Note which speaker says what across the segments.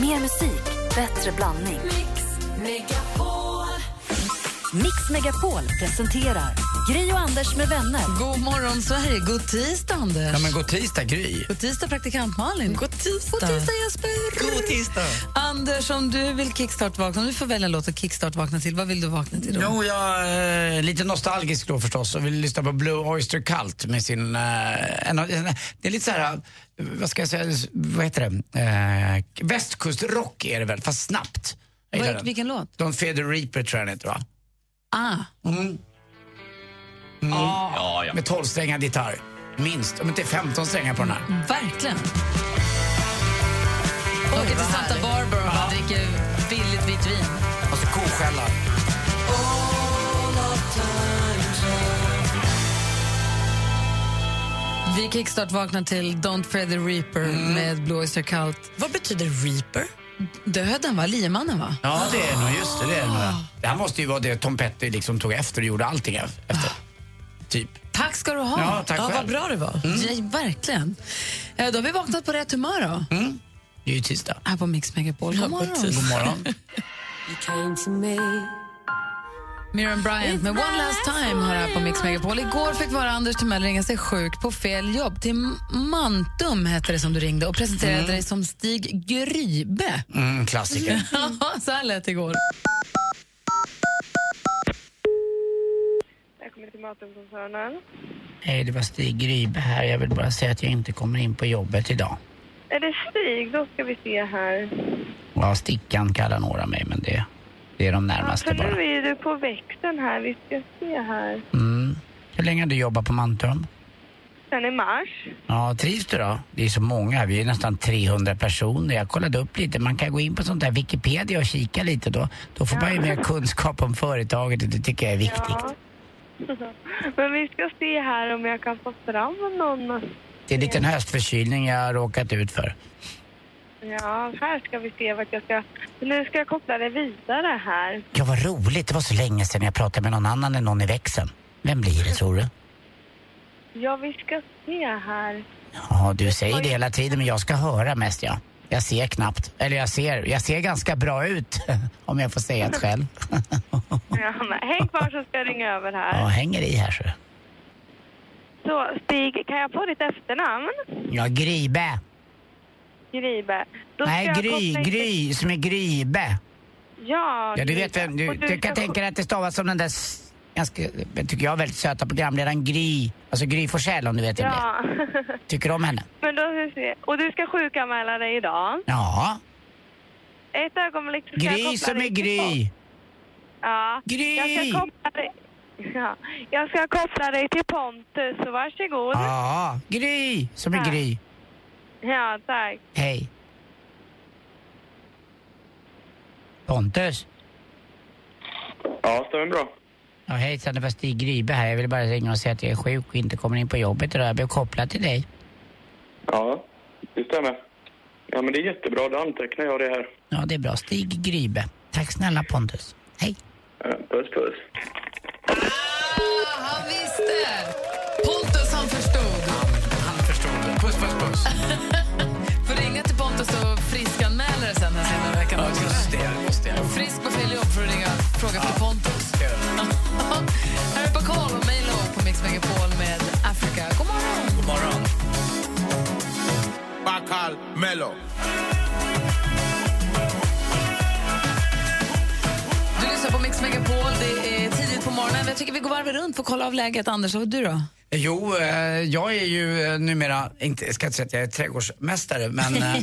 Speaker 1: Mer musik, bättre blandning.
Speaker 2: Mix Megapol.
Speaker 1: Mix Megapol presenterar Gri och Anders med vänner.
Speaker 3: God morgon, Sverige. God tisdag, Anders.
Speaker 4: Ja, men god tisdag, Gry.
Speaker 3: God tisdag, praktikant Malin. God
Speaker 4: tisdag.
Speaker 3: God tisdag, Jesper.
Speaker 4: God tisdag.
Speaker 3: Anders, om du vill kickstart-vakna, om du får välja en låt att kickstart-vakna till, vad vill du vakna till då?
Speaker 4: Jo, jag är lite nostalgisk då förstås och vill lyssna på Blue Oyster Cult med sin... eh, en, av- en, det är lite så här, eh, vad ska jag säga, vad heter det? Eh, västkustrock är det väl, fast snabbt. Jag
Speaker 3: Vad-
Speaker 4: gillar den.
Speaker 3: vilken låt?
Speaker 4: Don't Fear the Reaper tror jag den heter va?
Speaker 3: Ah,
Speaker 4: Mm.
Speaker 5: Ja, ja.
Speaker 4: Med 12-strängad gitarr. Minst, om inte 15 strängar på den här.
Speaker 3: verkligen. Åker till Santa Barbara och bara dricker billigt vitt vin.
Speaker 4: Och
Speaker 5: Alltså,
Speaker 4: så koskälla.
Speaker 3: Vi kickstart-vaknar till Don't Fear the Reaper
Speaker 4: Mm.
Speaker 3: med Blue Oyster Cult.
Speaker 6: Vad betyder reaper?
Speaker 3: Döden, va? Liemannen, va?
Speaker 4: Ja, det är nog just det. Det, är nog. det här måste ju vara det Tom Petty liksom tog efter och gjorde allting efter.
Speaker 3: Ah.
Speaker 4: Typ.
Speaker 3: Tack ska du ha.
Speaker 4: Ja, tack
Speaker 6: Ja, vad
Speaker 4: själv. Mm.
Speaker 6: bra det var.
Speaker 3: Ja, verkligen. Eh, Då har vi vaknat på rätt humör då.
Speaker 4: Mm. Det är ju tisdag.
Speaker 3: här på Mix Megapol. God morgon.
Speaker 4: God morgon.
Speaker 3: Miriam Bryant med One Last Time hör här på Mix Megapol. Igår fick vara Anders Timell ringa sig sjuk på fel jobb. Till M- Mantum hette det som du ringde och presenterade dig som Stig Grybe.
Speaker 4: Mm, klassiker.
Speaker 3: Så här lät det igår.
Speaker 7: Jag kommer till Matumkoncernen.
Speaker 4: Hej, det var Stig Grybe här. Jag vill bara säga att jag inte kommer in på jobbet idag.
Speaker 7: Är det Stig? Då ska vi se här.
Speaker 4: Ja, Stickan kallar några mig, men det, det är de
Speaker 7: Ja,
Speaker 4: närmaste
Speaker 7: för
Speaker 4: bara.
Speaker 7: nu är du på växeln här. Vi ska se här.
Speaker 4: Mm. Hur länge har du jobbat på Mantum?
Speaker 7: Sen i mars.
Speaker 4: Ja, trivs du då? Det är så många, här. vi är nästan 300 personer. Jag kollade upp lite, man kan gå in på sånt där Wikipedia och kika lite då. Då får man ju mer kunskap om företaget och det tycker jag är viktigt.
Speaker 7: Ja. Men vi ska se här om jag kan få fram någon.
Speaker 4: Det är en liten höstförkylning jag har råkat ut för.
Speaker 7: Ja, här ska vi se vart jag ska... Nu ska jag koppla det vidare här.
Speaker 4: Ja, vad roligt. Det var så länge sedan jag pratade med någon annan än någon i växeln. Vem blir det, tror du?
Speaker 7: Ja, vi ska se här.
Speaker 4: Ja, du säger det hela tiden, men jag ska höra mest, ja. Jag ser knappt. Eller jag ser, jag ser ganska bra ut, om jag får säga det själv.
Speaker 7: Ja, men häng kvar så ska jag ringa över
Speaker 4: Ja,
Speaker 7: här.
Speaker 4: hänger i här, så.
Speaker 7: Så Stig, kan jag få ditt efternamn?
Speaker 4: Ja, Gribe.
Speaker 7: Gribe. Då ska
Speaker 4: Nej,
Speaker 7: jag
Speaker 4: Gry,
Speaker 7: koppla in-
Speaker 4: Gry, som är Gribe.
Speaker 7: Ja,
Speaker 4: Ja, du
Speaker 7: Gribe.
Speaker 4: vet vem, du,
Speaker 7: Och
Speaker 4: du
Speaker 7: ska
Speaker 4: kan tänka dig att det stavas som den där, s- ganska, tycker jag, väldigt söta programledaren Gry. Alltså Gry Forssell, om du vet vem det är.
Speaker 7: Ja,
Speaker 4: Tycker du om henne?
Speaker 7: men då ska vi se. Och du ska sjukanmäla dig idag.
Speaker 4: Ja.
Speaker 7: Ett ögonblick så ska jag koppla
Speaker 4: Gry som är
Speaker 7: dig
Speaker 4: Gry.
Speaker 7: till Pon- Ja.
Speaker 4: Gry!
Speaker 7: Jag ska koppla dig... Ja. Jag ska koppla dig till Pontus, så varsågod. Ja,
Speaker 4: Ja, Gry som är
Speaker 7: Ja.
Speaker 4: Gry.
Speaker 7: ja tack.
Speaker 4: Hej. Pontus?
Speaker 8: Ja, stämmer bra.
Speaker 4: Ja, hejsan, det var Stig Grybe här. Jag ville bara ringa och säga att jag är sjuk och inte kommer in på jobbet idag. Jag blev kopplad till dig.
Speaker 8: Ja, det stämmer. Ja, men det är jättebra. Då antecknar jag det här.
Speaker 4: Ja, det är bra. Stig Grybe. Tack snälla Pontus. Hej.
Speaker 8: Ja, Puss, puss.
Speaker 3: Ah, han visste! Pontus, han förstod.
Speaker 4: Han förstod det. Puss, puss, puss.
Speaker 3: Får ringa till Pontus och friskanmäla dig sen den senare veckan. också.
Speaker 4: det, just det.
Speaker 3: Frisk på fel jobb för att ringa och fråga efter Pontus. Här är Bacall och Milo på Mix Megapol med Africa. God morgon!
Speaker 9: Bacal Melo.
Speaker 3: Du lyssnar på Mix Megapol. Det är tidigt på morgonen. men Jag tycker vi går varvet runt för att kolla av läget. Anders, och du då?
Speaker 4: Jo, eh, jag är ju eh, numera, inte, jag ska inte säga att jag är trädgårdsmästare, men eh,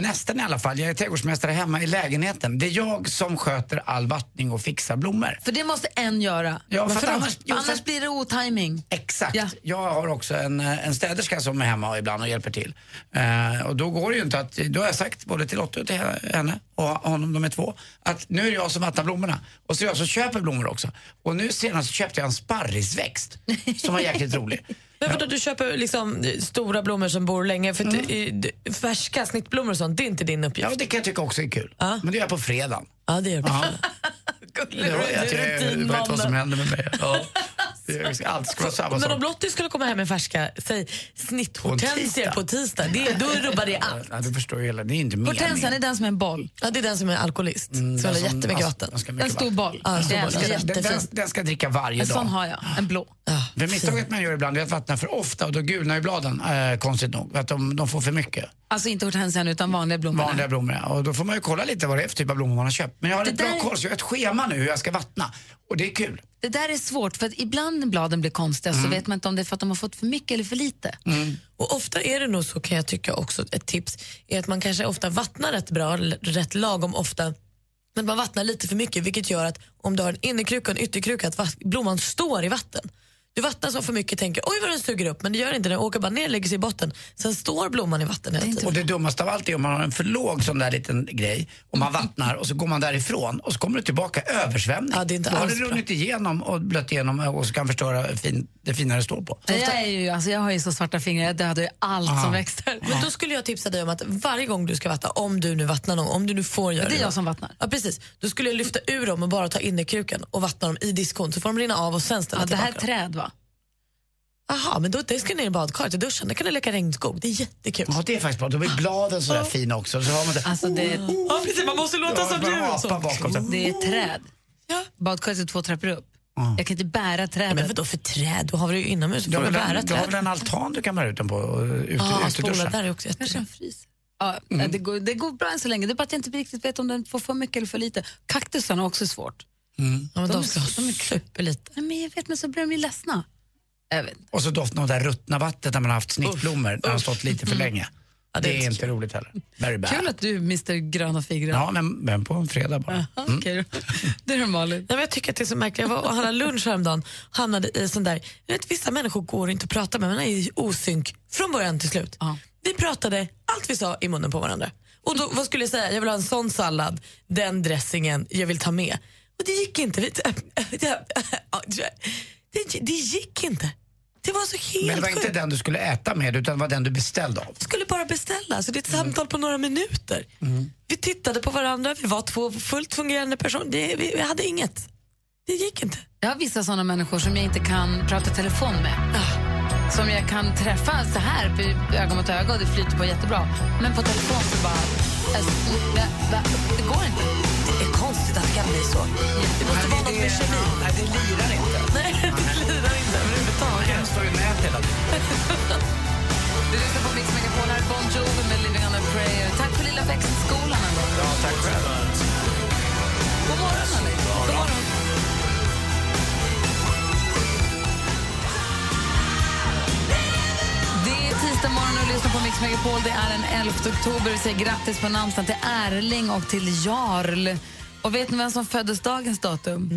Speaker 4: nästan i alla fall. Jag är trädgårdsmästare hemma i lägenheten. Det är jag som sköter all vattning och fixar blommor.
Speaker 3: För det måste en göra.
Speaker 4: Ja, för
Speaker 3: Varför
Speaker 4: att
Speaker 3: då?
Speaker 4: annars- jo, för
Speaker 3: annars
Speaker 4: att-
Speaker 3: blir det otiming.
Speaker 4: Exakt.
Speaker 3: Ja.
Speaker 4: Jag har också en, eh, en städerska som är hemma ibland och hjälper till. Eh, och då går det ju inte att, då har jag sagt både till Lotta och till henne och honom, de är två, att nu är det jag som vattnar blommorna. Och så är jag som köper blommor också. Och nu senast köpte jag en sparrisväxt som var jäkligt rolig.
Speaker 6: Men vadå, du köper liksom eh, stora blommor som bor länge. För att, eh, d- Färska snittblommor och sånt, det är inte din
Speaker 4: Mm. Ja,
Speaker 6: uppgift.
Speaker 4: det kan jag tycka också är kul. Men det gör jag på fredagen.
Speaker 6: Ja, det gör du.
Speaker 4: Ja, det
Speaker 6: Gullig
Speaker 4: var jag, jag, jag vet vad som händer med mig. Ja. Det ska- Allt ska vara samma
Speaker 6: Men
Speaker 4: sak.
Speaker 6: om Lottie skulle komma hem med färska, säg snitthortensior
Speaker 4: På
Speaker 6: på tisdag, det, då rubbar det allt.
Speaker 4: Ja, du förstår ju hela, det är inte
Speaker 3: Hortensian är den som är en boll.
Speaker 6: Ja, det är den som är alkoholist, som
Speaker 4: Mm, den
Speaker 6: håller
Speaker 4: som-
Speaker 6: jättemycket
Speaker 4: alltså,
Speaker 6: vatten.
Speaker 4: den ska mycket
Speaker 3: En stor
Speaker 4: vatten.
Speaker 3: boll.
Speaker 6: Ja, en stor
Speaker 3: Jag
Speaker 6: boll.
Speaker 3: älskar
Speaker 4: Den, den, den,
Speaker 6: Jättefin.
Speaker 4: den ska jag dricka varje
Speaker 3: En sån
Speaker 4: dag.
Speaker 3: har jag, en blå.
Speaker 6: Ja,
Speaker 4: För misstaget man gör ibland är att vattna för ofta och då gulnar ju bladen, eh, konstigt nog. Att de, de får för mycket.
Speaker 3: Alltså inte hortensian utan vanliga blommor.
Speaker 4: vanliga blommor. ja. Och då får man ju kolla lite vad det är för typ av blommor man har köpt. Men jag har
Speaker 3: Det
Speaker 4: ett
Speaker 3: där-
Speaker 4: bra koll så jag har ett schema nu hur jag ska vattna. Och det är kul.
Speaker 3: Det där är svårt för att ibland när bladen blir konstiga
Speaker 4: Mm.
Speaker 3: så vet man inte om det är för att de har fått för mycket eller för lite.
Speaker 6: Och ofta är det nog så kan jag tycka också, ett tips är att man kanske ofta vattnar rätt bra, l- rätt lagom ofta. Men man vattnar lite för mycket vilket gör att om du har en innerkruka och en ytterkruka att vatt- blomman står i vatten. Du vattnar så för mycket och tänker oj vad den suger upp men det gör inte den, åker bara ner lägger sig i botten. Sen står blomman i vatten hela tiden.
Speaker 4: Och det dummaste av allt är om man har en för låg sån där liten grej och man vattnar och så går man därifrån och så kommer det tillbaka översvämning.
Speaker 6: Ja, det är inte
Speaker 4: då har
Speaker 6: alls
Speaker 4: det
Speaker 6: bra.
Speaker 4: runnit igenom och blött igenom eh, och så kan förstöra fin, det fina det står på.
Speaker 3: Jag, är ju, alltså, jag har ju så svarta fingrar, jag dödar ju allt
Speaker 4: Ah.
Speaker 3: som växer.
Speaker 6: Men då skulle jag tipsa dig om att varje gång du ska vattna, om du nu vattnar någon, om du nu får göra
Speaker 3: Det
Speaker 6: det.
Speaker 3: är jag som vattnar.
Speaker 6: Ja, precis. Då skulle jag lyfta ur dem och bara ta innerkrukan och vattna dem i diskon så får de rinna av och sen ställa
Speaker 3: Ja, det
Speaker 6: tillbaka
Speaker 3: här är
Speaker 6: dem.
Speaker 3: träd va?
Speaker 6: Jaha, men då, det ska ner i badkaret i duschen. Där kan du leka regnskog. Det är jättekul.
Speaker 4: Ja, det är faktiskt bra. Då blir bladen sådär fina också. Så har man det.
Speaker 3: Alltså det,
Speaker 6: Ja, precis. Man måste
Speaker 4: Då har man en apa bakom sig.
Speaker 3: det är träd.
Speaker 6: Ja.
Speaker 3: Badkaret är två trappor upp. Jag kan inte bära
Speaker 6: Men
Speaker 3: trädet.
Speaker 6: vadå för träd? Du har väl det ju inomhus? Du
Speaker 4: Du
Speaker 6: får
Speaker 4: har
Speaker 6: väl
Speaker 4: väl
Speaker 6: bära
Speaker 4: en- du har väl
Speaker 6: träd?
Speaker 4: en altan du kan bära ut den på? och Ut,
Speaker 6: Ja,
Speaker 4: ut i
Speaker 6: spola
Speaker 4: duschen. Mm.
Speaker 6: där är också
Speaker 3: Kanske
Speaker 6: jättebra.
Speaker 3: den fryser. Ja, det, går, det går bra än så länge, det är bara att jag inte riktigt vet om den får för mycket eller för lite. Kaktusarna är också svårt.
Speaker 6: Ja, men
Speaker 3: De
Speaker 6: de
Speaker 3: är
Speaker 6: ska ha
Speaker 3: så- de är
Speaker 6: superlite.
Speaker 3: Nej, men jag vet, men så blir de ju ledsna. Jag vet.
Speaker 4: Och så doften av det där ruttna vattnet när man har haft snittblommor, när de har stått lite för länge.
Speaker 6: Ja,
Speaker 4: det,
Speaker 6: det är
Speaker 4: är
Speaker 6: inte
Speaker 4: inte roligt heller. Very bad.
Speaker 3: Kul att du mister gröna fingrar.
Speaker 4: Ja, men, men på en fredag bara.
Speaker 3: Okej då. Det är det Malin.
Speaker 6: Nej, men jag tycker att det är så märkligt. Jag var och handlade lunch häromdagen hamnade i sån där... Jag vet, vissa människor går inte att prata med, man är i osynk från början till slut.
Speaker 3: Ja.
Speaker 6: Vi pratade allt vi sa i munnen på varandra. Och då, vad skulle jag säga? Jag vill ha en sån sallad, den dressingen, jag vill ta med. Och det gick inte. Vi- Det, det gick inte. Det var så helt
Speaker 4: Men det var
Speaker 6: sjukt.
Speaker 4: inte den du skulle äta med, utan det var den du beställde av.
Speaker 6: skulle bara beställa, så det är ett
Speaker 4: Mm.
Speaker 6: samtal på några minuter. Vi tittade på varandra, vi var två fullt fungerande personer. Det, vi, vi hade inget. Det gick inte.
Speaker 3: Jag har vissa sådana människor som jag inte kan prata telefon med.
Speaker 6: Ah.
Speaker 3: Som jag kan träffa så här, på öga mot öga, och det flyter på jättebra. Men på telefon så bara... alltså, nej, va? Det går inte.
Speaker 6: Det är konstigt att det kan bli så. Det måste vara något med kemi.
Speaker 4: Nej, det lirar inte.
Speaker 6: Nej, det lirar inte överhuvudtaget.
Speaker 4: Den står ju nät hela tiden.
Speaker 3: Du lyssnar på Mix Megapol här, Bon Jovi med Living on a prayer. Tack för lilla växelskolan ändå.
Speaker 4: Ja, tack själv.
Speaker 3: God morgon, Alex. God morgon. Det är tisdag morgon och du lyssnar på Mix Megapol. Det är den 11 oktober. Vi säger grattis på namnsdagen till Erling och till Jarl. Och vet ni vem som föddes dagens datum?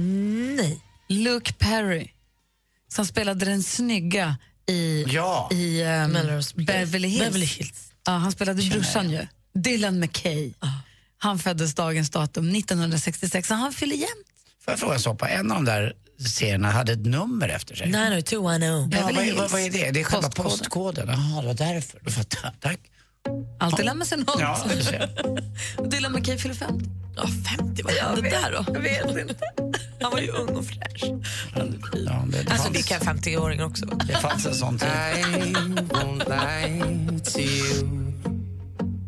Speaker 6: Nej.
Speaker 3: Luke Perry, som spelade den snygga i,
Speaker 4: Ja.
Speaker 3: i
Speaker 6: Mm.
Speaker 3: ehm,
Speaker 6: Melrose Place.
Speaker 3: Beverly Hills.
Speaker 6: Beverly Hills.
Speaker 3: Ja, han spelade brorsan ju, Dylan McKay. Han föddes dagens datum 1966, så han fyller jämnt.
Speaker 4: Får jag fråga en sak? En av de där serierna hade ett nummer efter sig.
Speaker 6: 90210.
Speaker 4: Ja,
Speaker 3: Beverly
Speaker 4: vad, är-
Speaker 3: Hills.
Speaker 4: vad, vad är det? Det är själva
Speaker 3: Postkoden.
Speaker 4: postkoden. Jaha, det var därför. Då fattar jag. Tack.
Speaker 3: Alltid lär man sig något.
Speaker 4: Ja, det ser jag.
Speaker 3: Dylan McKay fyller 50.
Speaker 6: Ja, 50, vad hände där då? Jag vet inte. Han var ju ung och fräsch.
Speaker 4: ja, det, det,
Speaker 6: Alltså, det
Speaker 4: fanns,
Speaker 6: kan 50-åringar också vara.
Speaker 4: det fanns en sån tid.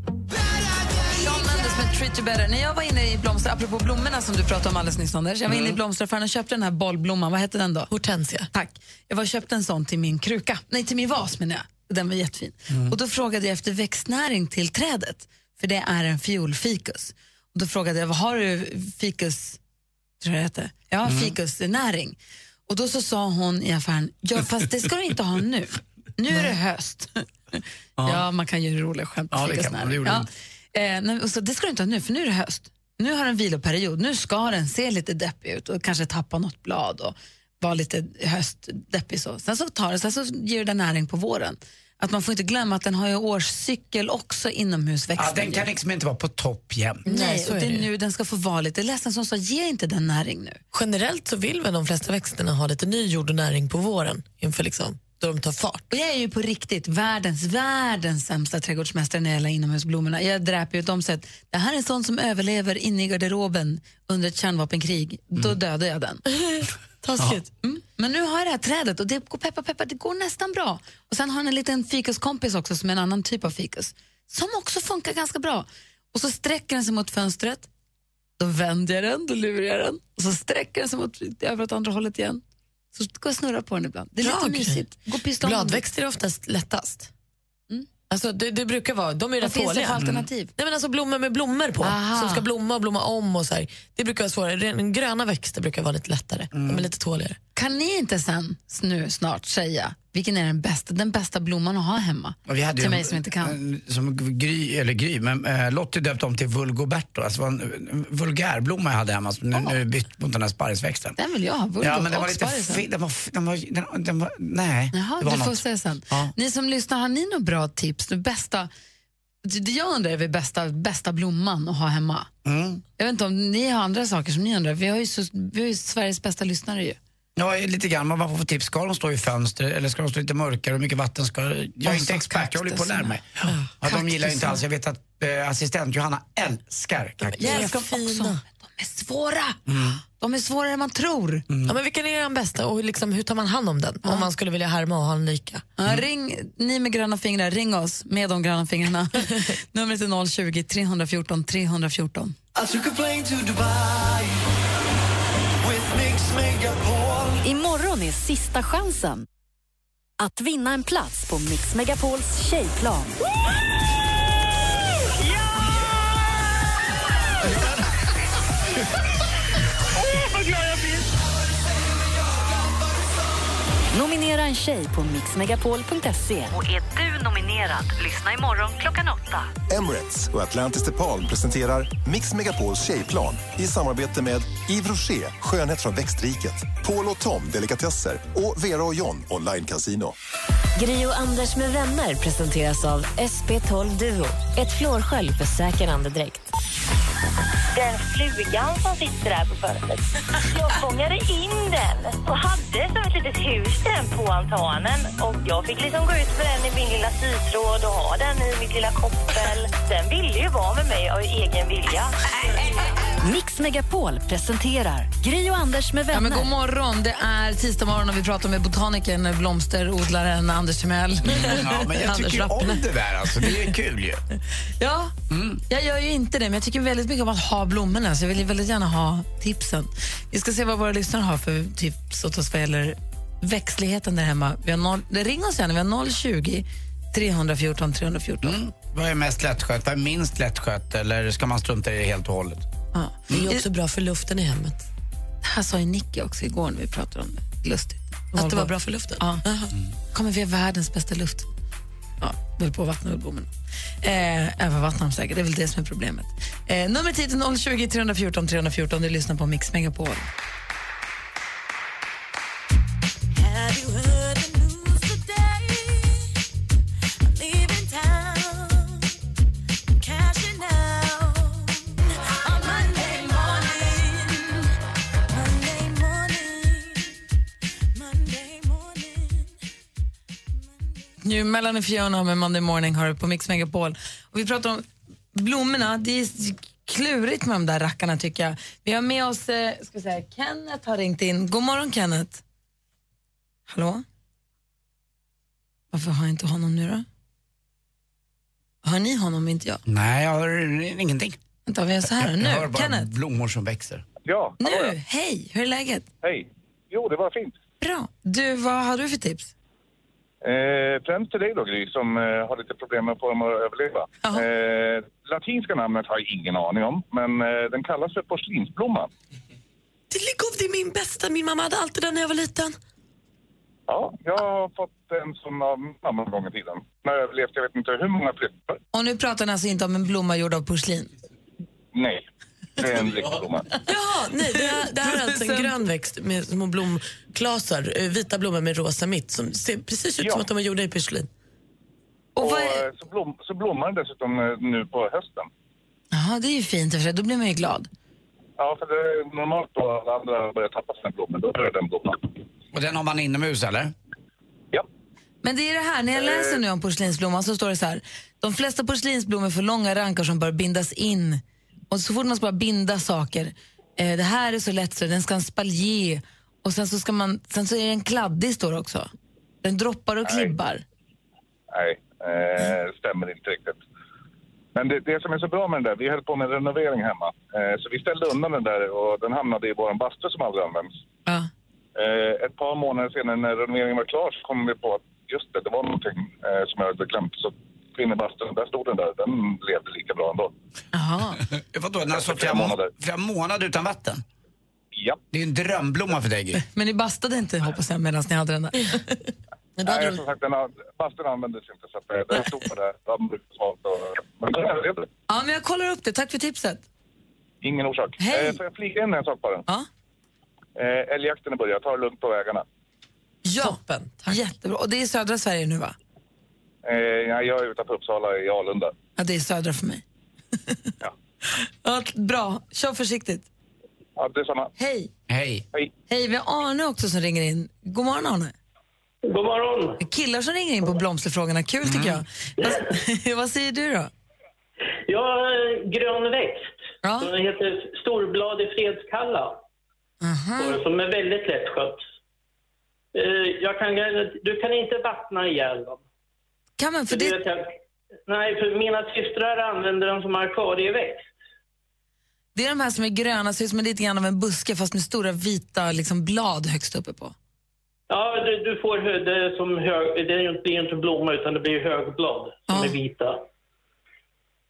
Speaker 3: Shawn Mendes med Treat You Better. När jag var inne i blomster, apropå blommorna som du pratade om alldeles nyss Anders, jag var inne i
Speaker 6: Mm.
Speaker 3: blomsteraffären och köpte den här bollblomman, vad hette den då?
Speaker 6: Hortensia.
Speaker 3: Tack. Jag var och köpte en sån till min kruka. Nej, till min vas menar jag. Den var jättefin. Och då frågade jag efter växtnäring till trädet, för det är en fiolfikus. Och då frågade jag, vad har du fikus, tror jag det heter? Ja, fikusnäring. Och då så sa hon i affären, ja fast det ska du inte ha nu. Nu är det höst. ja, man kan ju roliga skämt
Speaker 4: Ja, det
Speaker 3: fikusnäring.
Speaker 4: kan man. Det gjorde
Speaker 3: Ja.
Speaker 4: hon.
Speaker 3: Eh, nej, och så, det ska du inte ha nu, för nu är det höst. Nu har den viloperiod. Nu ska den se lite deppig ut och kanske tappa något blad och vara lite höstdeppig. Så. Sen, så tar det, sen så ger den näring på våren. Att Man får inte glömma att den har ju årscykel också inomhusväxten.
Speaker 4: Ja, den kan liksom inte vara på topp jämt.
Speaker 6: Nej,
Speaker 3: Nej,
Speaker 6: så
Speaker 3: och
Speaker 6: är
Speaker 3: det
Speaker 6: det ju.
Speaker 3: är nu den ska få vara lite ledsen som sa ge inte den näring nu.
Speaker 6: Generellt så vill väl de flesta växterna ha lite ny jord och näring på våren inför liksom, då de tar fart.
Speaker 3: Och jag är ju på riktigt världens, världens sämsta trädgårdsmästare när det gäller inomhusblommorna. Jag dräper ju dem så att det här är en sån som överlever inne i garderoben under ett kärnvapenkrig. Då dödar jag den.
Speaker 6: Taskigt. Mm.
Speaker 3: Men nu har jag det här trädet och det går peppa peppa, det går nästan bra. Och sen har han en liten fikuskompis också som är en annan typ av fikus. Som också funkar ganska bra. Och så sträcker den sig mot fönstret. Då vänder jag den, då lurar jag den. Och så sträcker den sig mot, över åt andra hållet igen. Så går jag snurra på den ibland. Det är
Speaker 6: Bra
Speaker 3: lite
Speaker 6: grej.
Speaker 3: mysigt. Går piston.
Speaker 6: Bladväxter är oftast lättast. Alltså, det, det brukar vara, de är ju
Speaker 3: Vad
Speaker 6: rätt
Speaker 3: finns det
Speaker 6: tåliga.
Speaker 3: för alternativ?
Speaker 6: Nej, men alltså blommor med blommor på,
Speaker 3: Aha.
Speaker 6: som ska blomma och blomma om. och så här. Det brukar vara svårare. Ren- Gröna växter brukar vara lite lättare.
Speaker 3: Mm.
Speaker 6: De är lite tåligare.
Speaker 3: Kan ni inte sen, nu snart, säga vilken är den bästa, den bästa blomman att ha hemma?
Speaker 4: Och vi hade
Speaker 3: till
Speaker 4: ju-
Speaker 3: mig som inte kan.
Speaker 4: en- Som Gry, eller Gry, men eh, Lottie döpte om till Vulgoberto. Alltså det var en, en vulgärblomma jag hade hemma som nu- nu är bytt mot den här sparrisväxten.
Speaker 3: Den vill jag ha, vulgo
Speaker 4: Ja men den
Speaker 3: och
Speaker 4: var lite
Speaker 3: sparrisen.
Speaker 4: fin, den var, f- den var, den, den var, nej.
Speaker 3: Jaha,
Speaker 4: det var
Speaker 3: du får
Speaker 4: något.
Speaker 3: säga sen.
Speaker 4: Ja.
Speaker 3: Ni som lyssnar, har ni några bra tips? Det bästa, det jag undrar är väl bästa, bästa blomman att ha hemma.
Speaker 4: Mm.
Speaker 3: Jag vet inte om ni har andra saker som ni undrar. Vi har ju, så, vi har ju Sveriges bästa lyssnare ju.
Speaker 4: Ja, lite grann. Man bara får få tips. Ska de stå i fönster eller ska de stå lite mörkare? Hur mycket vatten ska Jag är
Speaker 3: Och
Speaker 4: inte
Speaker 3: så
Speaker 4: expert, jag håller på att lära mig.
Speaker 3: kaktuserna.
Speaker 4: Ja, de gillar ju inte
Speaker 3: Kaktusarna.
Speaker 4: alls. Jag vet att eh, assistent Johanna älskar kaktus.
Speaker 6: Jag älskar
Speaker 3: de också.
Speaker 6: fina.
Speaker 3: De är svåra. De är svårare än man tror.
Speaker 6: Ja, men vilken är den bästa och hur- liksom, hur tar man hand om den? Om man skulle vilja härma och ha en Mm. lika.
Speaker 4: Mm.
Speaker 3: Ja, ring, ni med gröna fingrar, ring oss med de gröna fingrarna. Numret är 020 314 314.
Speaker 1: Imorgon är sista chansen att vinna en plats på Mix Megapols tjejplan. Nominera en tjej på mixmegapol.se. Och är du nominerad, lyssna imorgon klockan åtta.
Speaker 5: Emirates och Atlantis DePaul presenterar Mix Megapols tjejplan i samarbete med Yves Rocher, skönhet från växtriket, Paul och Tom, delikatesser och Vera och John, online casino.
Speaker 1: Gri och Anders med vänner presenteras av SP12 Duo. Ett flårskölj för säker andedräkt.
Speaker 10: den flugan som sitter där på fönstret. Jag fångade in den och hade som ett litet hus till den på altanen. Och jag fick liksom gå ut med den i min lilla sytråd och ha den i mitt lilla koppel. Den ville ju vara med mig av egen vilja.
Speaker 1: Mix Megapol presenterar Gri och Anders med
Speaker 3: Ja,
Speaker 1: vänner.
Speaker 3: men god morgon, det är tisdag morgon och vi pratar med botanikern, blomsterodlaren Anders Timell.
Speaker 4: Mm, Ja, men jag tycker ju om det där alltså. Det är kul ju.
Speaker 3: Ja, jag gör ju inte det, men jag tycker väldigt mycket om att ha blommorna så jag vill ju väldigt gärna ha tipsen. Vi ska se vad våra lyssnare har för tips åt oss vad gäller växtligheten där hemma. Vi har noll, ring oss gärna, vi har 020 314 314.
Speaker 4: Mm. Vad är mest lättskött? Vad är minst lättskött? Eller ska man strunta i det helt och hållet?
Speaker 3: Ja.
Speaker 6: Det är ju också bra för luften i hemmet.
Speaker 3: Det här sa ju Nicky också igår när vi pratade om det. Lustigt.
Speaker 6: Att det var bra för luften.
Speaker 3: Ja.
Speaker 6: Mm.
Speaker 3: Kommer vi ha världens bästa luft? Ja, vi höll på att vattna ullbommen. Eh, övervattnar de säkert, det är väl det som är problemet. Eh, numret hit är 020 314 314, du lyssnar på Mix Megapol. Nu mellan och Fiona med Monday Morning har du på Mix Megapol. Och vi pratar om blommorna, det är klurigt med de där rackarna tycker jag. Vi har med oss, eh, ska vi säga, Kenneth har ringt in. God morgon Kenneth. Hallå? Varför har jag inte honom nu då? Hör ni honom, inte jag?
Speaker 4: Nej, jag hör ingenting.
Speaker 3: Vänta, vi gör så här
Speaker 4: jag hör
Speaker 3: nu.
Speaker 4: bara
Speaker 3: Kenneth.
Speaker 4: blommor som växer.
Speaker 11: Ja, hallå, ja.
Speaker 3: Nu, hej, hur är läget?
Speaker 11: hej. Jo, det var fint.
Speaker 3: Bra. Du, vad har du för tips?
Speaker 11: Eh, främst till dig då, Gry, som eh, har lite problem med att få dem att överleva.
Speaker 3: Jaha.
Speaker 11: Eh, latinska namnet har jag ingen aning om, men eh, den kallas för porslinsblomman.
Speaker 6: Det ligger det är min bästa. Min mamma hade alltid den när jag var liten.
Speaker 11: Ja, jag har fått en sån av min mamma en gång i tiden. När jag överlevt, jag vet inte hur många flyttar.
Speaker 3: Och nu pratar ni alltså inte om en blomma gjord av porslin?
Speaker 11: Nej, det är en riktig blomma.
Speaker 6: Ja, nej, det, här- det här är alltså en grön växt med små blomklasar, eh, vita blommor med rosa mitt som ser precis ut
Speaker 11: Ja.
Speaker 6: som att de är gjorda i porslin.
Speaker 3: Och
Speaker 11: Och
Speaker 3: vad är...
Speaker 11: eh, så, blom, så blommar den dessutom eh, nu på hösten.
Speaker 3: Jaha, det är ju fint i och för sig. Då blir man ju glad.
Speaker 11: Ja, för det är normalt då alla andra börjar tappa sina blommor, då börjar den blomma.
Speaker 4: Och den har man inomhus eller?
Speaker 11: Ja.
Speaker 3: Men det är det här, när jag läser nu om porslinsblomman så står det så här. De flesta porslinsblommor får långa rankar som bör bindas in. Och så fort man ska bara binda saker. Eh, det här är så lätt så den ska ha en spaljé Och sen så, ska man, sen så är den kladdig, står det också. Den droppar och klibbar.
Speaker 11: Nej, eh, stämmer inte riktigt. Men det, det som är så bra med den där, vi höll på med en renovering hemma. Eh, så vi ställde undan den där och den hamnade i vår bastu som aldrig används. Eh, ett par månader senare när renoveringen var klar så kom vi på att just det, det var någonting eh, som jag hade glömt. Så in i bastun, där stod den där. Den levde lika bra ändå.
Speaker 3: Jaha.
Speaker 4: Vadå, den har stått
Speaker 11: flera
Speaker 4: flera, må-
Speaker 11: månader.
Speaker 4: flera månader utan vatten?
Speaker 11: Ja.
Speaker 4: Det är ju en drömblomma för dig, Gry.
Speaker 3: Men ni bastade inte, hoppas jag, medan ni hade den där.
Speaker 11: Nej, som sagt, den har, bastun användes inte så att eh, den stod på det. Den brukade smalt och... Men den överlevde.
Speaker 3: Ja, men jag kollar upp det. Tack för tipset.
Speaker 11: Ingen orsak.
Speaker 3: Hej.
Speaker 11: Eh, får jag flika in en sak bara?
Speaker 3: Ja.
Speaker 11: Eh, älgjakten är börjat, ta det lugnt på vägarna.
Speaker 3: Ja. Toppen. Jättebra. Och det är i södra Sverige nu, va?
Speaker 11: Eh, ja, jag är utanför Uppsala i Alunda.
Speaker 3: Ja, det är södra för mig. ja. bra. Kör försiktigt.
Speaker 11: Ja, detsamma.
Speaker 3: Hej.
Speaker 4: Hej.
Speaker 11: Hej.
Speaker 3: Hej, vi har Arne också som ringer in. God morgon, Arne.
Speaker 12: God morgon.
Speaker 3: Killar som ringer in på blomsterfrågorna. Kul, tycker
Speaker 6: Mm.
Speaker 3: jag. Vad, vad säger du då?
Speaker 12: Jag har en grön växt. Den heter storbladig fredskalla. Och Som är väldigt lättskött. Eh, Jag kan, du kan inte vattna ihjäl dem.
Speaker 3: Kan man? För
Speaker 12: det... vet jag- nej, för mina systrar använder den som arkarieväxt.
Speaker 3: Det är de här som är gröna, ser ut som en lite grann av en buske fast med stora vita liksom, blad högst uppe på.
Speaker 12: Ja, du, du får hö- det är som hög... Det är ju inte- det är ju inte blomma utan det blir högblad som är vita.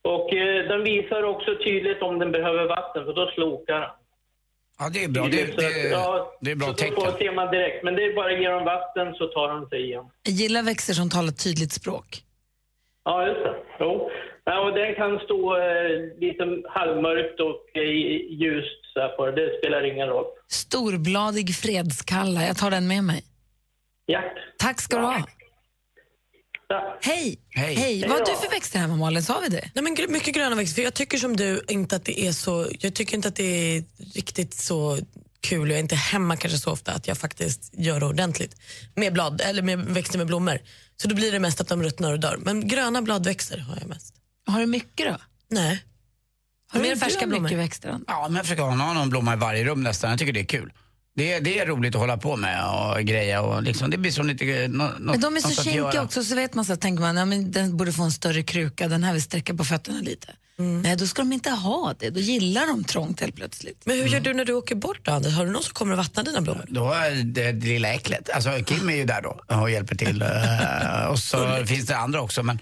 Speaker 12: Och eh, den visar också tydligt om den behöver vatten för då slokar den.
Speaker 4: Ja, det är bra. Det,
Speaker 12: Så att,
Speaker 4: det,
Speaker 12: ja,
Speaker 4: det är bra
Speaker 12: så
Speaker 4: tecken.
Speaker 12: Då får- ser man direkt. Men det är bara genom vatten så tar de sig igen.
Speaker 3: Jag gillar växter som talar tydligt språk.
Speaker 12: Ja, just det. Jo. Ja, och den kan stå eh, lite halvmörkt och eh, ljust. Så här på. det. Det spelar ingen roll.
Speaker 3: Storbladig fredskalla. Jag tar den med mig.
Speaker 12: Ja.
Speaker 3: Tack ska du ha. Hej!
Speaker 6: Hej.
Speaker 3: Hej. Vad har
Speaker 6: Hej
Speaker 3: du
Speaker 6: då.
Speaker 3: för växter hemma, Malin? Sa vi det?
Speaker 6: Nej, men gr- mycket gröna växter, för jag tycker som du inte att det är så, jag tycker inte att det är riktigt så kul, jag är inte hemma kanske så ofta att jag faktiskt gör det ordentligt med blad, eller med växter med blommor. Så då blir det mest att de ruttnar och dör. Men gröna bladväxter har jag mest.
Speaker 3: Har du mycket då?
Speaker 6: Nej.
Speaker 3: Har
Speaker 6: Mer
Speaker 3: du
Speaker 6: färska
Speaker 3: färska
Speaker 6: blommor.
Speaker 3: mycket växter? Ann?
Speaker 4: Ja, men jag försöker ha någon blomma i varje rum nästan. Jag tycker det är kul. Det är, det är roligt att hålla på med och greja och liksom, det blir som lite... No,
Speaker 3: Men de är så kinkiga också, så vet man så här, tänker man, ja, men den borde få en större kruka, den här vill sträcka på fötterna lite.
Speaker 4: Mm.
Speaker 3: Nej, då ska de inte ha det. Då gillar de trångt helt plötsligt.
Speaker 6: Men hur gör du när du åker bort då Anders? Har du någon som kommer och vattnar dina blommor?
Speaker 4: Då är det det lilla äcklet. Alltså Kim är ju där då och hjälper till. Eh, och så finns det andra också. Men,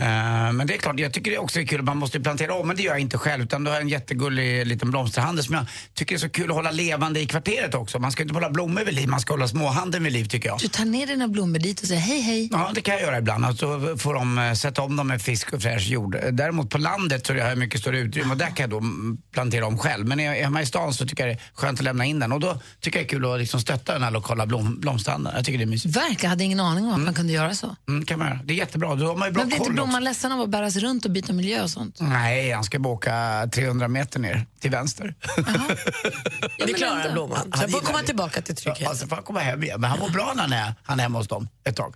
Speaker 4: eh, men det är klart, jag tycker det också är kul. Man måste ju plantera om, men det gör jag inte själv. Utan då har jag en jättegullig liten blomsterhandel som jag tycker är så kul att hålla levande i kvarteret också. Man ska inte bara hålla blommor vid liv, man ska hålla småhandeln vid liv tycker jag.
Speaker 3: Du tar ner dina blommor dit och säger hej, hej.
Speaker 4: Ja, det kan jag göra ibland. Och så får de eh, sätta om dem med frisk och fräsch jord. Eh, Däremot på landet så har jag mycket större utrymme och där kan jag då mm, plantera om själv. Men när jag är hemma i stan så tycker jag det är skönt att lämna in den. Och då tycker jag det är kul att liksom stötta den här lokala blom, blomsterhandeln. Jag tycker det är mysigt.
Speaker 3: Verkligen, jag hade ingen aning om att man kunde göra så.
Speaker 4: Mm, kan man göra. Det är jättebra. Då har man ju bra
Speaker 3: Men blir inte
Speaker 4: koll också.
Speaker 3: blomman ledsen av att bäras runt och byta miljö och sånt?
Speaker 4: Nej, han ska bara åka 300 meter ner till vänster.
Speaker 6: det klarar blomman. Sen får komma tillbaka till
Speaker 4: trygghet. Alltså, får han komma hem igen. Men han mår bra när han är, han är hemma hos dem ett tag.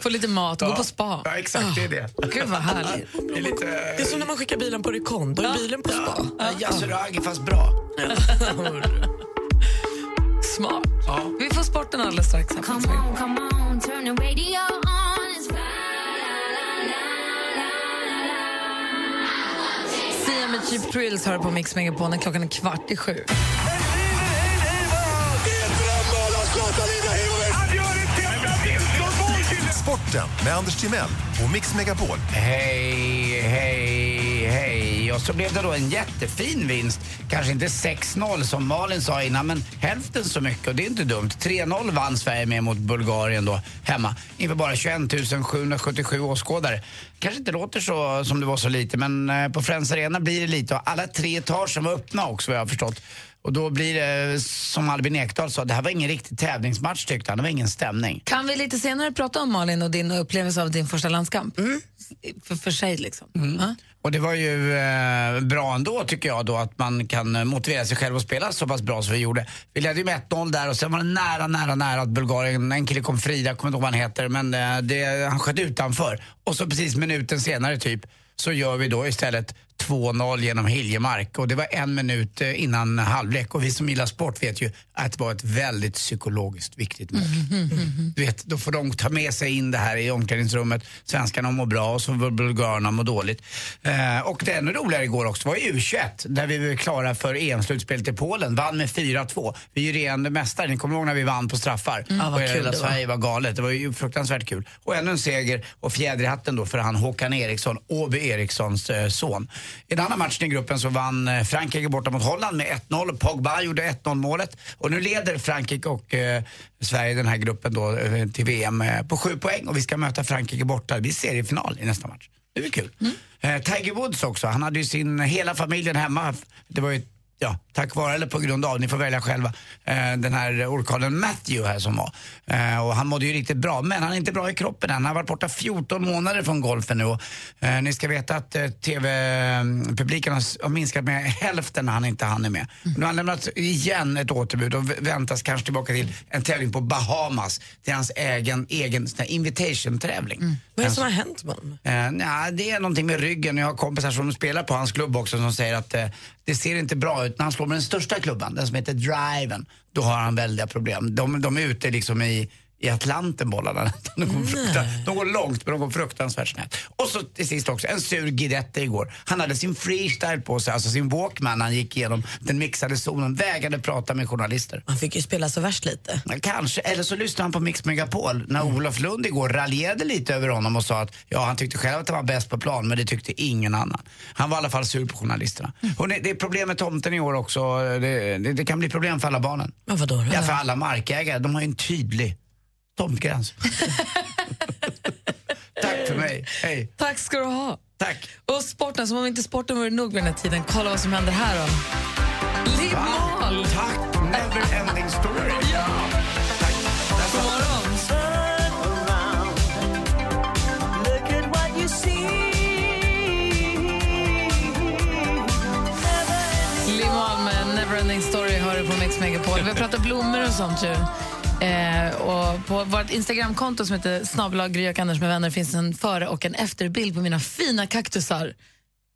Speaker 3: Få lite mat, gå på spa. Ah,
Speaker 4: Ja, exakt. Det är det.
Speaker 3: Gud vad härligt.
Speaker 4: Det är lite...
Speaker 6: Det är som när man skickar bilen på rekond, då är bilen på spa.
Speaker 4: Ja, alltså, Yasuragi fast bra.
Speaker 3: Smart. Vi får sporten alldeles strax. här på Mix Megapol. Sia med Cheap Thrills hör på Mix Megapol när klockan är kvart i sju.
Speaker 5: Sporten med Anders Timell och Mix Megapol.
Speaker 4: Hej, hej, hej. Och så blev det då en jättefin vinst. Kanske inte 6-0 som Malin sa innan, men hälften så mycket. Och det är inte dumt. 3-0 vann Sverige med mot Bulgarien då hemma. Inför bara 21 777 åskådare. Kanske inte låter så som det var så lite, men eh, på Friends Arena blir det lite. Och alla tre etager var öppna också, vad jag har förstått. Och då blir det, som Albin Ekdal sa, det här var ingen riktig tävlingsmatch tyckte han. Det var ingen stämning.
Speaker 3: Kan vi lite senare prata om Malin och din upplevelse av din första landskamp?
Speaker 4: Mm.
Speaker 3: För, för sig liksom. Ja.
Speaker 4: Och det var ju eh, bra ändå tycker jag då att man kan eh, motivera sig själv och spela så pass bra som vi gjorde. Vi ledde ju med 1-0 där och sen var det nära, nära, nära att Bulgarien, en kille kom fri, jag kommer inte ihåg vad han heter, men eh, det, han sköt utanför. Och så precis minuten senare typ så gör vi då istället 2-0 genom Hiljemark och det var en minut eh, innan halvlek och vi som gillar sport vet ju att det var ett väldigt psykologiskt viktigt mål.
Speaker 3: Mm-hmm.
Speaker 4: Du vet, då får de ta med sig in det här i omklädningsrummet. Svenskarna mår bra och så bul- bulgarerna mår dåligt. Eh, och det ännu roligare igår också var ju U21 där vi var klara för EM-slutspelet i Polen. Vann med 4-2. Vi är ju regerande mästare. Ni kommer ihåg när vi vann på straffar?
Speaker 3: Mm. Ja, vad
Speaker 4: Och
Speaker 3: kul
Speaker 4: hela
Speaker 3: det var.
Speaker 4: Sverige var galet. Det var ju fruktansvärt kul. Och ännu en seger och fjäder i hatten då för han Håkan Eriksson, Åby Erikssons eh, son. I den andra matchen i gruppen så vann eh, Frankrike borta mot Holland med 1-0. Pogba gjorde 1-0 målet. Och nu leder Frankrike och eh, Sverige den här gruppen då eh, till VM eh, på sju poäng och vi ska möta Frankrike borta. Vi ser i final i nästa match. Det blir kul. Eh, Tiger Woods också, han hade ju sin, hela familjen hemma. Det var ju ja, tack vare eller på grund av, ni får välja själva, eh, den här orkanen Matthew här som var. Eh, och han mådde ju riktigt bra, men han är inte bra i kroppen än. Han har varit borta 14 månader från golfen nu. Och, eh, ni ska veta att eh, TV-publiken har, s- har minskat med hälften när han inte hann är med. Nu har han lämnat igen ett återbud och v- väntas kanske tillbaka till en tävling på Bahamas. Det är hans egen, egen sån här invitation-tävling.
Speaker 6: Mm. Vad är det som har hänt med honom?
Speaker 4: Eh, nej, det är någonting med ryggen. Jag har kompisar som spelar på hans klubb också som säger att eh, det ser inte bra ut. När han slår med den största klubban, den som heter driven, då har han väldiga problem. De, de är ute liksom i, i Atlanten bollarna. De går, fruktan, de går långt men de går fruktansvärt snett. Och så till sist också, en sur Guidetti igår. Han hade sin freestyle på sig, alltså sin walkman. Han gick igenom den mixade zonen, vägrade prata med journalister.
Speaker 6: Han fick ju spela så värst lite. Mm.
Speaker 4: Kanske, eller så lyssnade han på Mix Megapol när Olof Lund igår raljerade lite över honom och sa att ja, han tyckte själv att han var bäst på plan men det tyckte ingen annan. Han var i alla fall sur på journalisterna. Och det, det är problem med tomten i år också. Det, det, det kan bli problem för alla barnen.
Speaker 6: Men vadå då?
Speaker 4: Ja, för alla markägare, de har ju en tydlig tomtgräns. Tack för mig, hej.
Speaker 3: Tack ska du ha.
Speaker 4: Tack.
Speaker 3: Och sporten, som om inte sporten vore nog vid den här tiden. Kolla vad som händer här då. Liv Mohl!
Speaker 4: Tack! Neverending story. Ja.
Speaker 3: God morgon! Liv Mohl med Neverending Story hör du på Mix Megapol. Vi har pratat blommor och sånt ju. Eh, och på vårt Instagramkonto som heter snabbelag Gry och Anders med vänner finns en före och en efterbild på mina fina kaktusar.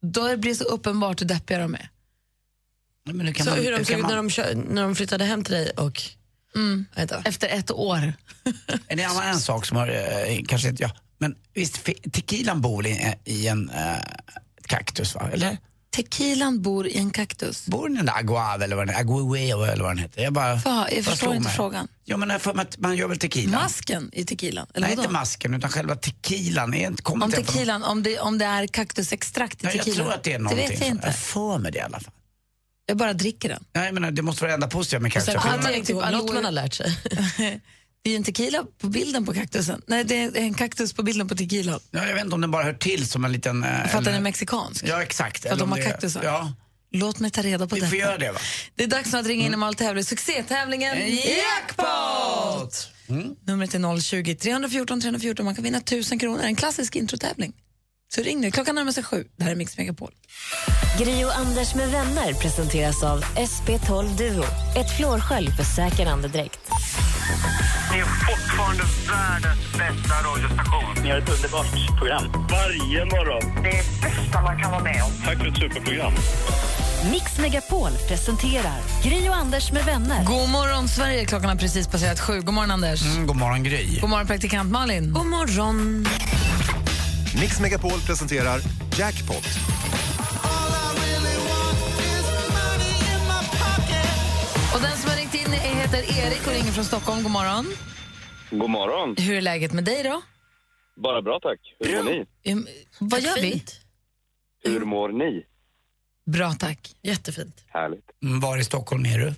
Speaker 3: Då blir det så uppenbart hur deppiga de är.
Speaker 4: Men nu
Speaker 6: Så hur de såg ut när, de kö- när de flyttade hem till dig och...
Speaker 3: Mm.
Speaker 6: Vänta.
Speaker 3: Efter ett år.
Speaker 4: En annan en sak som har, eh, kanske inte jag, men visst, fe- tequilan bor i, i en eh, kaktus va? Eller?
Speaker 3: Tequilan bor i en kaktus.
Speaker 4: Bor den där aguave eller vad den aguiweo eller vad den heter? Jag, bara,
Speaker 3: Fan, jag
Speaker 4: bara
Speaker 3: förstår
Speaker 4: slog
Speaker 3: inte
Speaker 4: mig.
Speaker 3: frågan.
Speaker 4: Ja men jag har för mig att man gör väl tequila?
Speaker 3: Masken i tequilan? Eller
Speaker 4: Nej
Speaker 3: vadå?
Speaker 4: inte masken utan själva tequilan. Är inte, kommer
Speaker 3: Om
Speaker 4: inte jag på något-
Speaker 3: tequilan, om det, om det är kaktusextrakt i
Speaker 4: Nej,
Speaker 3: tequilan?
Speaker 4: jag tror att det är någonting.
Speaker 3: vet jag
Speaker 4: så.
Speaker 3: inte.
Speaker 4: Jag får mig det i alla fall.
Speaker 3: Jag bara dricker den.
Speaker 4: Nej men eh, det måste vara det enda positiva med
Speaker 3: Och sen
Speaker 4: kaktus.
Speaker 3: kommer
Speaker 4: Jag
Speaker 3: man typ
Speaker 4: vet
Speaker 3: inte ihåg något man har
Speaker 6: lärt sig.
Speaker 3: det är en tequila på bilden på kaktusen. Nej, det är en kaktus på bilden på tequilan.
Speaker 4: inte- Ja, jag vet inte om den bara hör till som en liten... eh,
Speaker 3: För att
Speaker 4: eller-
Speaker 3: den är mexikansk.
Speaker 4: Ja exakt.
Speaker 3: För att
Speaker 4: Eller
Speaker 3: de
Speaker 4: om
Speaker 3: har
Speaker 4: det är-
Speaker 3: kaktusar.
Speaker 4: Ja,
Speaker 3: Låt mig ta reda på
Speaker 4: vi
Speaker 3: detta.
Speaker 4: får göra det Mm. va.
Speaker 3: Det är dags nu att ringa in och tävla i succétävlingen Jackpot!
Speaker 4: Mm.
Speaker 3: Numret är 020 314 314. Man kan vinna 1000 kronor. En klassisk introtävling. Så ring nu. Klockan närmar sig sju. Det här är Mix Megapol.
Speaker 1: Gri och Anders med vänner presenteras av SP12 Duo. Ett flårskölj för säker andedräkt.
Speaker 13: Ni är fortfarande världens bästa radiostation. Ni har ett underbart program. Varje morgon. Det är bästa man kan vara med om. Tack för ett superprogram.
Speaker 1: Mix Megapol presenterar Gri och Anders med vänner.
Speaker 3: God morgon, Sverige. Klockan har precis passerat sju. God morgon, Anders.
Speaker 4: Mm, god morgon Gry.
Speaker 3: God morgon, praktikant Malin. God morgon.
Speaker 5: Mix Megapol presenterar Jackpot.
Speaker 3: Och den som har ringt in är- heter Erik och ringer från Stockholm. God morgon.
Speaker 14: God morgon.
Speaker 3: Hur är läget med dig då?
Speaker 14: Bara bra tack. Hur mår ni?
Speaker 3: Ehm, vad gör vi?
Speaker 14: Hur mår ni?
Speaker 3: Bra, tack. Jättefint.
Speaker 14: Härligt.
Speaker 4: Mm, Var i Stockholm är du?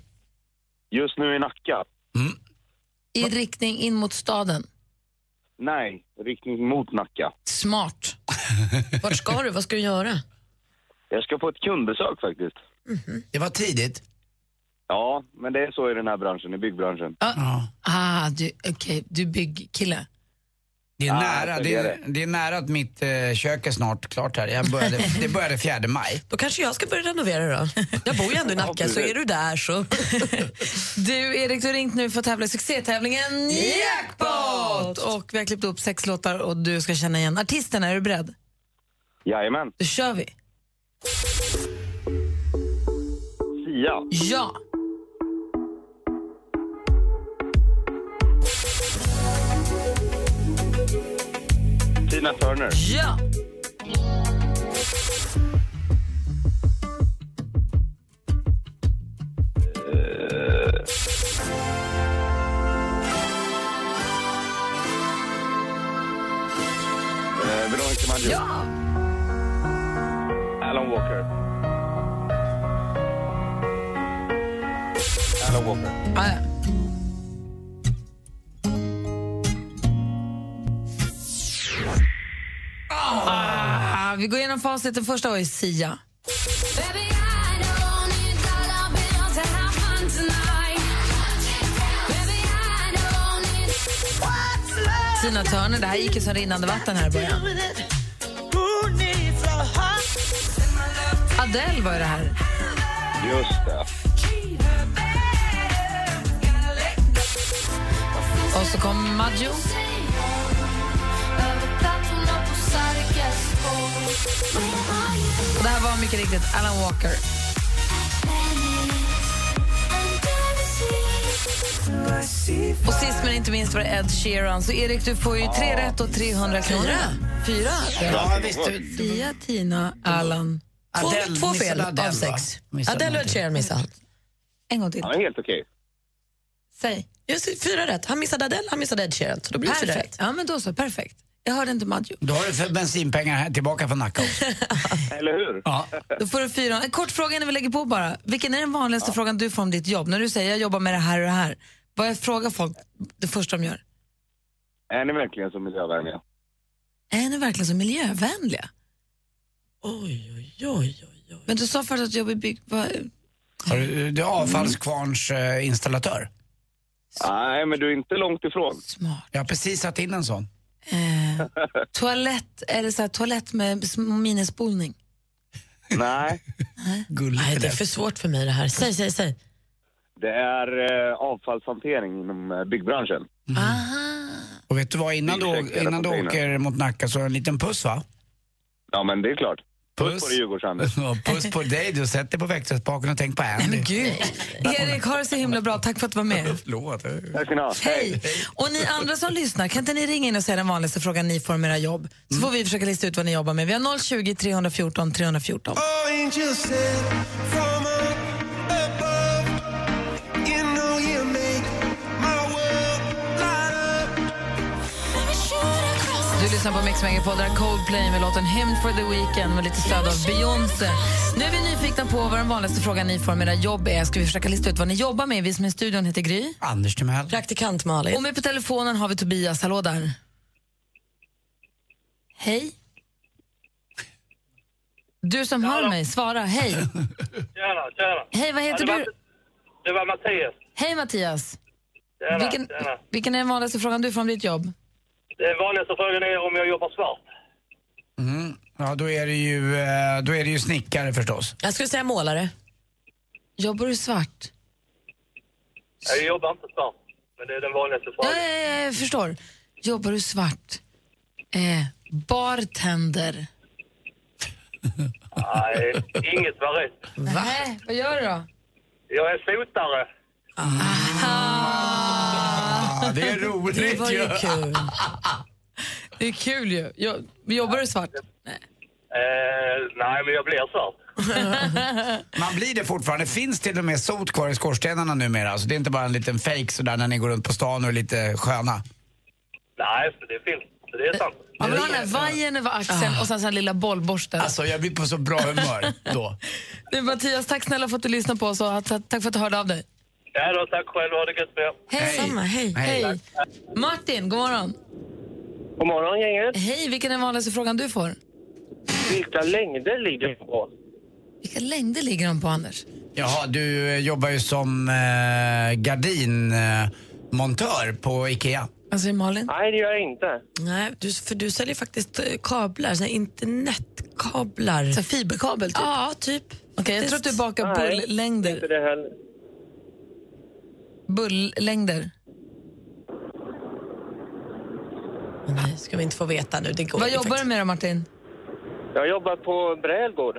Speaker 14: Just nu i Nacka.
Speaker 3: I riktning in mot staden.
Speaker 14: Nej, riktning mot Nacka.
Speaker 3: Smart. Vart ska du? Vad ska du göra?
Speaker 14: Jag ska på ett kundbesök faktiskt.
Speaker 6: Mm-hmm.
Speaker 4: Det var tidigt.
Speaker 14: Ja, men det är så i den här branschen, i byggbranschen.
Speaker 3: Ah, du, okej, du är byggkille.
Speaker 4: Det är,
Speaker 14: Ah,
Speaker 4: nära,
Speaker 14: så
Speaker 4: det,
Speaker 14: är
Speaker 4: är, det är nära att mitt eh, kök är snart klart här. Jag började, det började 4 maj.
Speaker 6: Då kanske jag ska börja renovera då. Jag bor ju ändå i Nacka, så är du där så...
Speaker 3: Du, Erik, du har ringt nu för att tävla i succétävlingen Jackpot! Och vi har klippt upp sex låtar och du ska känna igen artisterna. Är du beredd?
Speaker 14: Jajamän.
Speaker 3: Då kör vi.
Speaker 13: Sia.
Speaker 3: Ja.
Speaker 13: Tina Turner.
Speaker 3: Ja.
Speaker 13: Eh,
Speaker 11: Eh, Veronica Maggio.
Speaker 3: Ja!
Speaker 11: Alan Walker. Alan Walker.
Speaker 3: Ah, ja. Ah, vi går igenom facit. Den första var ju Sia. Tina Turner. Det här gick ju som rinnande vatten här i början. Adele var ju det här.
Speaker 13: Just det.
Speaker 3: Och så kom Maggio. Och det här var mycket riktigt Alan Walker. Och sist men inte minst var det Ed Sheeran. Så Erik, du får ju tre rätt och 300 kronor. Fyra?
Speaker 4: Ja, visst, du-
Speaker 3: Sia, Tina, Alan. Två,
Speaker 4: Adele
Speaker 3: två
Speaker 4: missade
Speaker 3: fel
Speaker 4: Adele,
Speaker 3: av
Speaker 4: va?
Speaker 3: sex.
Speaker 4: Missade
Speaker 6: Adele och
Speaker 4: någonting.
Speaker 6: Ed missade allt.
Speaker 3: En gång till.
Speaker 14: Han är helt okej.
Speaker 3: Säg.
Speaker 6: Just fyra rätt. Han missade Adele, han missade Ed Sheeran. Så då blir det fyra
Speaker 3: Perfekt.
Speaker 6: rätt.
Speaker 3: Ja, men då så. Perfekt. Jag hörde inte Maggio.
Speaker 4: Då har du för bensinpengar här tillbaka från Nacka också.
Speaker 14: Eller hur?
Speaker 4: Ja.
Speaker 3: Då får du fyra. En kort fråga innan vi lägger på bara. Vilken är den vanligaste frågan du får om ditt jobb? När du säger jag jobbar med det här och det här. Vad jag frågar folk det första de gör?
Speaker 14: Är ni verkligen så miljövänliga?
Speaker 3: Är ni verkligen så miljövänliga? Oj, oj, oj. oj. Men du sa förut att du jobbar i bygg... vad-
Speaker 4: Har du, du är avfallskvarns eh, installatör.
Speaker 14: Nej, men du är inte långt ifrån.
Speaker 4: Jag har precis satt in en sån.
Speaker 3: Eh, toalett, eller så här, toalett med små minnesspolning.
Speaker 14: Nej,
Speaker 6: Nej, det är för svårt för mig det här. Säg, säg, säg.
Speaker 14: det är eh, avfallshantering inom eh, byggbranschen.
Speaker 4: Och vet du vad, innan du, å- innan du åker mot Nacka så en liten puss va?
Speaker 14: Ja, men det är klart. Puss,
Speaker 4: Puss.
Speaker 14: på dig, Djurgårds-Anders.
Speaker 4: Ja, puss på dig, du sätter dig på växelspaken och tänk på Andy.
Speaker 3: Men gud. Erik, har det så himla bra. Tack för att du var med.
Speaker 4: Förlåt.
Speaker 14: Tack ska ni ha.
Speaker 3: Hej! Och ni andra som lyssnar, kan inte ni ringa in och säga den vanligaste frågan ni får om era jobb? Så får vi försöka lista ut vad ni jobbar med. Vi har 020 314 314. Du lyssnar på Mix Megapol, där Coldplay med låten Hymn for the Weekend med lite stöd av Beyoncé. Nu är vi nyfikna på vad den vanligaste frågan ni får om era jobb är. Ska vi försöka lista ut vad ni jobbar med? Vi som är i studion heter Gry.
Speaker 4: Anders Timell.
Speaker 6: Praktikant Malin.
Speaker 3: Och med på telefonen har vi Tobias. Hallå där. Hej. Du som hör mig, svara. Hej.
Speaker 13: Tjena, tjena.
Speaker 3: Hej, vad heter
Speaker 13: Ja,
Speaker 3: du?
Speaker 13: det Var, det var Mattias.
Speaker 3: Hej Mattias.
Speaker 13: Tjena,
Speaker 3: Vilken,
Speaker 13: tjena.
Speaker 3: vilken är den vanligaste frågan du får om ditt jobb?
Speaker 13: Den vanligaste frågan är om jag jobbar svart.
Speaker 4: Mm. Ja, då är, det ju, eh, då är det ju snickare förstås.
Speaker 6: Jag skulle säga målare.
Speaker 3: Jobbar du svart?
Speaker 13: Jag jobbar inte svart. Men det är den vanligaste
Speaker 3: Ja,
Speaker 13: frågan.
Speaker 3: ja, ja, jag förstår. Jobbar du svart? Eh, bartender.
Speaker 13: Nej, inget var rätt.
Speaker 3: Nej, vad gör du då?
Speaker 13: Jag är sotare.
Speaker 4: Ah, det är roligt
Speaker 3: Det var ju
Speaker 4: ju.
Speaker 3: kul. Det är kul ju. Jo- Jobbar du svart?
Speaker 13: Eh, nej, men jag blir svart.
Speaker 4: Man blir det fortfarande. finns till och med sot kvar i skorstenarna numera. Så det är inte bara en liten fake sådär när ni går runt på stan och är lite sköna.
Speaker 13: Nej, för det finns. Så det är sant.
Speaker 3: Man vill ha den här vajern över axeln och sen den lilla bollborsten.
Speaker 4: Alltså jag blir på så bra humör då.
Speaker 3: Du, Mattias, tack snälla för att du lyssnade på oss och ta- tack för att du hörde av dig.
Speaker 13: Ja, då, tack själv. Ha det gött med er.
Speaker 3: Hej. Samma, hej. hej. Martin, god morgon.
Speaker 13: God morgon, gänget.
Speaker 3: Hej, vilken är den vanligaste frågan du får?
Speaker 13: Vilka längder ligger det på?
Speaker 3: Vilka längder ligger de på, Anders?
Speaker 4: Jaha, du eh, jobbar ju som eh, gardinmontör på IKEA.
Speaker 3: Vad säger Malin?
Speaker 13: Nej, det gör jag inte.
Speaker 6: Nej, du, för du säljer faktiskt eh, kablar, såna här internetkablar.
Speaker 3: Så här fiberkabel, typ?
Speaker 6: Ja, typ.
Speaker 3: Okej, jag tror att du bakar
Speaker 13: Nej,
Speaker 3: bullängder.
Speaker 13: Inte det heller.
Speaker 3: Bullängder.
Speaker 6: Nej, ska vi inte få veta nu. Det går
Speaker 3: Vad
Speaker 6: ju
Speaker 3: jobbar du
Speaker 6: faktiskt.
Speaker 3: med då, Martin?
Speaker 13: Jag jobbar på Brälgård.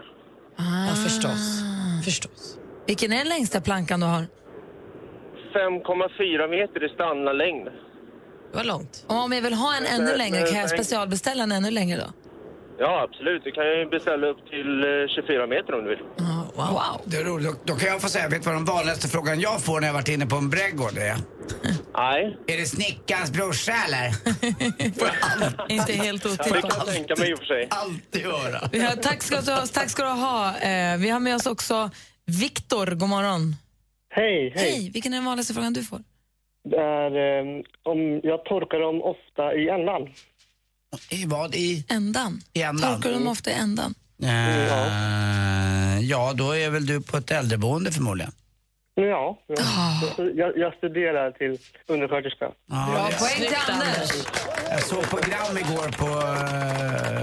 Speaker 6: Ja, förstås. förstås.
Speaker 3: Ah. Vilken är den längsta plankan du har?
Speaker 15: 5,4 meter i standardlängd.
Speaker 6: Det var långt.
Speaker 3: Om jag vill ha en ännu längre, kan jag specialbeställa en ännu längre då?
Speaker 15: Ja, absolut. Du kan ju beställa upp till eh, 24 meter om du vill.
Speaker 3: Wow.
Speaker 4: Det är roligt. Då, då kan jag få säga, vet du vad den vanligaste frågan jag får när jag varit inne på en brädgård är?
Speaker 15: Nej.
Speaker 4: Är det snickarens brorsa eller?
Speaker 3: Inte helt
Speaker 15: Det kan
Speaker 3: otippat.
Speaker 15: jag tänka mig i och för sig.
Speaker 4: Alltid höra.
Speaker 3: Ja, tack ska du ha. Tack ska du ha. Eh, vi har med oss också Viktor. God morgon.
Speaker 16: Hej, hej.
Speaker 3: Hej. Vilken är den vanligaste frågan du får?
Speaker 16: Det är, eh, om jag torkar dem ofta i ändan.
Speaker 4: I vad? I?
Speaker 3: Ändan.
Speaker 4: I ändan.
Speaker 3: Torkar de ofta i ändan?
Speaker 4: Eh, ja, då är väl du på ett äldreboende förmodligen.
Speaker 16: Ja, ja.
Speaker 3: Ah.
Speaker 16: Jag, jag studerar till undersköterska.
Speaker 4: Bra poäng till Anders. Jag såg program igår på,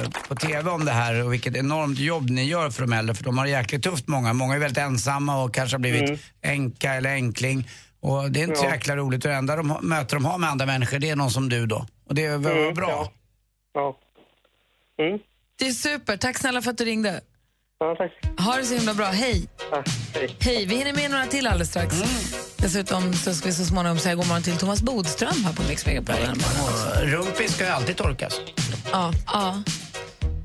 Speaker 4: eh, på TV om det här och vilket enormt jobb ni gör för de äldre för de har det jäkligt tufft många. Många är väldigt ensamma och kanske har blivit änka eller änkling. Och det är inte så
Speaker 16: Ja.
Speaker 4: jäkla roligt. Det enda de, har- möte de har med andra människor det är någon som du då. Och det är väl
Speaker 16: Mm,
Speaker 4: bra.
Speaker 16: Ja. Mm.
Speaker 3: Det är super. Tack snälla för att du ringde.
Speaker 16: Ja, tack.
Speaker 3: Ha det så himla bra. Hej. hej. Vi hinner med några till alldeles strax.
Speaker 16: Mm.
Speaker 3: Dessutom så ska vi så småningom säga god morgon till Thomas Bodström här på Mix Megapol.
Speaker 4: Och Rumpis ska ju alltid torkas.
Speaker 3: Ja. ja.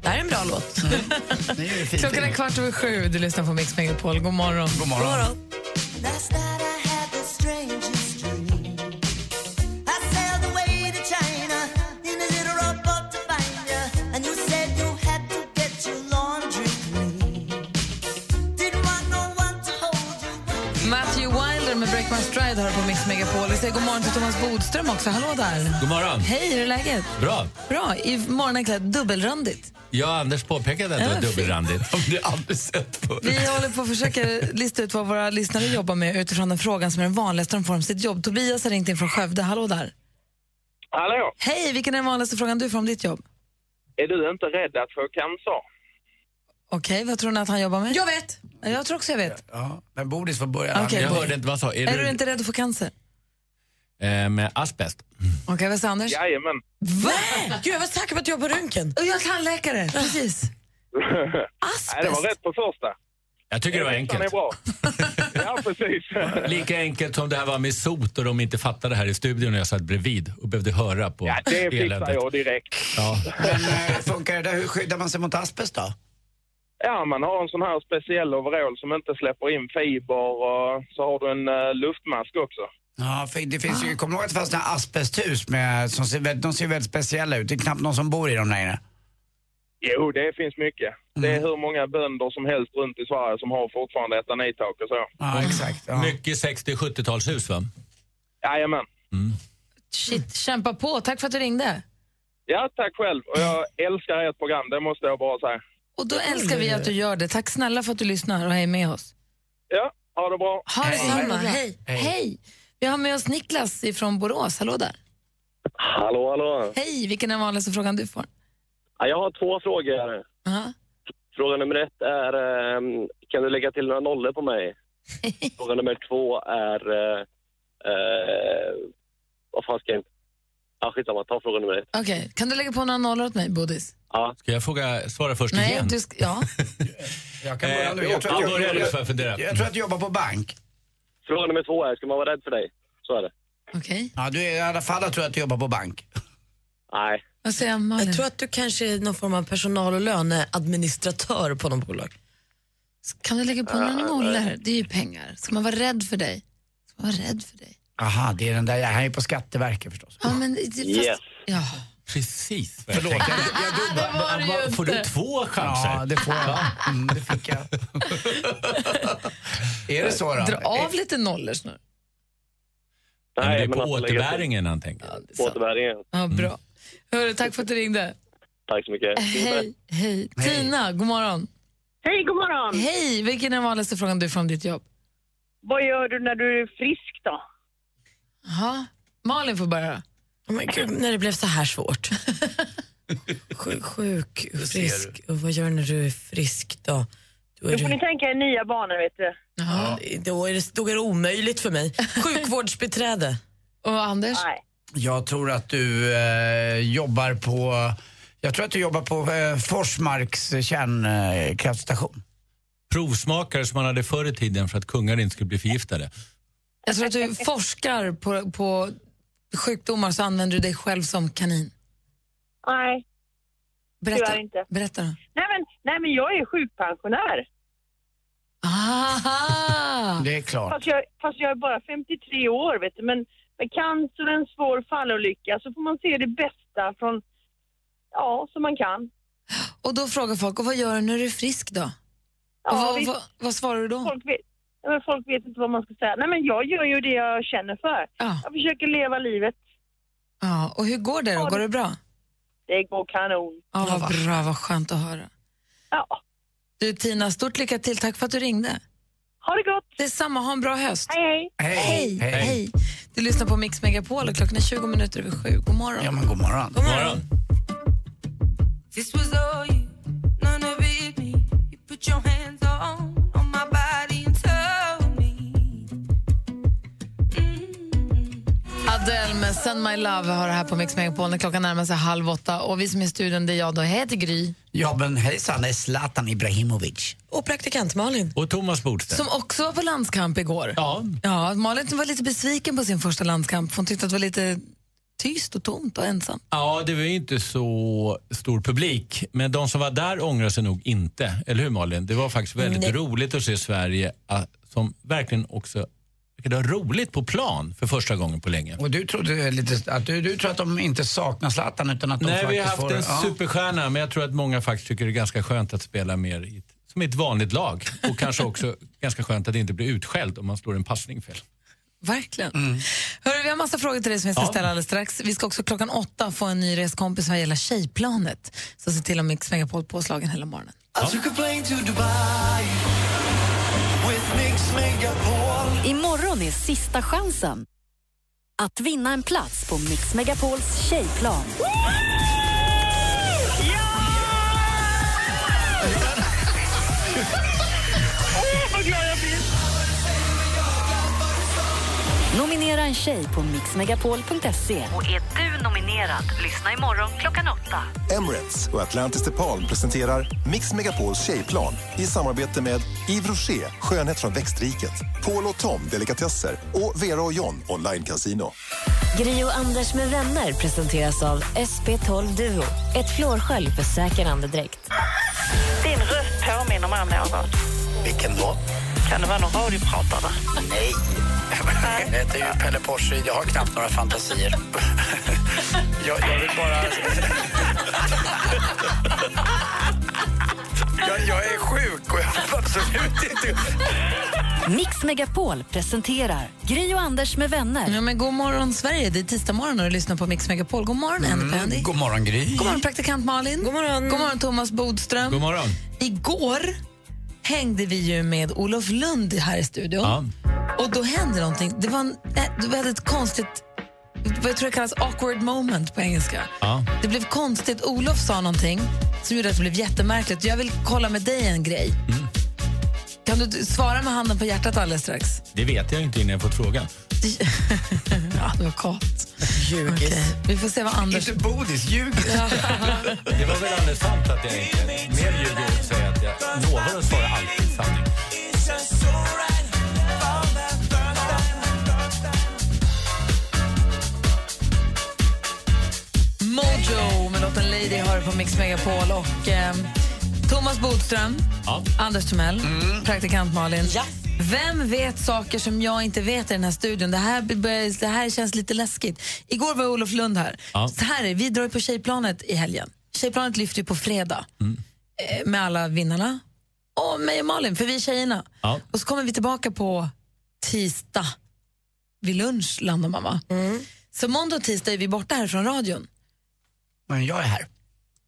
Speaker 3: Det här är en bra låt. Klockan är kvart över sju. Du lyssnar på Mix Megapol. God morgon. God
Speaker 4: morgon. God
Speaker 3: morgon.
Speaker 2: Last night I had the strangest dream. I sailed away to China in a little rowboat to find you. And you said you had to get your laundry clean. Didn't want no one to hold you.
Speaker 3: Matthew Wilder med Break My Stride hör på Mix Megapol. Vi säger god morgon till Thomas Bodström också. Hallå där.
Speaker 17: God morgon.
Speaker 3: Hej, hur är läget?
Speaker 17: Bra.
Speaker 3: Bra. I morgon är klädd dubbelrandigt.
Speaker 17: Ja, Anders påpekade att det
Speaker 3: Ja,
Speaker 17: var dubbelrandigt. Om du aldrig sett förut.
Speaker 3: Vi håller på att försöka lista ut vad våra lyssnare jobbar med utifrån den frågan som är den vanligaste de får om sitt jobb. Tobias har ringt in från Skövde. Hallå där.
Speaker 18: Hallå!
Speaker 3: Hej, vilken är den vanligaste frågan du får om ditt jobb?
Speaker 18: Är du inte rädd att få cancer?
Speaker 3: Okej, vad tror ni att han jobbar med? Jag vet! Jag tror också jag vet.
Speaker 4: Ja, men Bodis får börja.
Speaker 3: Okej,
Speaker 17: jag
Speaker 3: Bodil.
Speaker 17: hörde inte vad han sa.
Speaker 3: Är, du... inte rädd att få cancer?
Speaker 17: eh, med asbest?
Speaker 3: Okej, vad sa Anders?
Speaker 17: Jajamän.
Speaker 3: Va?
Speaker 6: Gud, jag var säker på att jag var på röntgen.
Speaker 3: Och jag är tandläkare, precis.
Speaker 18: Asbest? Nej, det var rätt på första.
Speaker 17: Jag tycker det var
Speaker 18: Ettan är
Speaker 17: enkelt.
Speaker 18: bra. ja, precis.
Speaker 17: Lika enkelt som det här var med sot och de inte fattade här i studion när jag satt bredvid och behövde höra på
Speaker 18: Ja, det fixar jag direkt.
Speaker 17: Ja.
Speaker 4: Men eh, funkar det där? Hur skyddar man sig mot asbest då?
Speaker 18: Ja, man har en sån här speciell overall som inte släpper in fiber och så har du en eh, luftmask också.
Speaker 4: Ja, för det finns ju, kommer du ihåg att det fanns några asbesthus med, som ser, väldigt- de ser väldigt speciella ut. Det är knappt någon som bor i dem längre.
Speaker 18: Jo, det finns mycket. Det
Speaker 4: Mm.
Speaker 18: är hur många bönder som helst runt i Sverige som har fortfarande etanittak och så.
Speaker 17: Mm.
Speaker 4: Ja, exakt.
Speaker 17: Mycket 60-70-talshus va?
Speaker 18: Jajamän.
Speaker 3: Shit, kämpa på. Tack för att du ringde.
Speaker 18: Ja, tack själv. Och jag älskar ert program, det måste jag bara säga.
Speaker 3: Och då älskar vi att du gör det. Tack snälla för att du lyssnar och är med oss.
Speaker 18: Ja, ha det bra.
Speaker 3: Ha detsamma. Hej. Hej. Vi har med oss Niklas från Borås. Hallå där.
Speaker 19: Hallå, hallå.
Speaker 3: Hej, vilken är den vanligaste frågan du får?
Speaker 19: Ja, Jag har två frågor.
Speaker 3: Aha.
Speaker 19: Fråga nummer ett är, ehm, kan du lägga till några nollor på mig? Fråga nummer två är, eh, eh, vad fan ska jag... Ja, skitsamma, ta fråga nummer ett.
Speaker 3: Okej, kan du lägga på några nollor åt mig, Bodis?
Speaker 19: Ja.
Speaker 17: Ska jag fråga, svara först
Speaker 3: Nej,
Speaker 17: igen?
Speaker 3: du ska, ja.
Speaker 4: Jag kan börja nu.
Speaker 17: Eh,
Speaker 4: Jag tror att
Speaker 17: ja,
Speaker 4: jag-
Speaker 17: börja du
Speaker 4: jag-
Speaker 17: för jag funderar.
Speaker 4: Jag tror att du jobbar på bank.
Speaker 19: Fråga nummer två är, ska man vara rädd för dig? Så är det.
Speaker 3: Okej.
Speaker 4: Ja, du är i alla fall jag tror att du jobbar på bank.
Speaker 19: Nej.
Speaker 3: Vad säger
Speaker 6: Jag tror att du kanske är någon form av personal och löneadministratör på någon bolag.
Speaker 3: Kan du lägga på några nollor? Det är ju pengar. Ska man vara rädd för dig? Ska man vara rädd för dig?
Speaker 4: Aha, det är den där, han är på Skatteverket förstås.
Speaker 3: Ja, men... Fast,
Speaker 4: Yes.
Speaker 3: ja.
Speaker 17: Precis.
Speaker 4: Förlåt, jag, jag
Speaker 3: Det var det ju
Speaker 17: Får du
Speaker 3: inte.
Speaker 17: två chanser?
Speaker 4: Ja, det får jag. Mm, det fick jag. är det så då? Eh.
Speaker 3: Dra av lite nollor snart.
Speaker 17: Nej, men det är
Speaker 19: men
Speaker 17: på
Speaker 19: att lägga till.
Speaker 17: återbäringen han tänker.
Speaker 19: Återbäringen.
Speaker 3: Ja,
Speaker 4: Mm.
Speaker 3: bra. Hörru, tack för att du ringde.
Speaker 19: Tack så
Speaker 4: Eh,
Speaker 19: mycket.
Speaker 3: Hej, hej. Tina, god morgon.
Speaker 20: Hej, god morgon.
Speaker 3: Hej, vilken är den vanligaste frågan du får om ditt jobb?
Speaker 20: Vad gör du när du är frisk då?
Speaker 3: Jaha. Malin får börja.
Speaker 6: Men gud, när det blev så här svårt. Sjuk, sjuk frisk. Och vad gör du när du är frisk då? Då är
Speaker 20: Då får
Speaker 6: du...
Speaker 20: ni tänka er nya banor vet du.
Speaker 6: Ja, då är det, då är det omöjligt för mig. Sjukvårdsbiträde.
Speaker 3: Och Anders?
Speaker 20: Nej.
Speaker 4: Jag tror att du eh, jobbar på... Jag tror att du jobbar på eh, Forsmarks kärnkraftstation.
Speaker 17: provsmakare som man hade förr i tiden för att kungar inte skulle bli förgiftade.
Speaker 3: Jag tror att du forskar på, på sjukdomar så använder du dig själv som kanin.
Speaker 20: Nej.
Speaker 3: Berätta,
Speaker 20: Tyvärr inte.
Speaker 3: berätta då.
Speaker 20: Nej men, nej, men jag är sjukpensionär.
Speaker 3: Aha!
Speaker 4: Det är klart.
Speaker 20: Fast jag, fast jag är bara 53 år, vet du. Men med cancer och en svår fallolycka så får man se det bästa från, ja, som man kan.
Speaker 3: Och då frågar folk, och vad gör du när du är frisk då?
Speaker 20: Ja,
Speaker 3: och vad,
Speaker 20: visst.
Speaker 3: vad, vad svarar du då?
Speaker 20: Folk vet, ja, men folk vet inte vad man ska säga. Nej, men jag gör ju det jag känner för. Jag försöker leva livet.
Speaker 3: Ja, och hur går det då? Går det bra?
Speaker 20: Det går kanon.
Speaker 3: Ja, vad bra, vad skönt att höra.
Speaker 20: Ja.
Speaker 3: Du Tina, stort lycka till. Tack för att du ringde.
Speaker 20: Ha det gott!
Speaker 3: Detsamma, ha en bra höst.
Speaker 20: Hej,
Speaker 4: hej.
Speaker 3: Hej,
Speaker 4: Hej.
Speaker 3: hej. Du lyssnar på Mix Megapol och klockan är 20 minuter över sju. God morgon.
Speaker 4: Ja, men god morgon. God
Speaker 17: morgon.
Speaker 2: This was all you, none of it me. You put your hands on, on my body and told me.
Speaker 3: Adele med Send My Love har det här på Mix Megapol när klockan närmar sig halv åtta. Och vi som är i studion, det är jag då, jag heter Gry.
Speaker 4: Ja, men hejsan, det är Zlatan Ibrahimovic.
Speaker 3: Och praktikant Malin.
Speaker 17: Och Thomas Bodström.
Speaker 3: Som också var på landskamp igår.
Speaker 17: Ja.
Speaker 3: ja Malin var lite besviken på sin första landskamp. Hon tyckte att det var lite tyst och tomt och ensamt.
Speaker 17: Ja, det var ju inte så stor publik, men de som var där ångrar sig nog inte. Eller hur Malin? Det var faktiskt väldigt
Speaker 3: Nej.
Speaker 17: roligt att se Sverige ah, som verkligen också verkade ha roligt på plan för första gången på länge.
Speaker 4: Och du trodde lite att du, du tror att de inte saknar Zlatan utan att de
Speaker 17: Nej, vi
Speaker 4: faktiskt
Speaker 17: har haft
Speaker 4: får...
Speaker 17: en
Speaker 4: ja.
Speaker 17: superstjärna, men jag tror att många faktiskt tycker det är ganska skönt att spela mer i ett, som i ett vanligt lag. Och kanske också ganska skönt att inte bli utskälld om man slår en passning fel.
Speaker 3: Verkligen.
Speaker 4: Mm.
Speaker 3: Hörru, vi har massa frågor till dig som vi ska ställa alldeles strax. Vi ska också klockan åtta få en ny reskompis vad gäller tjejplanet. Så se till att Mix Megapol påslagen hela morgonen.
Speaker 2: I took a plane to Dubai with Mix Megapol.
Speaker 1: Imorgon är sista chansen att vinna en plats på Mix Megapols tjejplan.
Speaker 2: Åh, vad glad jag blir!
Speaker 1: Nominera en tjej på mixmegapol.se. Och är du nominerad, lyssna imorgon klockan åtta.
Speaker 5: Emirates och Atlantis DePaul presenterar Mix Megapols tjejplan i samarbete med Yves Rocher, skönhet från växtriket, Paul och Tom, delikatesser och Vera och John, online casino.
Speaker 21: Gri och Anders med vänner presenteras av SP12 Duo. Ett flårskölj för säker andedräkt.
Speaker 10: Din röst påminner mig om någon.
Speaker 4: Vilken då?
Speaker 10: Kan det vara någon radiopratare?
Speaker 4: Nej. Jag heter ju Pelle Porsche, jag har knappt några fantasier. Jag, jag vill bara... Jag, jag är sjuk och jag vill absolut inte...
Speaker 1: Mix Megapol presenterar Gri och Anders med vänner.
Speaker 3: Ja, men god morgon, Sverige. Det är tisdag morgon och du lyssnar på Mix Megapol. God morgon, Mm.
Speaker 17: Mm.
Speaker 3: Andy Pandy.
Speaker 4: God morgon, Gry.
Speaker 3: God morgon, praktikant Malin. God morgon. God morgon, Thomas Bodström.
Speaker 17: God morgon.
Speaker 3: Igår hängde vi ju med Olof Lund här i studion. Och då hände någonting. Det var en, eh, vi hade ett konstigt, vad jag tror det kallas awkward moment på engelska.
Speaker 17: Ja.
Speaker 3: Det blev konstigt. Olof sa någonting som gjorde att det blev jättemärkligt. Jag vill kolla med dig en grej.
Speaker 4: Mm.
Speaker 3: Kan du svara med handen på hjärtat alldeles strax?
Speaker 17: Det vet jag inte innan jag fått frågan.
Speaker 4: Mm.
Speaker 3: ja, det var kort. Ljugis. Vi får se vad Anders...
Speaker 4: Inte bodis, ljugis.
Speaker 17: Det var väl alldeles sant att jag inte mer ljuger och säger att jag lovar att svara alltid sanning.
Speaker 3: Mojo med låten Lady har du på Mix Megapol och eh, Thomas Bodström,
Speaker 17: Ja.
Speaker 3: Anders Timell, praktikant Malin. Vem vet saker som jag inte vet i den här studion? Det här, börjar- det här känns lite läskigt. Igår var Olof Lund här.
Speaker 2: Ja.
Speaker 3: Så här är, vi drar ju på Tjejplanet i helgen. Tjejplanet lyfter ju på fredag eh, med alla vinnarna och mig och Malin, för vi är tjejerna.
Speaker 17: Ja.
Speaker 3: Och så kommer vi tillbaka på tisdag. Vid lunch landar mamma. Så måndag och tisdag är vi borta här från radion.
Speaker 4: Men jag är här.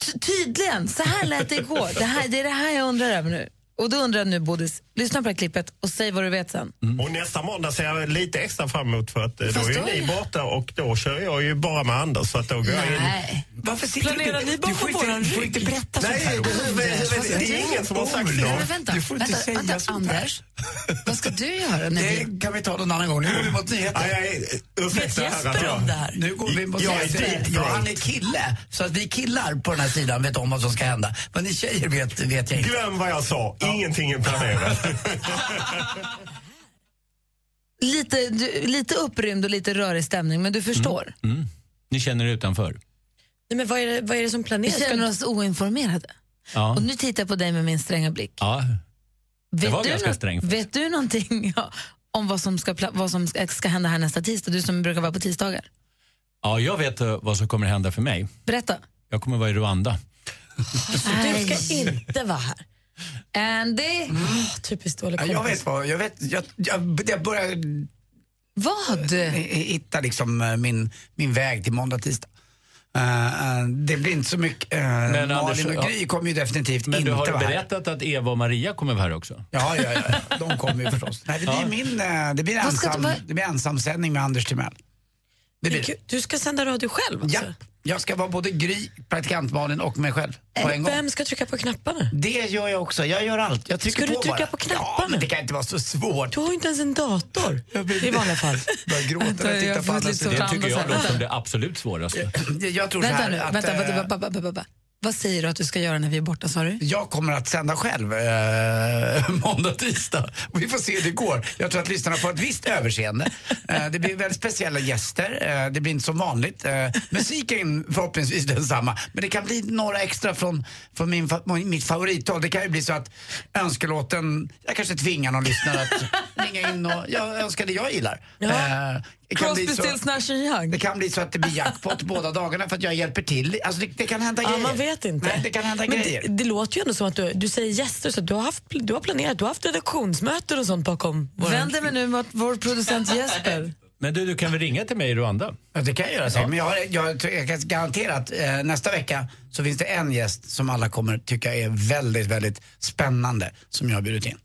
Speaker 3: Ty- tydligen, så här lät det igår. Det, här, det är det här jag undrar över nu. Och då undrar jag nu, Bodis, lyssna på det här klippet och säg vad du vet sen.
Speaker 22: Och nästa måndag ser jag lite extra fram emot för att eh, då
Speaker 3: Fast
Speaker 22: är ju
Speaker 3: då är
Speaker 22: ni
Speaker 3: jag-
Speaker 22: borta och då kör jag ju bara med Anders så att då går jag in.
Speaker 3: Nej.
Speaker 4: Varför sitter
Speaker 22: Planerar
Speaker 4: du,
Speaker 22: ni bakom
Speaker 4: du får inte-
Speaker 22: våran
Speaker 4: Du får
Speaker 22: rygg?
Speaker 4: inte berätta
Speaker 22: Nej,
Speaker 4: sånt här.
Speaker 22: det- det- det- det- det är ingen som har sagt det.
Speaker 3: Men vänta,
Speaker 4: Du får inte
Speaker 3: vänta,
Speaker 4: säga
Speaker 3: vänta
Speaker 4: sånt här.
Speaker 3: Anders. Vad ska du göra? När vi...
Speaker 4: Det kan vi ta någon annan gång. Nu går vi mot nyheter.
Speaker 3: Aj, aj, ursäkta, Vet Jesper herrar, om jag- det här?
Speaker 4: Nu går vi mot
Speaker 3: Jag är
Speaker 4: nyheter.
Speaker 3: deep
Speaker 4: Ja,
Speaker 3: throat.
Speaker 4: han är kille. Så att vi killar på den här sidan vet om vad som ska hända. Men ni tjejer vet, vet jag inte.
Speaker 22: Glöm vad jag sa. Ingenting är planerat.
Speaker 3: Lite, du, lite upprymd och lite rörig stämning, men du förstår.
Speaker 17: Mm. Ni känner er utanför?
Speaker 3: Nej, men vad, är det, vad är det som planeras? Vi känner oss oinformerade.
Speaker 17: Ja.
Speaker 3: Och nu tittar jag på dig med min stränga blick.
Speaker 17: ja. Det var
Speaker 3: du
Speaker 17: ganska
Speaker 3: nå-
Speaker 17: sträng faktiskt.
Speaker 3: Vet du någonting ja, om vad som, ska, pla- vad som ska, ska hända här nästa tisdag? Du som brukar vara på tisdagar.
Speaker 17: Ja, jag vet eh, vad som kommer att hända för mig.
Speaker 3: Berätta.
Speaker 17: Jag kommer vara i Rwanda.
Speaker 6: Du ska inte vara här. Ah,
Speaker 3: Andy?
Speaker 6: typiskt dålig
Speaker 4: Ja,
Speaker 6: kompis.
Speaker 4: Jag vet vad, jag vet, jag, jag, jag börjar... eh,
Speaker 3: Vad?
Speaker 4: Hitta liksom eh, min, min väg till måndag, tisdag. Eh, eh, det blir inte så mycket, eh, Malin
Speaker 17: Anders,
Speaker 4: och Gry
Speaker 17: ja.
Speaker 4: kommer ju definitivt
Speaker 17: Men
Speaker 4: inte
Speaker 17: du har
Speaker 4: vara här.
Speaker 17: berättat att Eva och Maria kommer vara här också.
Speaker 4: Ja, ja, ja, ja. de kommer ju förstås. Nej, det blir
Speaker 17: Ja.
Speaker 4: min, eh, det blir
Speaker 6: Vad ska
Speaker 4: ensam,
Speaker 6: du- vad-
Speaker 4: det blir ensamsändning med Anders Timell. Det blir det.
Speaker 6: Du ska sända radio själv alltså?
Speaker 4: Ja, jag ska vara både Gry, praktikant Malin och mig själv på en gång.
Speaker 6: Eh, Vem ska trycka på knapparna?
Speaker 4: Det gör jag också. Jag gör allt. Jag trycker
Speaker 6: Ska du
Speaker 4: på
Speaker 6: trycka
Speaker 4: bara.
Speaker 6: på knapparna?
Speaker 4: Ja, men det kan inte vara så svårt.
Speaker 6: Du har ju inte ens en dator i vanliga fall.
Speaker 4: Börjar gråta när jag tittar på andra sidan.
Speaker 17: Det tycker jag låter som det absolut svåraste.
Speaker 4: Jag tror så
Speaker 3: Vänta
Speaker 4: här
Speaker 3: nu,
Speaker 4: att,
Speaker 3: vänta,
Speaker 4: eh,
Speaker 3: vänta, vänta, vänta, vänta, vänta. Vad säger du att du ska göra när vi är borta, sa du?
Speaker 4: Jag kommer att sända själv eh, måndag, tisdag. Vi får se hur det går. Jag tror att lyssnarna får ett visst överseende. Eh, det blir väldigt speciella gäster. Eh, det blir inte som vanligt. Eh, musiken förhoppningsvis densamma. Men det kan bli några extra från, från min, fa- mitt favorithåll. Det kan ju bli så att önskelåten, jag kanske tvingar någon lyssnare att ringa in och jag önskar det jag gillar.
Speaker 3: Ja.
Speaker 4: Eh, det kan bli
Speaker 3: Crosby,
Speaker 4: så-
Speaker 3: Stills, Nash Young.
Speaker 4: Det kan bli så att det blir jackpot båda dagarna för att jag hjälper till. Alltså det, det kan hända
Speaker 6: Ja,
Speaker 4: grejer.
Speaker 6: man vet inte.
Speaker 4: Nej, det kan hända
Speaker 6: Men
Speaker 4: grejer.
Speaker 6: det, det låter ju ändå som att du, du säger gäster, så att du har, haft, du har planerat, du har haft redaktionsmöten och sånt bakom våran-
Speaker 3: Vänder mig nu mot vår producent Jesper.
Speaker 17: Men du, du kan väl ringa till mig i Rwanda?
Speaker 4: Ja, det kan jag göra. säkert. Men jag, har, jag, tror- jag kan garantera att eh, nästa vecka så finns det en gäst som alla kommer tycka är väldigt, väldigt spännande som jag har bjudit in.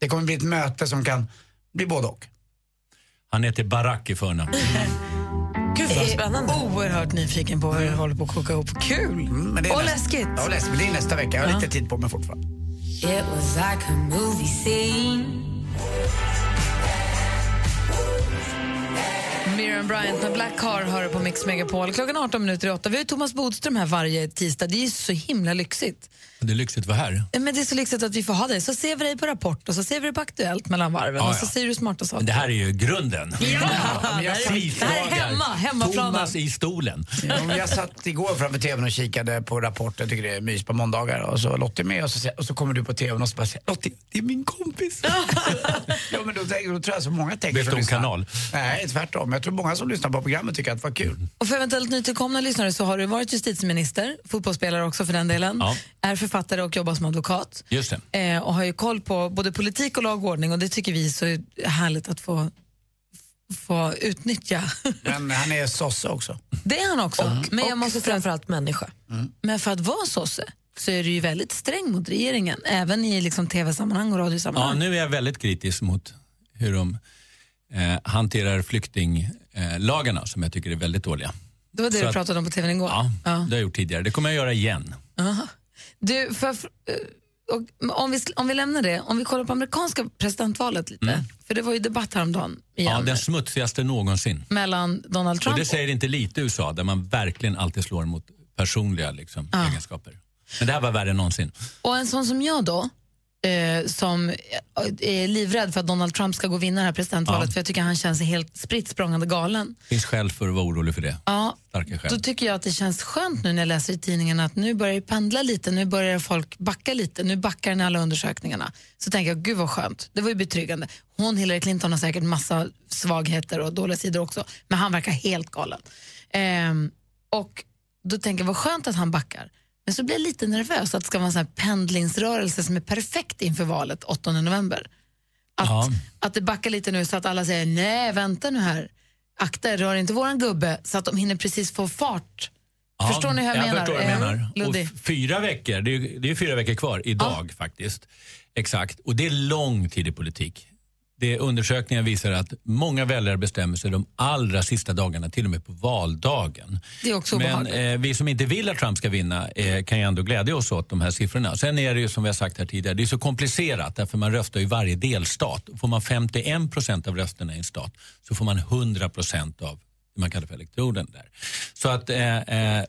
Speaker 4: Det kommer bli ett möte som kan bli både och.
Speaker 17: Han heter Barack i förnamn.
Speaker 6: Gud vad spännande.
Speaker 3: Jag är Eh, oerhört nyfiken på hur du håller på att koka ihop. Kul!
Speaker 4: Mm, Men det är
Speaker 3: och
Speaker 4: nästa-
Speaker 3: läskigt.
Speaker 4: Ja, läskigt. Men det är nästa vecka. Jag har lite tid på mig fortfarande.
Speaker 2: It was like a movie scene.
Speaker 3: Miriam Bryant med Black Car hör du på Mix Megapol. Klockan 18 minuter i 8. Vi har ju Thomas Bodström här varje tisdag. Det är ju så himla lyxigt.
Speaker 17: Det är lyxigt att vara här.
Speaker 3: Nej, Men det är så lyxigt att vi får ha dig. Så ser vi dig på Rapport och så ser vi dig på Aktuellt mellan varven
Speaker 17: Ja,
Speaker 3: och så
Speaker 17: ja.
Speaker 3: säger du smarta saker.
Speaker 17: Men det här är ju grunden.
Speaker 3: Ja,
Speaker 17: jag
Speaker 3: det här är hemma, hemmaplanen.
Speaker 17: Thomas i stolen.
Speaker 4: Ja, men jag satt igår framför tvn och kikade på Rapport. Jag tycker det är mys på måndagar. Och så var Lottie med och så, säger- och så kommer du på tvn och så bara säger Lottie, det är min kompis. ja, men då, tänker- då tror jag så många tänker
Speaker 17: Bytte
Speaker 4: som
Speaker 17: hon
Speaker 4: lyssnar.
Speaker 17: kanal?
Speaker 4: Nej, tvärtom. Jag tror många som lyssnar på programmet tycker att det var kul.
Speaker 17: Mm,
Speaker 3: Och för eventuellt nytillkomna lyssnare så har du varit justitieminister, fotbollsspelare också för den delen,
Speaker 17: Ja.
Speaker 3: är författare och jobbar som advokat.
Speaker 17: Just det.
Speaker 3: Eh, och har ju koll på både politik och lagordning och det tycker vi är så härligt att få, få utnyttja.
Speaker 4: Men han är sosse också. Mm.
Speaker 3: Det är han också. men jag
Speaker 6: och
Speaker 3: måste
Speaker 6: framförallt människa.
Speaker 3: Men för att vara sosse så är du ju väldigt sträng mot regeringen, även i liksom tv-sammanhang och
Speaker 17: Ja,
Speaker 3: radiosammanhang.
Speaker 17: nu är jag väldigt kritisk mot hur de eh, hanterar flyktinglagarna som jag tycker är väldigt dåliga.
Speaker 3: det var det
Speaker 17: så
Speaker 3: du
Speaker 17: att-
Speaker 3: pratade om på tv igår.
Speaker 17: Ja, det
Speaker 3: Ja.
Speaker 17: har jag gjort tidigare. Det kommer jag göra igen.
Speaker 3: Aha. Du, för, eh, och, om, vi, sl- om vi lämnar det, om vi kollar på amerikanska presidentvalet
Speaker 17: Mm.
Speaker 3: lite, för det var ju debatt häromdagen igen,
Speaker 17: Ja, den smutsigaste någonsin.
Speaker 3: mellan Donald
Speaker 17: Och
Speaker 3: Trump
Speaker 17: det säger inte lite i USA där man verkligen alltid slår mot personliga liksom,
Speaker 3: Ja.
Speaker 17: egenskaper. Men det här var värre än någonsin.
Speaker 3: Och en sån som jag då, eh, som eh, är livrädd för att Donald Trump ska gå och vinna det här presidentvalet,
Speaker 17: Ja.
Speaker 3: för jag tycker han känns helt spritt språngande galen.
Speaker 17: Det finns skäl för att vara orolig för det.
Speaker 3: Ja,
Speaker 17: Starka
Speaker 3: då
Speaker 17: skäl.
Speaker 3: tycker jag att det känns skönt nu när jag läser i tidningen att nu börjar det pendla lite, nu börjar folk backa lite, nu backar den i alla undersökningarna. Så tänker jag, gud vad skönt, det var ju betryggande. Hon, Hillary Clinton, har säkert massa svagheter och dåliga sidor också, men han verkar helt galen. Ehm, och då tänker jag, vad skönt att han backar. Men så blir jag lite nervös att det ska vara en sån här pendlingsrörelse som är perfekt inför valet 8 november. Att,
Speaker 17: Ja.
Speaker 3: att det backar lite nu så att alla säger nej, vänta nu här. Akta er, rör inte våran gubbe så att de hinner precis få fart.
Speaker 17: Ja,
Speaker 3: förstår ni hur jag,
Speaker 17: jag
Speaker 3: menar?
Speaker 17: Förstår vad du
Speaker 3: Eh,
Speaker 17: menar. Och
Speaker 3: Luddig.
Speaker 17: f- fyra veckor, det är, ju- det är fyra veckor kvar idag faktiskt. Exakt. Och det är lång tid i politik. det undersökningar visar att många väljare bestämmer sig de allra sista dagarna, till och med på valdagen.
Speaker 3: Det är också
Speaker 17: Men
Speaker 3: obehagligt.
Speaker 17: eh, vi som inte vill att Trump ska vinna eh, kan ju ändå glädja oss åt de här siffrorna. Sen är det ju som vi har sagt här tidigare, det är så komplicerat därför man röstar i varje delstat. Får man 51 procent av rösterna i en stat så får man 100 procent av det man kallar för elektroden där. Så att eh, eh,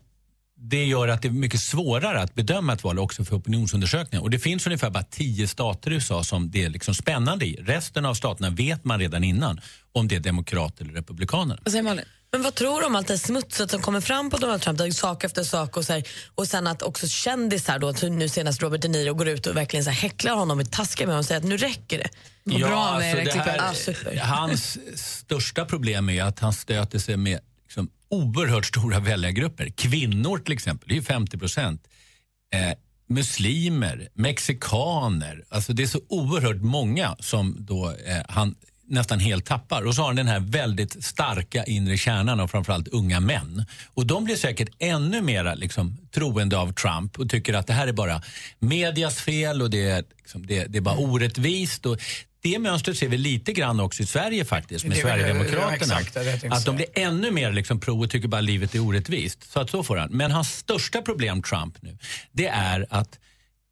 Speaker 17: det gör att det är mycket svårare att bedöma ett val också för opinionsundersökningar. Och det finns ungefär bara tio stater i USA som det är liksom spännande i. Resten av staterna vet man redan innan om det är demokrater eller republikaner.
Speaker 3: Vad säger Malin?
Speaker 6: Men vad tror du om allt det smutset som kommer fram på Donald Trump? Det är sak efter sak och, så här, och sen att också kändisar, då, typ nu senast Robert De Niro, går ut och verkligen så här häcklar honom och taskar med honom och säger att nu räcker det.
Speaker 17: Ja, alltså det
Speaker 6: klippet.
Speaker 17: här-
Speaker 6: Ah, super.
Speaker 17: Hans största problem är att han stöter sig med liksom oerhört stora väljargrupper. Kvinnor till exempel, det är ju 50 procent. Eh, muslimer, mexikaner. Alltså det är så oerhört många som då eh, han nästan helt tappar. Och så har han den här väldigt starka inre kärnan av framförallt unga män. Och de blir säkert ännu mer liksom, troende av Trump och tycker att det här är bara medias fel och det är, liksom, det, det är bara
Speaker 4: Mm.
Speaker 17: orättvist. Och det mönstret ser vi lite grann också i Sverige faktiskt med
Speaker 4: Det är väl-
Speaker 17: Sverigedemokraterna.
Speaker 4: ja, exakt, det är det jag tänkte
Speaker 17: att de
Speaker 4: säga.
Speaker 17: blir ännu mer liksom pro och tycker bara livet är orättvist. Så att så får han. Men hans största problem, Trump, nu, det är att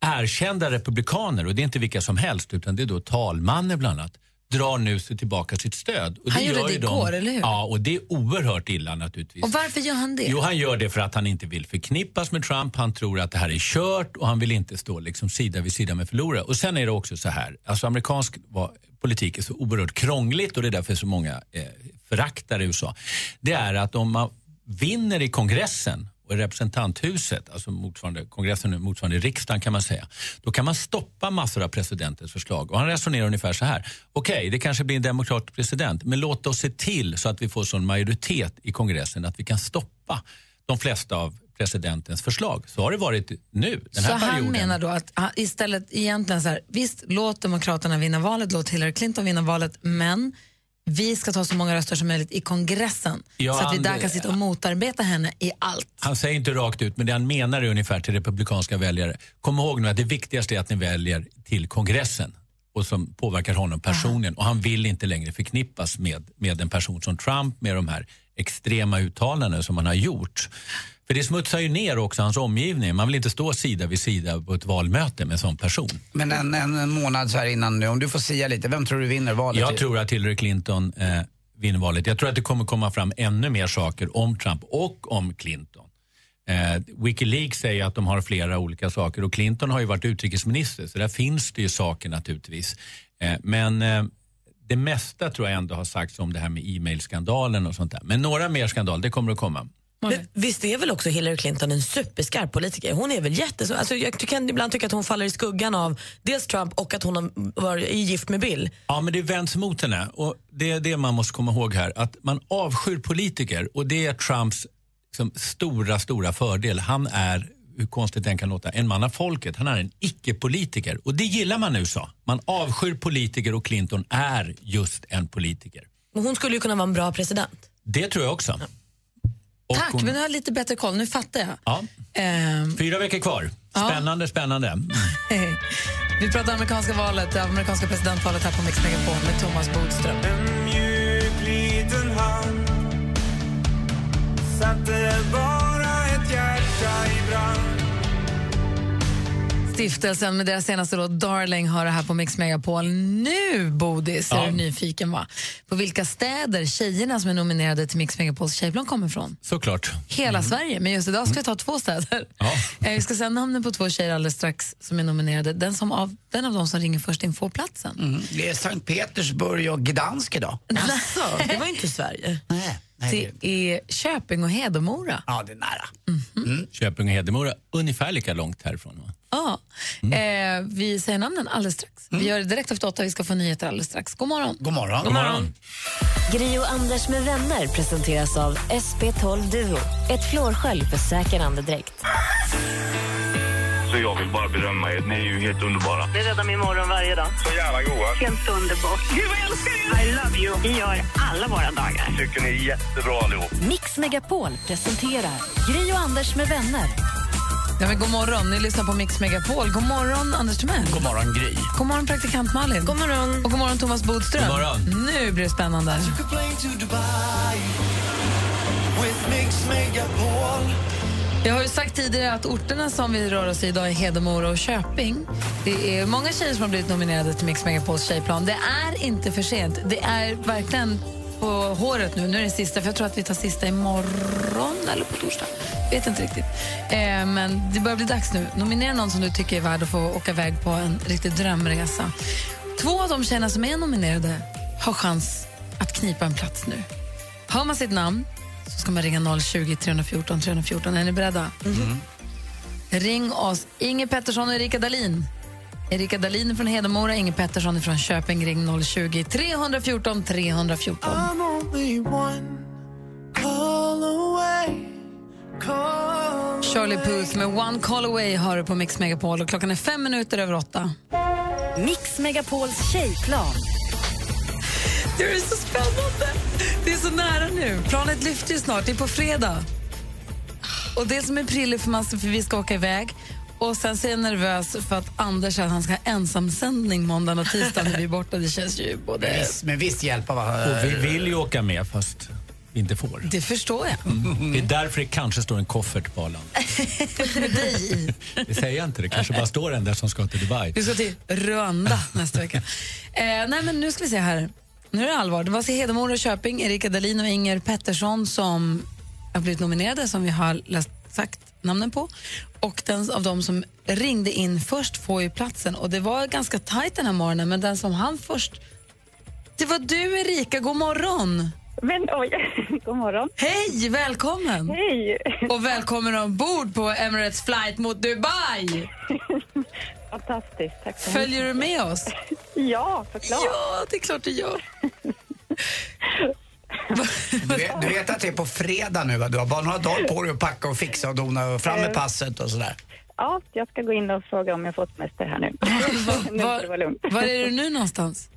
Speaker 17: erkända republikaner, och det är inte vilka som helst, utan det är då talmannen bland annat, drar nu sig tillbaka sitt stöd. Och
Speaker 3: Han gjorde
Speaker 17: gör
Speaker 3: det
Speaker 17: ju
Speaker 3: igår, eller hur?
Speaker 17: Ja, och det är oerhört illa naturligtvis.
Speaker 3: Och varför gör han det?
Speaker 17: Jo, han gör det för att han inte vill förknippas med Trump. Han tror att det här är kört och han vill inte stå liksom sida vid sida med förlorare. Och sen är det också så här, alltså amerikansk va- politik är så oerhört krångligt och det är därför så många eh, föraktar USA. Det är att om man vinner i kongressen och i representanthuset, alltså motsvarande kongressen nu, motsvarande riksdagen kan man säga, då kan man stoppa massor av presidentens förslag. Och han resonerar ungefär så här, okej, det kanske blir en demokratisk president, men låt oss se till så att vi får sån majoritet i kongressen att vi kan stoppa de flesta av presidentens förslag. Så har det varit nu, den
Speaker 3: så
Speaker 17: här
Speaker 3: han
Speaker 17: perioden.
Speaker 3: menar då att han istället egentligen så här, visst låt Demokraterna vinna valet, låt Hillary Clinton vinna valet, men vi ska ta så många röster som möjligt i kongressen
Speaker 17: Ja,
Speaker 3: så att vi
Speaker 17: han-
Speaker 3: där kan sitta och motarbeta henne i allt.
Speaker 17: Han säger inte rakt ut, men det han menar är ungefär till republikanska väljare. Kom ihåg nu att det viktigaste är att ni väljer till kongressen och som påverkar honom personligen. Och han vill inte längre förknippas med, med en person som Trump med de här extrema uttalanden som han har gjort. För det smutsar ju ner också hans omgivning. Man vill inte stå sida vid sida på ett valmöte med en sån person.
Speaker 4: Men en, en, en månad så här innan nu, om du får sia lite, vem tror du vinner valet?
Speaker 17: Jag tror att Hillary Clinton eh, vinner valet. Jag tror att det kommer komma fram ännu mer saker om Trump och om Clinton. Eh, Wikileaks säger att de har flera olika saker och Clinton har ju varit utrikesminister så där finns det ju saker naturligtvis. Eh, men eh, det mesta tror jag ändå har sagts om det här med e-mailskandalen och sånt där. Men några mer skandaler, det kommer att komma.
Speaker 6: Men visst är väl också Hillary Clinton en superskarp politiker? Hon är väl jättes... Alltså jag kan ibland tycka att hon faller i skuggan av dels Trump och att hon har varit gift med Bill.
Speaker 17: Ja, men det vänds mot henne. Och det är det man måste komma ihåg här. Att man avskyr politiker och det är Trumps liksom, stora, stora fördel. Han är, hur konstigt den kan låta, en man av folket. Han är en icke-politiker. Och det gillar man i USA. Man avskyr politiker och Clinton är just en politiker.
Speaker 6: Men hon skulle ju kunna vara en bra president.
Speaker 17: Det tror jag också. Och
Speaker 3: Tack,
Speaker 17: hon-
Speaker 3: men nu har jag lite bättre koll, nu fattar jag.
Speaker 17: Ja,
Speaker 3: Ehm,
Speaker 17: fyra veckor kvar.
Speaker 3: Ja.
Speaker 17: Spännande, spännande. Mm.
Speaker 3: Vi pratar amerikanska valet, det amerikanska presidentvalet här på Mix Megapol med Thomas Bodström. Stiftelsen med deras senaste låt Darling har det här på Mix Megapol. Nu, Bodis, är
Speaker 17: Ja.
Speaker 3: du nyfiken va? På vilka städer tjejerna som är nominerade till Mix Megapols tjejplan kommer ifrån?
Speaker 17: Såklart.
Speaker 6: Mm.
Speaker 3: Hela Sverige, men just idag ska vi ta två städer. Eh, Vi ska säga namnen på två tjejer alldeles strax som är nominerade. Den, som av, den av dem som ringer först in får platsen.
Speaker 4: Mm. Det är Sankt Petersburg och Gdansk idag.
Speaker 6: Alltså, det var ju inte Sverige.
Speaker 3: Det är Köping och Hedemora.
Speaker 17: Mm.
Speaker 4: Ja, det är nära.
Speaker 17: Köping och Hedemora, ungefär lika långt härifrån. Va?
Speaker 3: Ja.
Speaker 6: Mm.
Speaker 3: Eh, vi säger namnen alldeles strax. Vi gör det direkt efter åtta. Vi ska få nyheter alldeles strax. God morgon.
Speaker 4: God morgon.
Speaker 17: God morgon.
Speaker 21: Gri och Anders med vänner presenteras av SP12 Duo. Ett flårskölj för säker andedräkt.
Speaker 13: Så jag vill bara berömma er. Ni är ju helt underbara.
Speaker 2: Det räddar min morgon varje dag.
Speaker 13: Så jävla goa.
Speaker 2: Helt underbart. Gud, vad jag älskar er! I love you. Vi gör alla våra dagar.
Speaker 13: Tycker ni är jättebra allihop.
Speaker 1: Mix Megapol presenterar Gri och Anders med vänner.
Speaker 3: Ja, men god morgon, ni lyssnar på Mix Megapol. God morgon, Anders Timell.
Speaker 4: God morgon, Gry.
Speaker 3: God morgon, praktikant Malin. God morgon. Och god morgon, Thomas Bodström.
Speaker 2: God morgon.
Speaker 3: Nu blir det spännande. Jag har ju sagt tidigare att orterna som vi rör oss i idag är Hedemora och Köping. Det är många tjejer som har blivit nominerade till Mix Megapols tjejplan. Det är inte för sent. Det är verkligen på håret nu. Nu är det sista, för jag tror att vi tar sista imorgon eller på torsdag. Vet inte riktigt. Eh, men det börjar bli dags nu. Nominera någon som du tycker är värd att få åka iväg på en riktig drömresa. Två av de tjejerna som är nominerade har chans att knipa en plats nu. Hör man sitt namn så ska man ringa 020 314 314. Är ni beredda? Ring oss. Inge Pettersson och Erika Dalin. Erika Dalin är från Hedemora, Inge Pettersson är från Köping. Ring 020 314 314.
Speaker 2: I'm only one call away. Call
Speaker 3: Shirley Puth med One Call Away hör du på Mix Megapol och klockan är fem minuter över åtta.
Speaker 1: Mix Megapols tjejplan.
Speaker 3: Det är så spännande! Det är så nära nu. Planet lyfter ju snart, det är på fredag. Och det som är prilligt för, man, för vi ska åka iväg och sen så är jag nervös för att Anders säger att han ska ha ensamsändning måndag och tisdag när vi är borta. Det känns ju både...
Speaker 4: Men visst, men visst hjälpa va?
Speaker 17: Och vi
Speaker 4: eh,
Speaker 17: vill ju åka med fast vi inte får.
Speaker 3: Det förstår jag.
Speaker 17: Det är därför det kanske står en koffert på Arlanda.
Speaker 3: Med dig i.
Speaker 17: Det säger jag inte, det kanske bara står en där som ska till Dubai.
Speaker 3: Vi ska till Rwanda nästa vecka. Eh, nej, men nu ska vi se här. Nu är det allvar. Det var så Hedemora och Köping, Erika Dahlin och Inger Pettersson som har blivit nominerade, som vi har läst, sagt namnen på. Och den av dem som ringde in först får ju platsen. Och det var ganska tajt den här morgonen, men den som hann först... Det var du, Erika. God morgon!
Speaker 7: Men oj, god morgon.
Speaker 3: Hej, välkommen!
Speaker 7: Hej!
Speaker 3: Och välkommen ombord på Emirates flight mot Dubai!
Speaker 7: Fantastiskt, tack så
Speaker 3: Följer du med oss?
Speaker 7: Ja, såklart.
Speaker 3: Ja, det är klart du gör.
Speaker 4: Du vet, du vet att det är på fredag nu va? Du har bara några dagar på dig att packa och fixa och dona och fram med passet och sådär.
Speaker 7: Ja, jag ska gå in och fråga om jag får semester här nu. nu ska det vara lugnt.
Speaker 3: Var är du nu någonstans?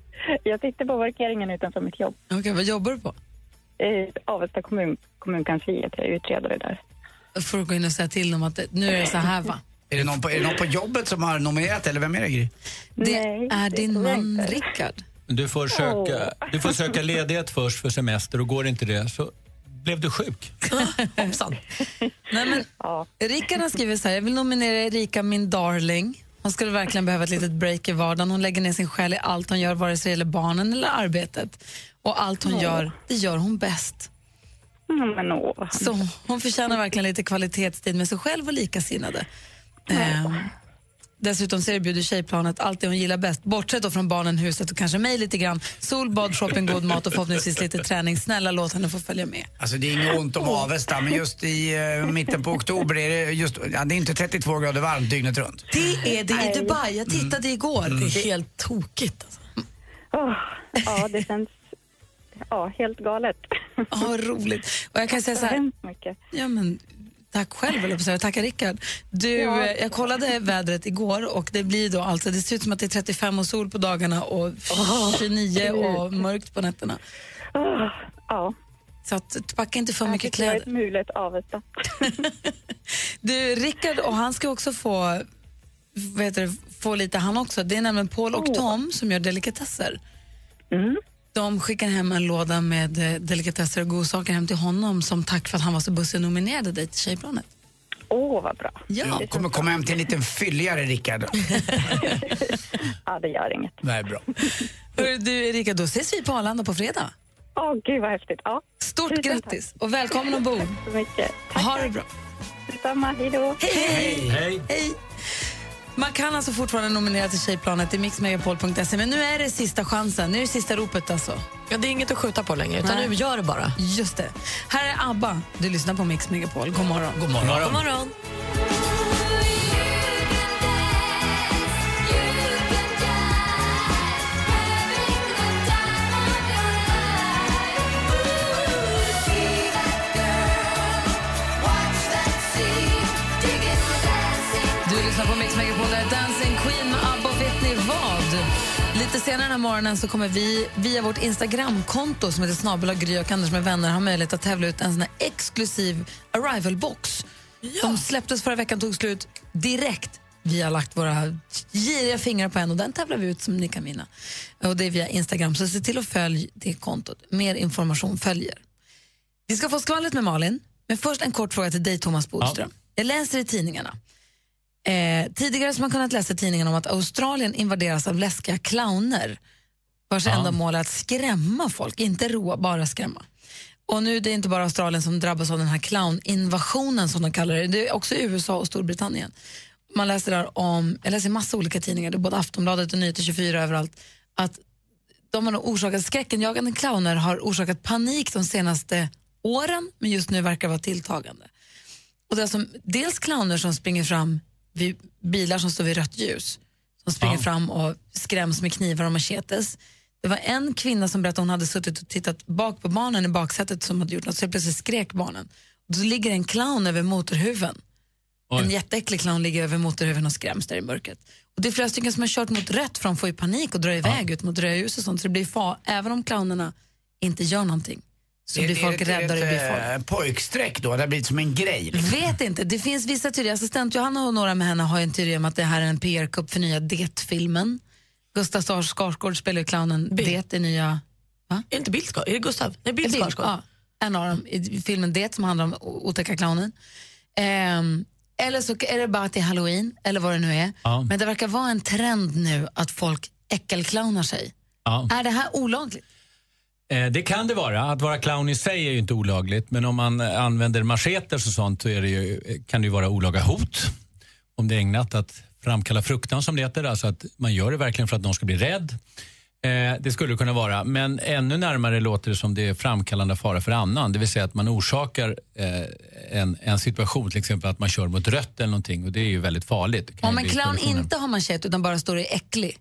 Speaker 7: Jag sitter på parkeringen utanför mitt jobb.
Speaker 3: Okej, vad jobbar du på?
Speaker 7: I Avesta kommun, kommunkansliet. Jag är utredare där.
Speaker 3: Då får du gå in och säga till dem att det- nu är det så här va?
Speaker 4: Är det, någon på, är det någon på jobbet som har nominerat eller vem är det Gry?
Speaker 3: Det är din man Rickard.
Speaker 17: Men Du får, söka, du får söka ledighet först för semester och går inte det så blev du sjuk.
Speaker 3: Hoppsan. Nej, men, Rickard har skrivit så här, jag vill nominera Erika min darling. Hon skulle verkligen behöva ett litet break i vardagen. Hon lägger ner sin själ i allt hon gör, vare sig det gäller barnen eller arbetet. Och allt hon
Speaker 7: Åh.
Speaker 3: gör, det gör hon bäst.
Speaker 7: Men åh.
Speaker 3: Så hon förtjänar verkligen lite kvalitetstid med sig själv och likasinnade. Ehm, dessutom så erbjuder tjejplanet allt det hon gillar bäst, bortsett då från barnen, huset och kanske mig lite grann. Sol, bad, shopping, god mat och förhoppningsvis lite träning. Snälla låt henne få följa med.
Speaker 4: Alltså det är inget ont om Avesta men just i eh, mitten på oktober är det just, ja, det är inte 32 grader varmt dygnet runt.
Speaker 3: Det är det i Dubai. Jag tittade igår.
Speaker 4: Mm.
Speaker 3: Det är helt tokigt. Alltså.
Speaker 7: Åh, ja, det känns ja, helt galet.
Speaker 3: Ja, vad roligt. Och jag kan säga så här-
Speaker 7: hemskt mycket.
Speaker 3: Ja, men, tack själv, eller jag Tacka Rickard. Du,
Speaker 7: Ja.
Speaker 3: eh, jag kollade vädret igår och det blir då alltså, det ser ut som att det är 35 och sol på dagarna och 29 och mörkt på nätterna.
Speaker 7: Ja.
Speaker 3: Så att, packa inte för mycket
Speaker 7: tycker jag är
Speaker 3: kläder.
Speaker 7: ett mulet Avesta.
Speaker 3: Du, Rickard, och han ska också få, vad heter det, få lite han också. Det är nämligen Paul och Tom som gör delikatesser.
Speaker 7: Mm.
Speaker 3: De skickar hem en låda med eh, delikatesser och godsaker hem till honom som tack för att han var så bussig och nominerade dig till Tjejplanet.
Speaker 7: Åh, vad bra.
Speaker 3: Ja.
Speaker 4: Du kommer komma hem till en liten fylligare Rickard.
Speaker 7: Ja, det gör inget.
Speaker 4: Nej, bra.
Speaker 3: Hörru, du Erika, då ses vi på Arlanda på fredag.
Speaker 7: Åh, gud vad häftigt. Ja.
Speaker 3: Stort grattis och välkommen ombord.
Speaker 7: Tack så mycket.
Speaker 3: ha det bra.
Speaker 7: Detsamma, hej då.
Speaker 3: Hej!
Speaker 17: Hej.
Speaker 3: Hej. Man kan alltså fortfarande nominera till Tjejplanet i mixmegapol.se men nu är det sista chansen. Nu är det sista ropet alltså.
Speaker 6: Ja, det är inget att skjuta på längre, utan
Speaker 3: Nej.
Speaker 6: nu gör det bara.
Speaker 3: Just det. Här är ABBA. Du lyssnar på Mix Megapol. God morgon.
Speaker 4: God morgon.
Speaker 6: God morgon.
Speaker 3: Du lyssnar på Mix Megapol. Det är Dancing Queen med ABBA. Och Vet ni vad? Lite senare den här morgonen så kommer vi via vårt Instagramkonto som heter snabel Gry och Anders med vänner ha möjlighet att tävla ut en sån här exklusiv arrival-box De släpptes förra veckan, tog slut direkt. Vi har lagt våra giriga fingrar på en och den tävlar vi ut som ni kan vinna. Och det är via Instagram, så se till att följa det kontot. Mer information följer. Vi ska få skvallret med Malin, men först en kort fråga till dig Thomas Bodström. Jag läser i tidningarna. Eh, tidigare så har man kunnat läsa i tidningarna om att Australien invaderas av läskiga clowner vars
Speaker 8: Ja.
Speaker 3: enda mål är att skrämma folk, inte roa, bara skrämma. Och nu är det inte bara Australien som drabbas av den här clowninvasionen som de kallar det, det är också USA och Storbritannien. Man läser där om, jag läser i massa olika tidningar, det är både Aftonbladet och Nyheter 24 överallt, att de har nog orsakat, skräckenjagande clowner har orsakat panik de senaste åren, men just nu verkar det vara tilltagande. Och det är som, dels clowner som springer fram vid bilar som står vid rött ljus. Som springer fram och skräms med knivar och machetes. Det var en kvinna som berättade att hon hade suttit och tittat bak på barnen i baksätet som hade gjort något, så helt plötsligt skrek barnen. Och då ligger en clown över motorhuven.
Speaker 8: Oj.
Speaker 3: En jätteäcklig clown ligger över motorhuven och skräms där i mörkret. Och det är flera stycken som har kört mot rött för de får ju panik och drar iväg ut mot röda ljus och sånt. Så det blir far, även om clownerna inte gör någonting så blir folk rädda och det blir folk.
Speaker 4: folk. pojkstreck då, det har blivit som en grej. liksom.
Speaker 3: Vet inte. Det finns vissa teorier. Assistent Johanna och några med henne har ju en teori om att det här är en PR-kupp för nya Det-filmen. Gustav Sars- Skarsgård spelar ju clownen Det i nya... Va?
Speaker 6: Är det inte Bill Skarsgård? Är det Gustav? Nej, Bill Skarsgård.
Speaker 3: Ja, en av dem i filmen Det som handlar om o- otäcka clownen. Ehm, eller så är det bara att det är halloween, eller vad det nu är.
Speaker 8: Ja.
Speaker 3: Men det verkar vara en trend nu att folk äckelclownar sig.
Speaker 17: Ja.
Speaker 3: Är det här olagligt?
Speaker 17: Eh, Det kan det vara. Att vara clown i sig är ju inte olagligt. Men om man eh, använder machetes och sånt så är det ju, eh, kan det ju vara olaga hot. Om det är ägnat att framkalla fruktan som det heter. Alltså att man gör det verkligen för att någon ska bli rädd. Eh, Det skulle det kunna vara. Men ännu närmare låter det som det är framkallande av fara för annan. Det vill säga att man orsakar eh, en, en situation. Till exempel att man kör mot rött eller någonting. Och det är ju väldigt farligt. Det kan
Speaker 3: Om
Speaker 17: ju
Speaker 3: en
Speaker 17: bli
Speaker 3: clown
Speaker 17: kollisioner.
Speaker 3: inte har manschett utan bara står och är äcklig.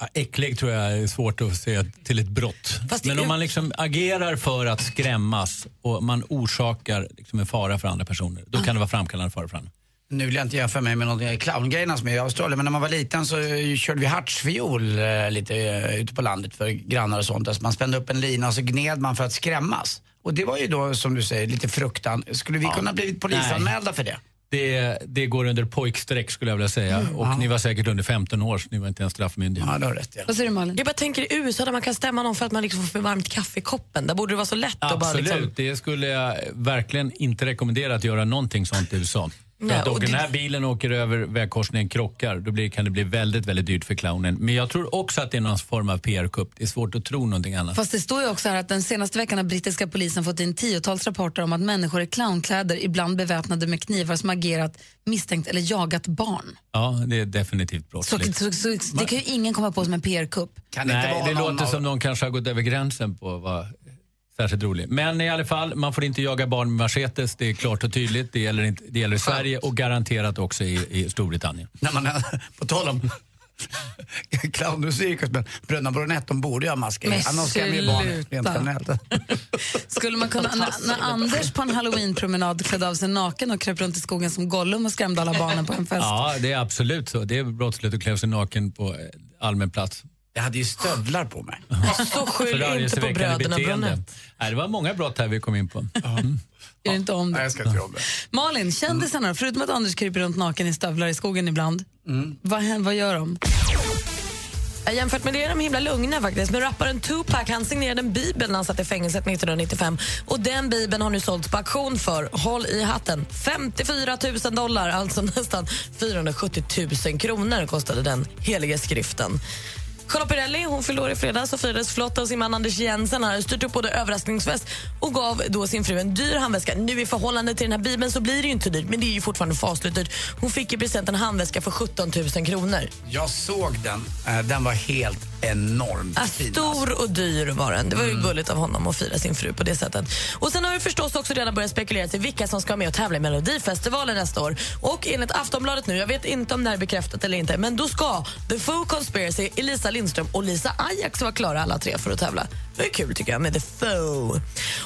Speaker 17: Ja, Äcklig tror jag är svårt att se till ett brott. Men om man liksom agerar för att skrämmas och man orsakar liksom en fara för andra personer, då kan det vara framkallande fara för andra.
Speaker 4: Nu vill jag inte jämföra mig med någon eh, clowngrejerna som är i Australien, men när man var liten så eh, körde vi hartsviol eh, lite eh, ute på landet för grannar och sånt. Alltså man spände upp en lina och så gned man för att skrämmas. Och det var ju då, som du säger, lite fruktan. Skulle vi kunna blivit polisanmälda för det?
Speaker 17: Det, det går under pojkstreck skulle jag vilja säga. och ni var säkert under 15 år så ni var inte ens straffmyndiga.
Speaker 4: Ja, det har rätt.
Speaker 3: Vad säger du Malin?
Speaker 6: Jag bara tänker i USA där man kan stämma någon för att man liksom får för varmt kaffe i koppen. Där borde det vara så lätt att bara
Speaker 17: Absolut,
Speaker 6: liksom...
Speaker 17: det skulle jag verkligen inte rekommendera att göra någonting sånt i USA. För
Speaker 6: Nej,
Speaker 17: att om
Speaker 6: och
Speaker 17: den
Speaker 6: det-
Speaker 17: här bilen åker över vägkorsningen krockar, då blir, kan det bli väldigt, väldigt dyrt för clownen. Men jag tror också att det är någon form av PR-kupp. Det är svårt att tro någonting annat.
Speaker 3: Fast det står ju också här att den senaste veckan har brittiska polisen fått in tiotals rapporter om att människor i clownkläder ibland beväpnade med knivar som agerat misstänkt eller jagat barn.
Speaker 17: Ja, det är definitivt
Speaker 3: Så,
Speaker 17: brottsligt.
Speaker 3: så, så, det kan ju ingen komma på som en PR-kupp.
Speaker 17: Nej, det låter som någon kanske har gått över gränsen på att vara särskilt rolig. Men i alla fall, man får inte jaga barn med machetes. Det är klart och tydligt. Det gäller, inte, det gäller i Sverige och garanterat också i, i Storbritannien.
Speaker 4: När man, på tal om clownmusik, men Bröderna Bronett, de borde ju ha masker.
Speaker 3: Men
Speaker 4: Annars skrämmer ju barn rent
Speaker 3: sluta.
Speaker 4: generellt.
Speaker 3: Skulle man kunna, när, när Anders på en halloweenpromenad klädde av sig naken och kröp runt i skogen som Gollum och skrämde alla barnen på en fest.
Speaker 17: Ja, det är absolut så. Det är brottsligt att klä sig naken på eh, allmän plats.
Speaker 4: Jag hade ju stövlar på mig.
Speaker 6: Så skyll inte på bröderna Bronett.
Speaker 17: Nej, det var många brott här vi kom in på.
Speaker 3: Gör inte om det.
Speaker 4: Nej, jag ska inte göra om det.
Speaker 3: Malin, kändisarna då? Förutom att Anders kryper runt naken i stövlar i skogen ibland,
Speaker 17: Mm.
Speaker 3: vad, hän- vad gör de?
Speaker 6: Ja, Eh, Jämfört med det är de himla lugna faktiskt. Men rapparen Tupac han signerade en bibel när han satt i fängelset 1995. Och den bibeln har nu sålts på auktion för, håll i hatten, 54 000 dollar. Alltså nästan 470 000 kronor kostade den heliga skriften. Charlotte Perrelli hon fyllde år i fredags och firades flott av sin man Anders Jensen. Han hade styrt upp både överraskningsfest och gav då sin fru en dyr handväska. Nu i förhållande till den här bibeln så blir det ju inte dyrt, men det är ju fortfarande fasligt dyrt. Hon fick i present en handväska för 17 000 kronor.
Speaker 4: Jag såg den. Eh, Den var helt enormt alltså.
Speaker 6: Ja, stor och dyr var den. Det var ju gulligt av honom att fira sin fru på det sättet. Och Sen har det förstås också redan börjat spekuleras i vilka som ska vara med och tävla i Melodifestivalen nästa år. Och enligt Aftonbladet nu, jag vet inte om det här är bekräftat eller inte, men då ska The Foo Conspiracy, Elisa Lindström och Lisa Ajax vara klara alla tre för att tävla. Det är kul tycker jag med The Foo.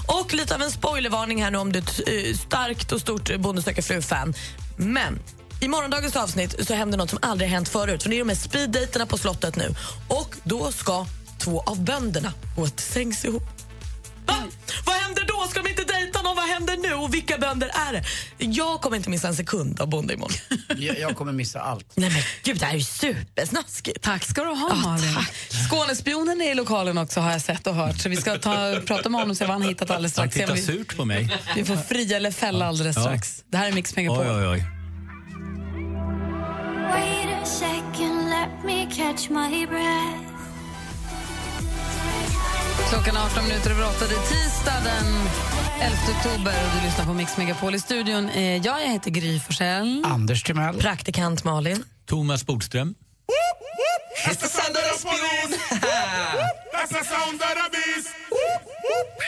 Speaker 6: Och lite av en spoilervarning här nu om du är ett eh, starkt och stort Bonde söker fru-fan. Men i morgondagens avsnitt så händer något som aldrig hänt förut. För det är de här speeddejterna på slottet nu. Och då ska två av bönderna gå till sängs ihop. Va? Vad händer då? Ska de inte dejta fan om vad händer nu och vilka bönder är det? Jag kommer inte missa en sekund av Bonde imorgon.
Speaker 4: Jag, jag kommer missa allt.
Speaker 6: Nej men gud, det här är ju supersnaskigt.
Speaker 3: Tack ska du ha Malin. Skånespionen är i lokalen också har jag sett och hört. Så vi ska ta, prata med honom och se vad han har hittat alldeles
Speaker 17: Han
Speaker 3: strax. Se om
Speaker 17: tittar
Speaker 3: vi-
Speaker 17: surt på mig.
Speaker 3: Vi får fria eller fälla alldeles
Speaker 17: Ja.
Speaker 3: strax. Det här är Mix Megapol.
Speaker 17: Oj, oj, oj.
Speaker 2: Wait a second, let me catch my breath.
Speaker 3: Klockan är 18 minuter över 8. Det är tisdag den 11 oktober och du lyssnar på Mix Megapol. I studion
Speaker 6: Eh,
Speaker 3: är jag, jag heter Gry Forssell.
Speaker 4: Anders Timell.
Speaker 6: Praktikant Malin.
Speaker 17: Thomas Bodström.
Speaker 2: It's the sound of the police. That's the sound of the beast.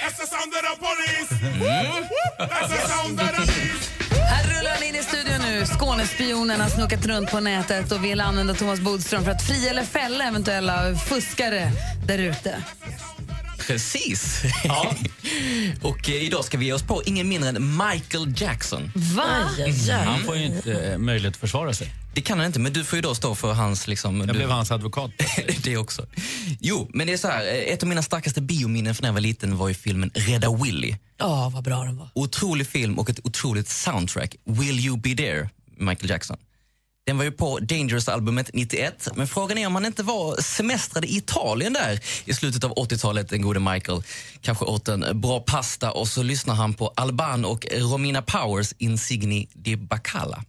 Speaker 2: That's the sound of the police. That's the sound of the beast.
Speaker 3: Här rullar han in i studion nu. Skånespionen har snokat runt på nätet och vill använda Thomas Bodström för att fria eller fälla eventuella fuskare där ute.
Speaker 8: Precis. Ja. Och eh, idag ska vi ge oss på ingen mindre än Michael Jackson.
Speaker 3: Va?
Speaker 8: Mm. Han får ju inte eh, möjlighet att försvara sig. Det kan han inte, men du får ju då stå för hans... Liksom, jag blev hans advokat. det också. Jo, men det är så här, eh, ett av mina starkaste biominnen från när jag var liten var ju filmen Rädda Willy.
Speaker 6: Ja, vad bra den var.
Speaker 8: Otrolig film och ett otroligt soundtrack. Will you be there, Michael Jackson. Den var ju på Dangerous-albumet 91, men frågan är om han inte var semestrade i Italien där i slutet av 80-talet, den gode Michael. Kanske åt en bra pasta och så lyssnar han på Alban och Romina Powers Insigni di Bacala.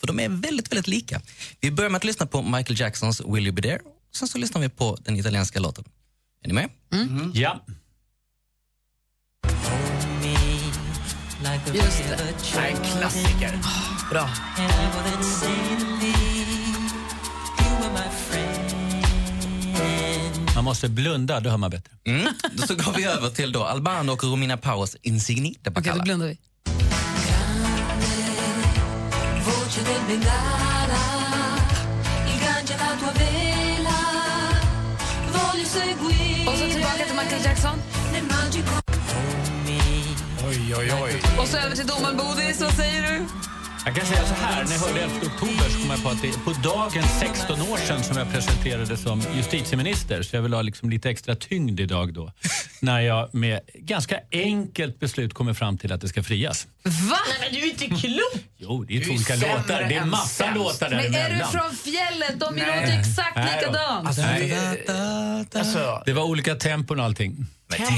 Speaker 8: För de är väldigt, väldigt lika. Vi börjar med att lyssna på Michael Jacksons Will you be there? Och sen så lyssnar vi på den italienska låten. Är ni med? Ja.
Speaker 2: Just det. Det här är en klassiker.
Speaker 6: Bra.
Speaker 17: Man måste blunda, då hör man bättre.
Speaker 8: Mm. Då så går vi över till då Albano och Romina Powers Insigni di
Speaker 3: Okej,
Speaker 8: Bacala.
Speaker 3: då blundar vi.
Speaker 2: Voce del Bengala, ingaggia la tua vela. Voglio seguire.
Speaker 3: Och så tillbaka till Michael Jackson.
Speaker 2: Nel magico.
Speaker 4: Oj, oj, oj.
Speaker 3: Och så över till domaren Bodis, vad säger du?
Speaker 17: Jag kan säga så här, när jag hörde 11 oktober så kom jag på att det är på dagen 16 år sedan som jag presenterades som justitieminister. Så jag vill ha liksom lite extra tyngd idag då. När jag med ganska enkelt beslut kommer fram till att det ska frias.
Speaker 3: Va?
Speaker 6: Nej, men du är inte klok!
Speaker 17: Jo, det är
Speaker 6: Du är
Speaker 17: två olika
Speaker 6: sämre
Speaker 17: låtar. Det är
Speaker 6: än
Speaker 17: massa
Speaker 6: sämst.
Speaker 17: låtar
Speaker 3: Men är du
Speaker 17: däremellan.
Speaker 3: från fjället? De
Speaker 17: Nej.
Speaker 3: låter exakt
Speaker 17: Nej då.
Speaker 3: likadant.
Speaker 17: Alltså, det-
Speaker 4: Alltså,
Speaker 17: Det var olika tempon och allting.
Speaker 6: Snälla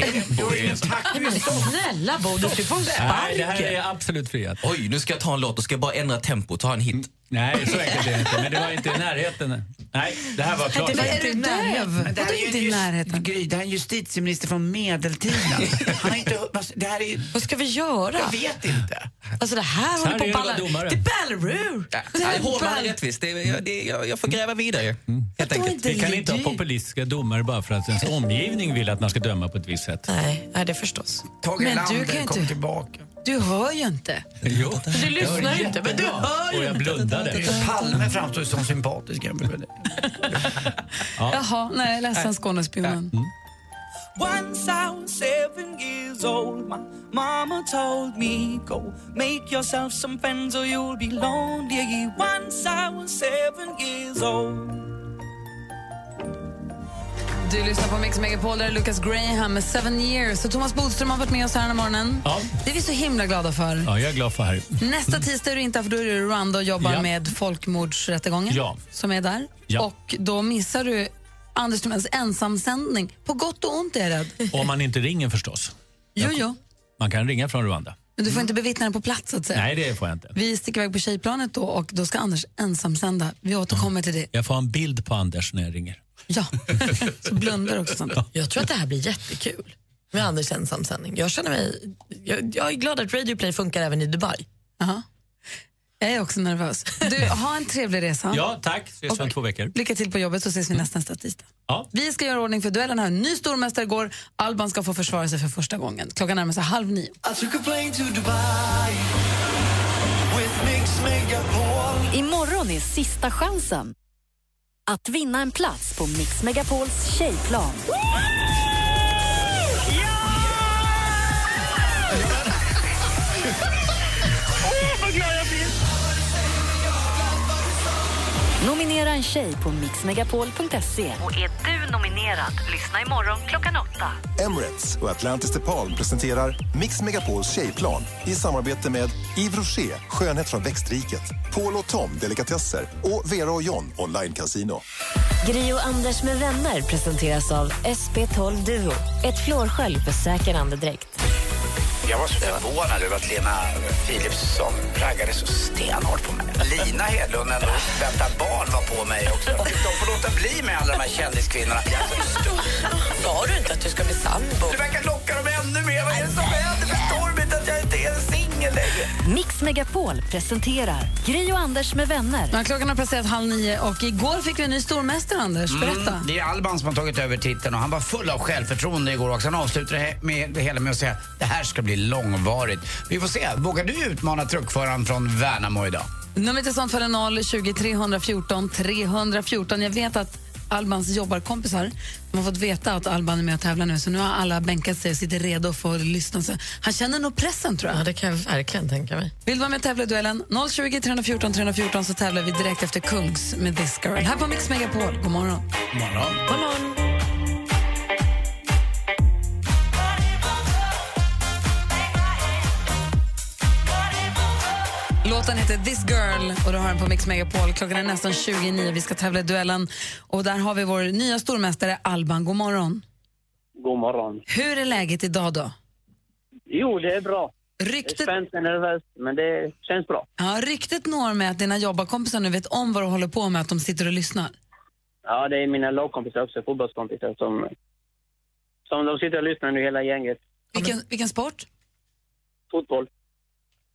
Speaker 6: Bodil, du får en
Speaker 8: Nej, det här
Speaker 6: sparken.
Speaker 8: är absolut friat. Oj, nu ska jag ta en låt. Då ska jag bara ändra tempo och ta en hit.
Speaker 17: Mm, Nej, så enkelt är det inte. Men det var inte i närheten. Nej, det här var klart.
Speaker 4: Men Det här är ju närheten. Gry, det här är en justitieminister från medeltiden. Han har inte... alltså, Det här är ju...
Speaker 6: Vad ska vi göra?
Speaker 4: Jag vet inte.
Speaker 6: Alltså det här
Speaker 4: Så
Speaker 6: håller
Speaker 4: här
Speaker 6: på
Speaker 4: är
Speaker 6: att
Speaker 4: det att
Speaker 6: balla
Speaker 4: vara domare.
Speaker 6: Det ballar ur!
Speaker 8: Det är hårt men rättvist. Det, jag, det, jag, jag får gräva vidare.
Speaker 4: Mm.
Speaker 8: Helt enkelt.
Speaker 17: Vi kan inte ha populistiska domare bara för att ens omgivning vill att man ska döma på ett visst sätt.
Speaker 6: Nej, det förstås.
Speaker 4: Tage
Speaker 3: Men du
Speaker 4: Erlander
Speaker 3: kan ju
Speaker 4: kom
Speaker 3: inte-
Speaker 4: tillbaka.
Speaker 3: Du hör ju inte.
Speaker 17: Jo.
Speaker 6: Du lyssnar ju inte, men du
Speaker 4: Jättebra.
Speaker 6: hör ju inte.
Speaker 4: Palme framstår ju som sympatisk jämfört med dig.
Speaker 3: Jaha, nej, jag är ledsen Skånespionen.
Speaker 2: Once I was seven years old, my mama told me, Go make yourself some friends or you'll be lonely. Once I was seven years old.
Speaker 3: Du lyssnar på Mix Megapol, där är Lucas Graham med Seven Years. Och Thomas Bodström har varit med oss här den här morgonen.
Speaker 17: Ja.
Speaker 3: Det är vi så himla glada för.
Speaker 17: Ja, jag är glad för här.
Speaker 3: Nästa tisdag är du inte här, för då är du i Rwanda och jobbar
Speaker 17: Mm. Ja.
Speaker 3: med folkmordsrättegången
Speaker 17: Ja.
Speaker 3: som är där.
Speaker 17: Ja.
Speaker 3: Och då missar du Anders Timells ensamsändning. På gott och ont är jag rädd.
Speaker 17: Om man inte ringer förstås.
Speaker 3: Jo, jo.
Speaker 17: Man kan ringa från Rwanda.
Speaker 3: Men du får inte bevittna den på plats så att säga.
Speaker 17: Nej, det får jag inte.
Speaker 3: Vi sticker iväg på tjejplanet då och då ska Anders ensamsända. Vi återkommer till det.
Speaker 17: Jag får ha en bild på Anders när jag ringer.
Speaker 3: Ja, så blundar också sånt.
Speaker 6: Jag tror att det här blir jättekul med Anders ensamsändning. Jag känner mig... Jag, jag är glad att Radio Play funkar även i Dubai.
Speaker 3: Jaha. Jag är också nervös. Du, ha en trevlig resa.
Speaker 17: Ja, tack. Ses om två veckor.
Speaker 3: Lycka till på jobbet så ses vi nästa tisdag.
Speaker 17: Ja.
Speaker 3: Vi ska göra ordning för duellen här. Ny stormästare går. Alban ska få försvara sig för första gången. Klockan närmar sig halv nio.
Speaker 2: I took a plane to Dubai with Mix Megapol.
Speaker 1: Imorgon är sista chansen att vinna en plats på Mix Megapols tjejplan.
Speaker 2: Åh, vad glad jag blir!
Speaker 1: Nominera en tjej på mixmegapol.se.
Speaker 21: Och är du nominerad, lyssna imorgon klockan åtta.
Speaker 5: Emirates och Atlantis DePaul presenterar Mix Megapols tjejplan i samarbete med Yves Rocher, skönhet från växtriket, Paul och Tom, delikatesser och Vera och John, online casino.
Speaker 21: Gri och Anders med vänner presenteras av SP12 Duo. Ett flårskölj för säker andedräkt.
Speaker 4: Jag var så förvånad över att Lena Philipsson raggade så stenhårt på mig. Lina Hedlund, ändå vänta barn, var på mig också. De får låta bli med alla de här kändiskvinnorna.
Speaker 6: Sa du inte att du ska bli sambo?
Speaker 4: Du verkar locka dem ännu mer. Vad är det som händer? Förstår de inte att jag inte är en singel längre?
Speaker 1: Mix Megapol presenterar Gri och Anders med vänner.
Speaker 3: Ja, klockan har passerat halv nio och igår fick vi en ny stormästare, Anders. Berätta.
Speaker 4: Mm, det är Alban som har tagit över titeln och han var full av självförtroende igår också. Han avslutade he- med det hela med att säga det här ska bli långvarigt. Vi får se, vågar du utmana truckföraren från Värnamo idag?
Speaker 3: Numret till samtalen 020 314 314. Jag vet att Albans jobbarkompisar de har fått veta att Alban är med och tävlar nu så nu har alla bänkat sig och sitter redo för att lyssna. Så han känner nog pressen, tror jag.
Speaker 6: Ja, det kan jag verkligen tänka mig.
Speaker 3: Vill du vara med och tävla i duellen? 020 314 314 så tävlar vi direkt efter Kungs med This Girl. Här på Mix Megapol. God morgon. God morgon. Låten heter This Girl och du har den på Mix Megapol. Klockan är nästan 29. Vi ska tävla i duellen och där har vi vår nya stormästare Alban. God morgon.
Speaker 9: God morgon.
Speaker 3: Hur är läget idag då?
Speaker 9: Jo, det är bra.
Speaker 3: Ryktet...
Speaker 9: Det är spänt och nervöst, men det känns bra.
Speaker 3: Ja, ryktet når mig att dina jobbarkompisar nu vet om vad du håller på med, att de sitter och lyssnar.
Speaker 9: Ja, det är mina lagkompisar också, fotbollskompisar som, som de sitter och lyssnar nu hela gänget.
Speaker 3: Vilken, vilken sport?
Speaker 9: Fotboll,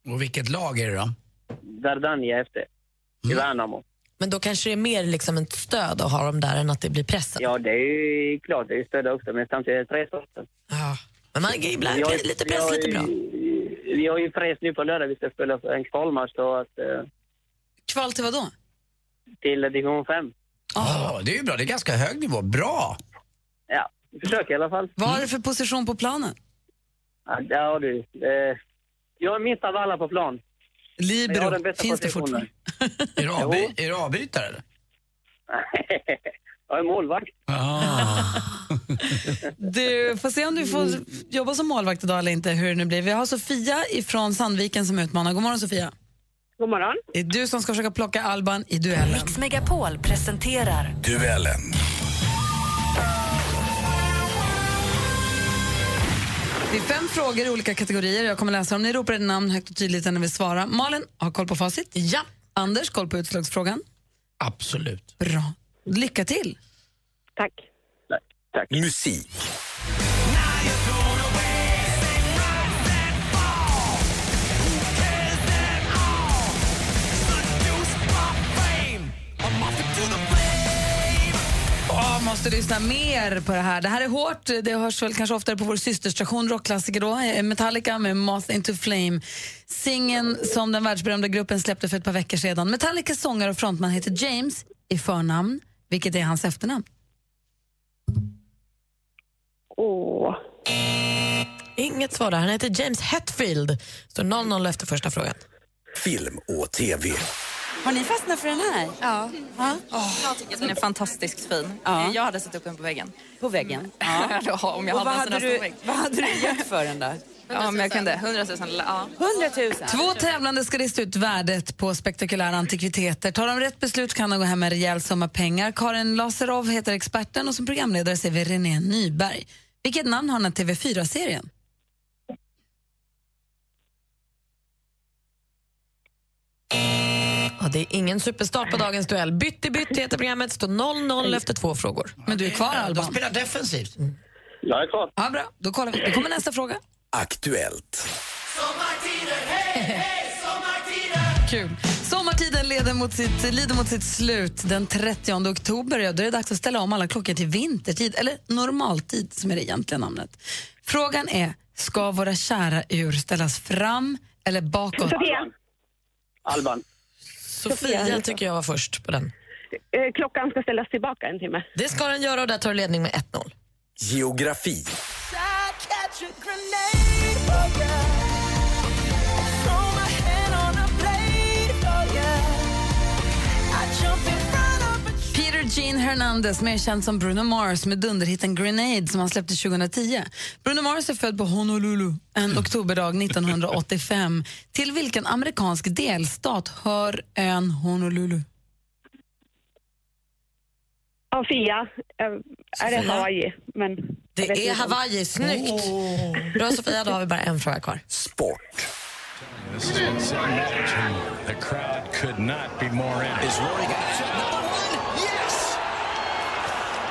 Speaker 4: Och vilket lag är det då?
Speaker 9: Dardania efter, i
Speaker 3: Mm.
Speaker 9: Värnamo.
Speaker 6: Men då kanske det är mer liksom ett stöd att ha dem där än att det blir pressen.
Speaker 9: Ja, det är ju klart, det är ju stöd också, men samtidigt är det press också.
Speaker 6: Men man, ibland
Speaker 9: Vi har-
Speaker 6: blir det lite
Speaker 9: vi har
Speaker 6: press, lite
Speaker 9: ju-
Speaker 6: bra.
Speaker 9: Vi har ju press nu på lördag, vi ska spela för en kvalmatch då, att, eh,
Speaker 3: Kval till vad då? Ah.
Speaker 9: till division 5.
Speaker 4: Ja, det är ju bra. Det är ganska hög nivå. Bra!
Speaker 9: Ja, vi försöker i alla fall. Mm.
Speaker 3: Vad har du för position på planen?
Speaker 9: Ja, ja du. Eh, jag är minst av alla på plan. Men jag har den
Speaker 3: Libero,
Speaker 9: bästa
Speaker 3: finns det
Speaker 9: positionen.
Speaker 3: fortfarande?
Speaker 4: Är du, avby- är du avbytare eller?
Speaker 9: Jag är målvakt.
Speaker 13: Ah.
Speaker 3: Du får se om du får jobba som målvakt idag eller inte, hur det nu blir. Vi har Sofia ifrån Sandviken som utmanar. God morgon Sofia.
Speaker 9: God morgon.
Speaker 3: Det är du som ska försöka plocka Alban i duellen.
Speaker 1: Mix Megapol presenterar
Speaker 4: Duellen.
Speaker 3: Det är fem frågor i olika kategorier. Jag kommer läsa dem. Ni ropar ett namn högt och tydligt när ni vill svara. Malin har koll på facit. Ja. Anders, koll på utslagsfrågan.
Speaker 4: Absolut.
Speaker 3: Bra. Lycka till.
Speaker 9: Tack. Tack.
Speaker 4: Musik.
Speaker 3: Åh, måste lyssna mer på det här. Det här är hårt. Det hörs väl kanske oftare på vår systerstation rockklassiker då. Eh, Metallica med Moth Into Flame. Singen som den världsberömda gruppen släppte för ett par veckor sedan. Metallicas sångare och frontman heter James i förnamn, vilket är hans efternamn.
Speaker 6: Åh. Inget svar där. Han heter James Hetfield. Står 0-0 efter första frågan.
Speaker 12: Film och TV.
Speaker 23: Har ni fastnat för den här? Ja. Jag tycker att den är fantastiskt fin. Ja. Jag hade satt upp den på väggen. På väggen? Ja. Ja, om jag och hade vad en sån hade, här stor du, vägg. vad hade du gett för den där? Ja, om jag kunde. 100 000. Ja. 100 000?
Speaker 3: Två tävlande ska lista ut värdet på spektakulära antikviteter. Tar de rätt beslut kan de gå hem med en rejäl summa pengar. Karin Laserov heter experten och som programledare ser vi René Nyberg. Vilket namn har den här TV4-serien?
Speaker 6: Ja, det är ingen superstart på dagens duell. Bytt i bytt heter programmet. Står 0-0 efter två frågor.
Speaker 3: Men du är kvar, Alban.
Speaker 4: De spelar defensivt.
Speaker 9: Jag är kvar.
Speaker 3: Ja, bra. Då kollar vi. Då kommer nästa fråga.
Speaker 12: Aktuellt.
Speaker 3: Kul. Sommartiden leder mot sitt, lider mot sitt slut den 30 oktober. Ja, då är det dags att ställa om alla klockor till vintertid, eller normaltid som är det egentliga namnet. Frågan är, ska våra kära ur ställas fram eller bakåt?
Speaker 9: Alban.
Speaker 6: Sofia tycker jag var först på den.
Speaker 24: Eh, Klockan ska ställas tillbaka en timme.
Speaker 6: Det ska den göra och där tar du ledning med 1-0.
Speaker 12: Geografi.
Speaker 2: Throw my hand on a blade for ya. I jump in front of a
Speaker 3: Peter Gene Hernandez, mer känd som Bruno Mars, med dunderhitten Grenade som han släppte 2010. Bruno Mars är född på Honolulu en oktoberdag 1985. Till vilken amerikansk delstat hör ön Honolulu?
Speaker 24: Ja, Fia. Eh, Är det Hawaii? Men jag vet
Speaker 6: Det är
Speaker 24: inte om-
Speaker 6: Hawaii, snyggt!
Speaker 24: Oh.
Speaker 6: Bra Sofia, då har vi bara en fråga kvar.
Speaker 12: Sport.
Speaker 11: This is insane action. The crowd could not be more in. Is Rory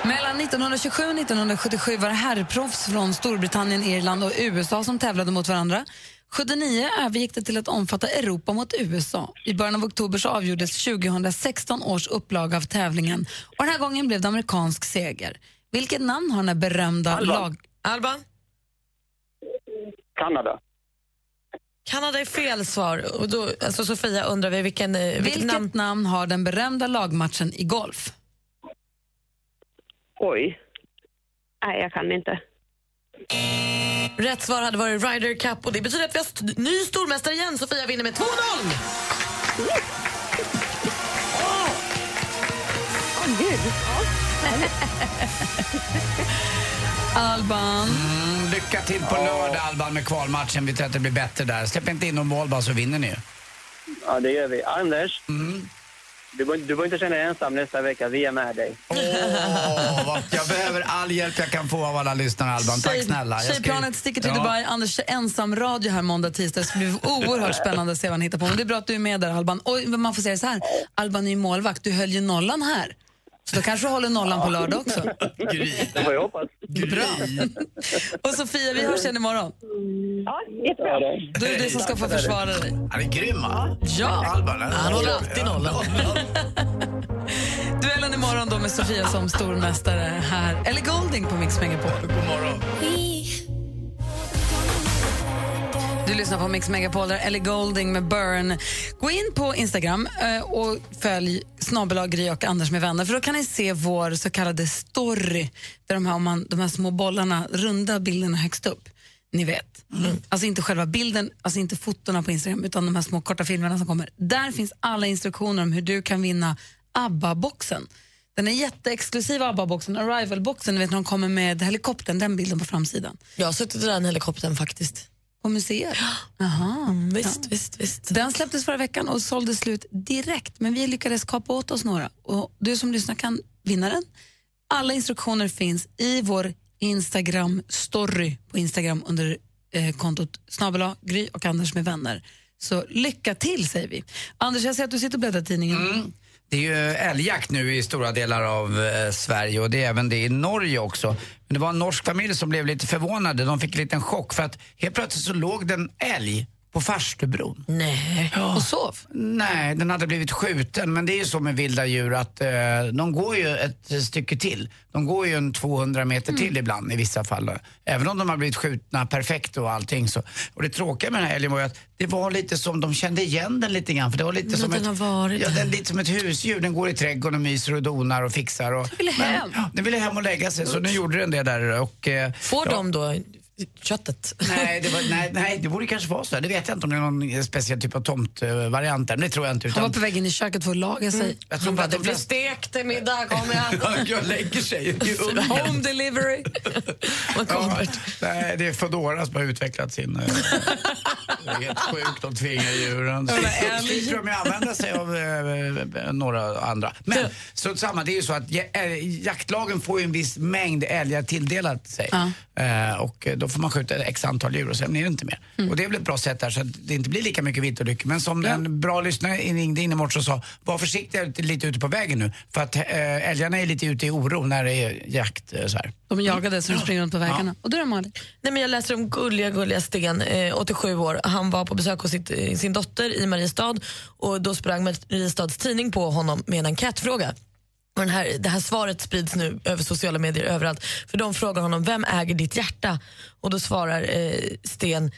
Speaker 3: Mellan 1927 och 1977 var det herrproffs från Storbritannien, Irland och USA som tävlade mot varandra. 79 övergick det till att omfatta Europa mot USA. I början av oktober så avgjordes 2016 års upplaga av tävlingen och den här gången blev det amerikansk seger. Vilket namn har den här berömda
Speaker 23: Alban.
Speaker 3: lag... Alban?
Speaker 23: Kanada.
Speaker 6: Kanada är fel svar. Och då, alltså Sofia undrar vi vilken, eh, vilket,
Speaker 3: Vilket namn? har den berömda lagmatchen i golf?
Speaker 24: Oj. Nej, jag kan inte.
Speaker 6: Rätt svar hade varit Ryder Cup och det betyder att vi har st- ny stormästare igen. Sofia vinner med 2-0!
Speaker 24: Åh, gud.
Speaker 3: Alban.
Speaker 4: Mm, lycka till på lördag Alban med kvalmatchen. Vi tror att det blir bättre där. Släpp inte in någon mål bara så vinner ni ju.
Speaker 9: Ja, det gör vi. Anders,
Speaker 4: Mm.
Speaker 9: du behöver du bör inte känna dig ensam nästa vecka. Vi är med dig.
Speaker 4: Åh, vad- jag behöver all hjälp jag kan få av alla lyssnare Alban. Tack
Speaker 3: Tjej-
Speaker 4: snälla. Jag ska ju-
Speaker 3: Tjejplanet sticker till
Speaker 4: Ja.
Speaker 3: Dubai. Anders kör ensam radio här måndag, tisdag. Det ska bli oerhört spännande att se vad han hittar på. Men det är bra att du är med där, Alban. Och man får säga så här, Alban är ju målvakt. Du höll ju nollan här. Så då kanske du håller nollan på lördag också.
Speaker 9: Det får jag hoppas.
Speaker 3: Bra. Och Sofia, vi hörs igen imorgon.
Speaker 24: Ja, jättebra.
Speaker 3: Då är det du som ska få försvara dig.
Speaker 4: Han är grym va?
Speaker 3: Ja.
Speaker 4: Alban,
Speaker 3: Han håller alltid nollan. Duellen imorgon då med Sofia som stormästare här. Eller Golding på Mix Megapol. God morgon. Du lyssnar på Mix Megapol där Ellie Golding med Burn. Gå in på Instagram eh, och följ snabel-a Gry och Anders med vänner för då kan ni se vår så kallade story där de här, om man, de här små bollarna, runda bilderna högst upp. Ni vet.
Speaker 6: Mm.
Speaker 3: Alltså inte själva bilden, alltså inte fotona på Instagram utan de här små korta filmerna som kommer. Där finns alla instruktioner om hur du kan vinna ABBA-boxen. Den är jätteexklusiva ABBA-boxen, Arrival-boxen, ni vet när de kommer med helikoptern, den bilden på framsidan.
Speaker 6: Jag har suttit i den helikoptern faktiskt.
Speaker 3: På museer? Aha. visst, visst, visst. Den släpptes förra veckan och sålde slut direkt, men vi lyckades kapa åt oss några. Och du som lyssnar kan vinna den. Alla instruktioner finns i vår Instagram-story på Instagram under eh, kontot snabel-a Gry och Anders med vänner. Så lycka till, säger vi. Anders, jag ser att du sitter och bläddrar i tidningen.
Speaker 4: Det är ju älgjakt nu i stora delar av eh, Sverige och det är även det i Norge också. Men det var en norsk familj som blev lite förvånade. De fick en liten chock för att helt plötsligt så låg den älg på farstubron.
Speaker 6: Nej.
Speaker 4: Och
Speaker 3: sov?
Speaker 4: Nej, den hade blivit skjuten. Men det är ju så med vilda djur att eh, de går ju ett stycke till. De går ju en 200 meter till ibland i vissa fall. Även om de har blivit skjutna perfekt och allting så. Och det tråkiga med den här älgen var ju att det var lite som, de kände igen den lite grann. För det var lite
Speaker 6: Men
Speaker 4: som
Speaker 6: den
Speaker 4: ett,
Speaker 6: har varit
Speaker 4: ja,
Speaker 6: där.
Speaker 4: den, lite som ett husdjur. Den går i trädgården och myser och donar och fixar. Och,
Speaker 6: ville
Speaker 4: Men-
Speaker 6: hem.
Speaker 4: ja, den ville hem och lägga sig. Så nu gjorde den det där. Och, eh,
Speaker 6: Får
Speaker 4: ja.
Speaker 6: de då köttet?
Speaker 4: Nej det, var, nej, nej, det borde kanske vara så. Det vet jag inte om det är någon speciell typ av tomtvariant där, men det tror jag inte.
Speaker 3: Han var
Speaker 4: Utan,
Speaker 3: på väg in i köket för att laga sig.
Speaker 4: Mm. Jag tror
Speaker 6: Han
Speaker 4: bara
Speaker 6: bara,
Speaker 4: att
Speaker 6: det
Speaker 4: de
Speaker 6: blir
Speaker 4: flesta-
Speaker 6: stekt till middag, kommer jag.
Speaker 4: jag lägger sig i ugnen.
Speaker 6: Home delivery. Man kommer.
Speaker 4: Nej, det är Foodora som har utvecklat sin... eh, Det är helt sjukt, de tvingar djuren. Så slipper de ju använda sig av eh, några andra. Men så samma, det är ju så att ja- eh, jaktlagen får ju en viss mängd älgar tilldelat sig. Eh, och eh, då får man skjuta x antal djur och sen är det inte mer. Och det är väl ett bra sätt där så att det inte blir lika mycket viltolyckor. Men som en bra lyssnare ringde in i morse och sa, var försiktiga ute- lite ute på vägen nu. För att eh, älgarna är lite ute i oro när det är jakt eh, så här.
Speaker 3: De jagade så de springer runt på vägarna. Och du då Malin?
Speaker 6: Nej, men jag läser om gulliga, gulliga Sten, eh, 87 år. Han var på besök hos sitt, eh, sin dotter i Mariestad och då sprang Mariestads tidning på honom med en enkätfråga. Och den här, det här svaret sprids nu över sociala medier överallt. För De frågar honom, vem äger ditt hjärta? Och då svarar eh, Sten,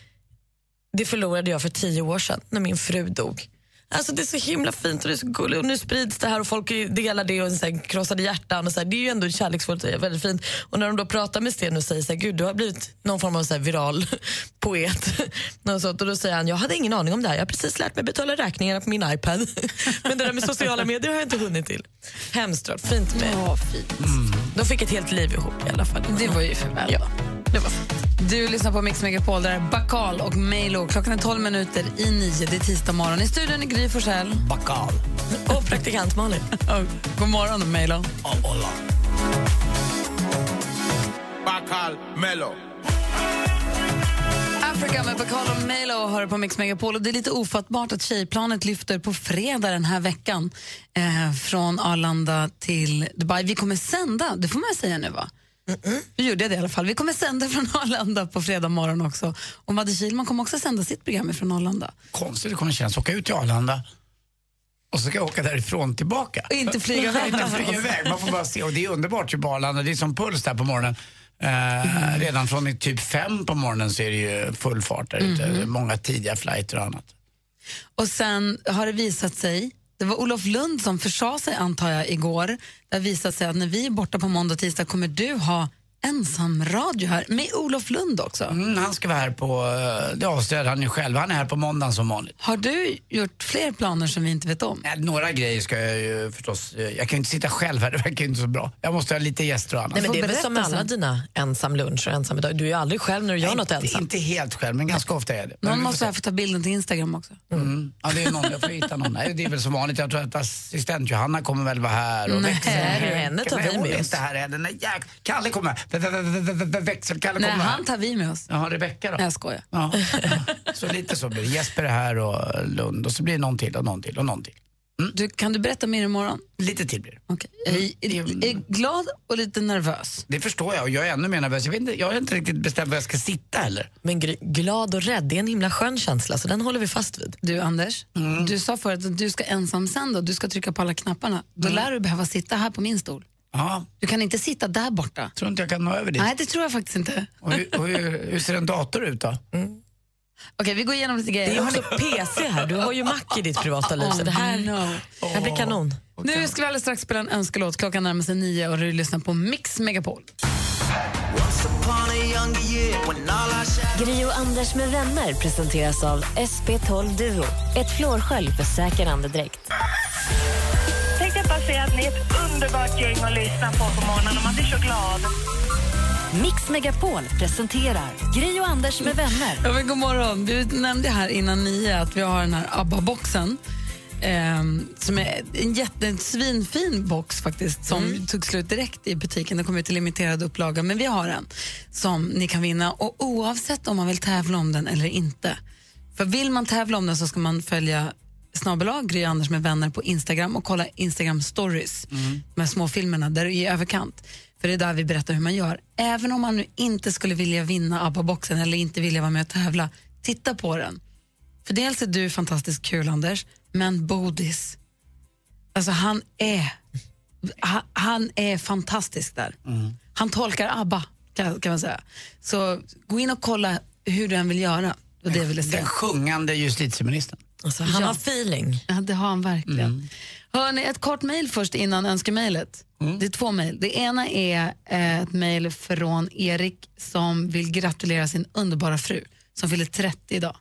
Speaker 6: det förlorade jag för tio år sedan när min fru dog. Alltså det är så himla fint och det är så gulligt och nu sprids det här och folk delar det och så här, krossade hjärtan och så här, det är ju ändå kärleksfullt och väldigt fint. Och när de då pratar med Sten och säger så här, gud du har blivit någon form av så här viral poet. Något sånt. Och då säger han, jag hade ingen aning om det här, jag har precis lärt mig betala räkningarna på min iPad. Men det där med sociala medier har jag inte hunnit till. Hemskt rart. fint med.
Speaker 3: Ja, fint.
Speaker 6: De fick ett helt liv ihop i alla fall.
Speaker 3: Det var ju för väl.
Speaker 6: Ja, det var
Speaker 3: Du lyssnar på Mix Megapol, där är Bakal och Milo. Klockan är 12 minuter i nio. Det är tisdag morgon. I studion är Gry Forssell.
Speaker 4: Bakal.
Speaker 6: Och praktikant Malin.
Speaker 3: God morgon, Milo.
Speaker 14: Bacal Mello.
Speaker 3: Africa med Bacall och Milo hör på Mix Megapol. Och det är lite ofattbart att tjejplanet lyfter på fredag den här veckan eh, från Arlanda till Dubai. Vi kommer sända, det får man säga nu va? Nu gjorde jag det i alla fall. Vi kommer sända från Arlanda på fredag morgon också. Och Madde Kihlman kommer också sända sitt program från Arlanda.
Speaker 4: Konstigt det kommer kännas. Åka ut till Arlanda och så ska jag åka därifrån tillbaka.
Speaker 3: Och inte flyga iväg
Speaker 4: Inte
Speaker 3: någonstans.
Speaker 4: flyga iväg. Man får bara se. Och det är underbart ju på Arlanda. Det är som puls där på morgonen. Eh, Redan från typ fem på morgonen så är det ju full fart där ute.
Speaker 3: Mhm.
Speaker 4: Många tidiga flighter och annat.
Speaker 3: Och sen har det visat sig, det var Olof Lund som försa sig antar jag igår, det har visat sig att när vi är borta på måndag och tisdag kommer du ha ensam radio här med Olof Lund också.
Speaker 4: Mm, han ska vara här på, eh, det avslöjade han ju själv, han är här på måndagen som vanligt.
Speaker 3: Har du gjort fler planer som vi inte vet om?
Speaker 4: Eh, Några grejer ska jag ju förstås, eh, jag kan ju inte sitta själv här, det verkar ju inte så bra. Jag måste ha lite gäster och annat.
Speaker 6: Nej, men det är väl
Speaker 4: Berätta
Speaker 6: som med
Speaker 4: sen.
Speaker 6: alla dina ensam lunch och ensam idag. Du är ju aldrig själv när du gör något ensam.
Speaker 4: Inte helt själv, men ganska ofta är det. Men
Speaker 3: Någon
Speaker 4: vi får
Speaker 3: måste här få ta bilden till Instagram också.
Speaker 4: Mm. Ja, det är någon. Jag får hitta någon. Nej, det är väl som vanligt. Jag tror att assistent Johanna kommer väl vara här. Och
Speaker 3: Nej,
Speaker 4: växeln-
Speaker 3: henne tar
Speaker 4: Nej,
Speaker 3: vi
Speaker 4: hon
Speaker 3: med
Speaker 4: är
Speaker 3: oss.
Speaker 4: inte här heller. Nej, jäk... Kalle kommer. Växel-Kalle
Speaker 3: Nej,
Speaker 4: kommer.
Speaker 3: han tar vi med oss.
Speaker 4: Jaha, Rebecka då?
Speaker 3: Nej, jag skojar.
Speaker 4: Ja. Så lite så blir det. Jesper är här och Lund och så blir det någon till och någon till och någon till.
Speaker 3: Du, kan du berätta mer imorgon?
Speaker 4: Mm. Lite till blir det. Mm.
Speaker 3: Jag är, är glad och lite nervös.
Speaker 4: Det förstår jag och jag är ännu mer nervös. Jag, vet inte, jag har inte riktigt bestämt var jag ska sitta heller.
Speaker 6: Men gr- glad och rädd, det är en himla skön känsla så den håller vi fast vid.
Speaker 3: Du Anders,
Speaker 4: Mm.
Speaker 3: du sa förut att du ska ensamsända och du ska trycka på alla knapparna. Då
Speaker 4: Mm.
Speaker 3: lär du behöva sitta här på min stol.
Speaker 4: Ja.
Speaker 3: Du kan inte sitta där borta.
Speaker 4: Tror inte jag kan nå över dit.
Speaker 3: Nej, det tror jag faktiskt inte.
Speaker 4: Och hur, och hur, hur ser en dator ut då?
Speaker 3: Okej, vi går igenom lite grejer.
Speaker 6: Det är också PC här, du har ju Mac i ditt privata liv så det här,
Speaker 3: Mm.
Speaker 6: det här blir kanon.
Speaker 3: Nu ska vi alldeles strax spela en önskelåt. Klockan närmar sig nio och du lyssnar på Mix Megapol.
Speaker 21: Gri och Anders med vänner presenteras av SP12 Duo. Ett flårskölj för säker andedräkt.
Speaker 10: Tänkte jag bara säga att ni är ett underbart gäng att lyssna på på morgonen och man blir så glad.
Speaker 1: Mix Megapol presenterar Gri och Anders med vänner.
Speaker 3: Ja, men god morgon. Du nämnde här innan nio att vi har den här ABBA-boxen. ehm, som är en jätte, en svinfin box faktiskt som
Speaker 1: Mm.
Speaker 3: tog slut direkt i butiken. Den kom ut i limiterad upplaga, men vi har en som ni kan vinna. Och Oavsett om man vill tävla om den eller inte. För Vill man tävla om den så ska man följa snabbelag Gry Anders med vänner på Instagram och kolla Instagram stories
Speaker 6: Mm.
Speaker 3: de här småfilmerna där i överkant. För det är där vi berättar hur man gör. Även om man nu inte skulle vilja vinna ABBA-boxen eller inte vilja vara med och tävla, titta på den. För dels är du fantastiskt kul, Anders, men Bodis, alltså han är, han, han är fantastisk där. Han tolkar ABBA, kan, kan man säga. Så gå in och kolla hur du än vill göra. Och det Alltså, vill jag säga.
Speaker 4: Den sjungande justitieministern. Mm.
Speaker 6: han har feeling.
Speaker 3: Ja, det har han verkligen. Hörni, ett kort mejl först innan önskemejlet. Det är två mejl. Det ena är eh, ett mejl från Erik som vill gratulera sin underbara fru som fyller 30 idag.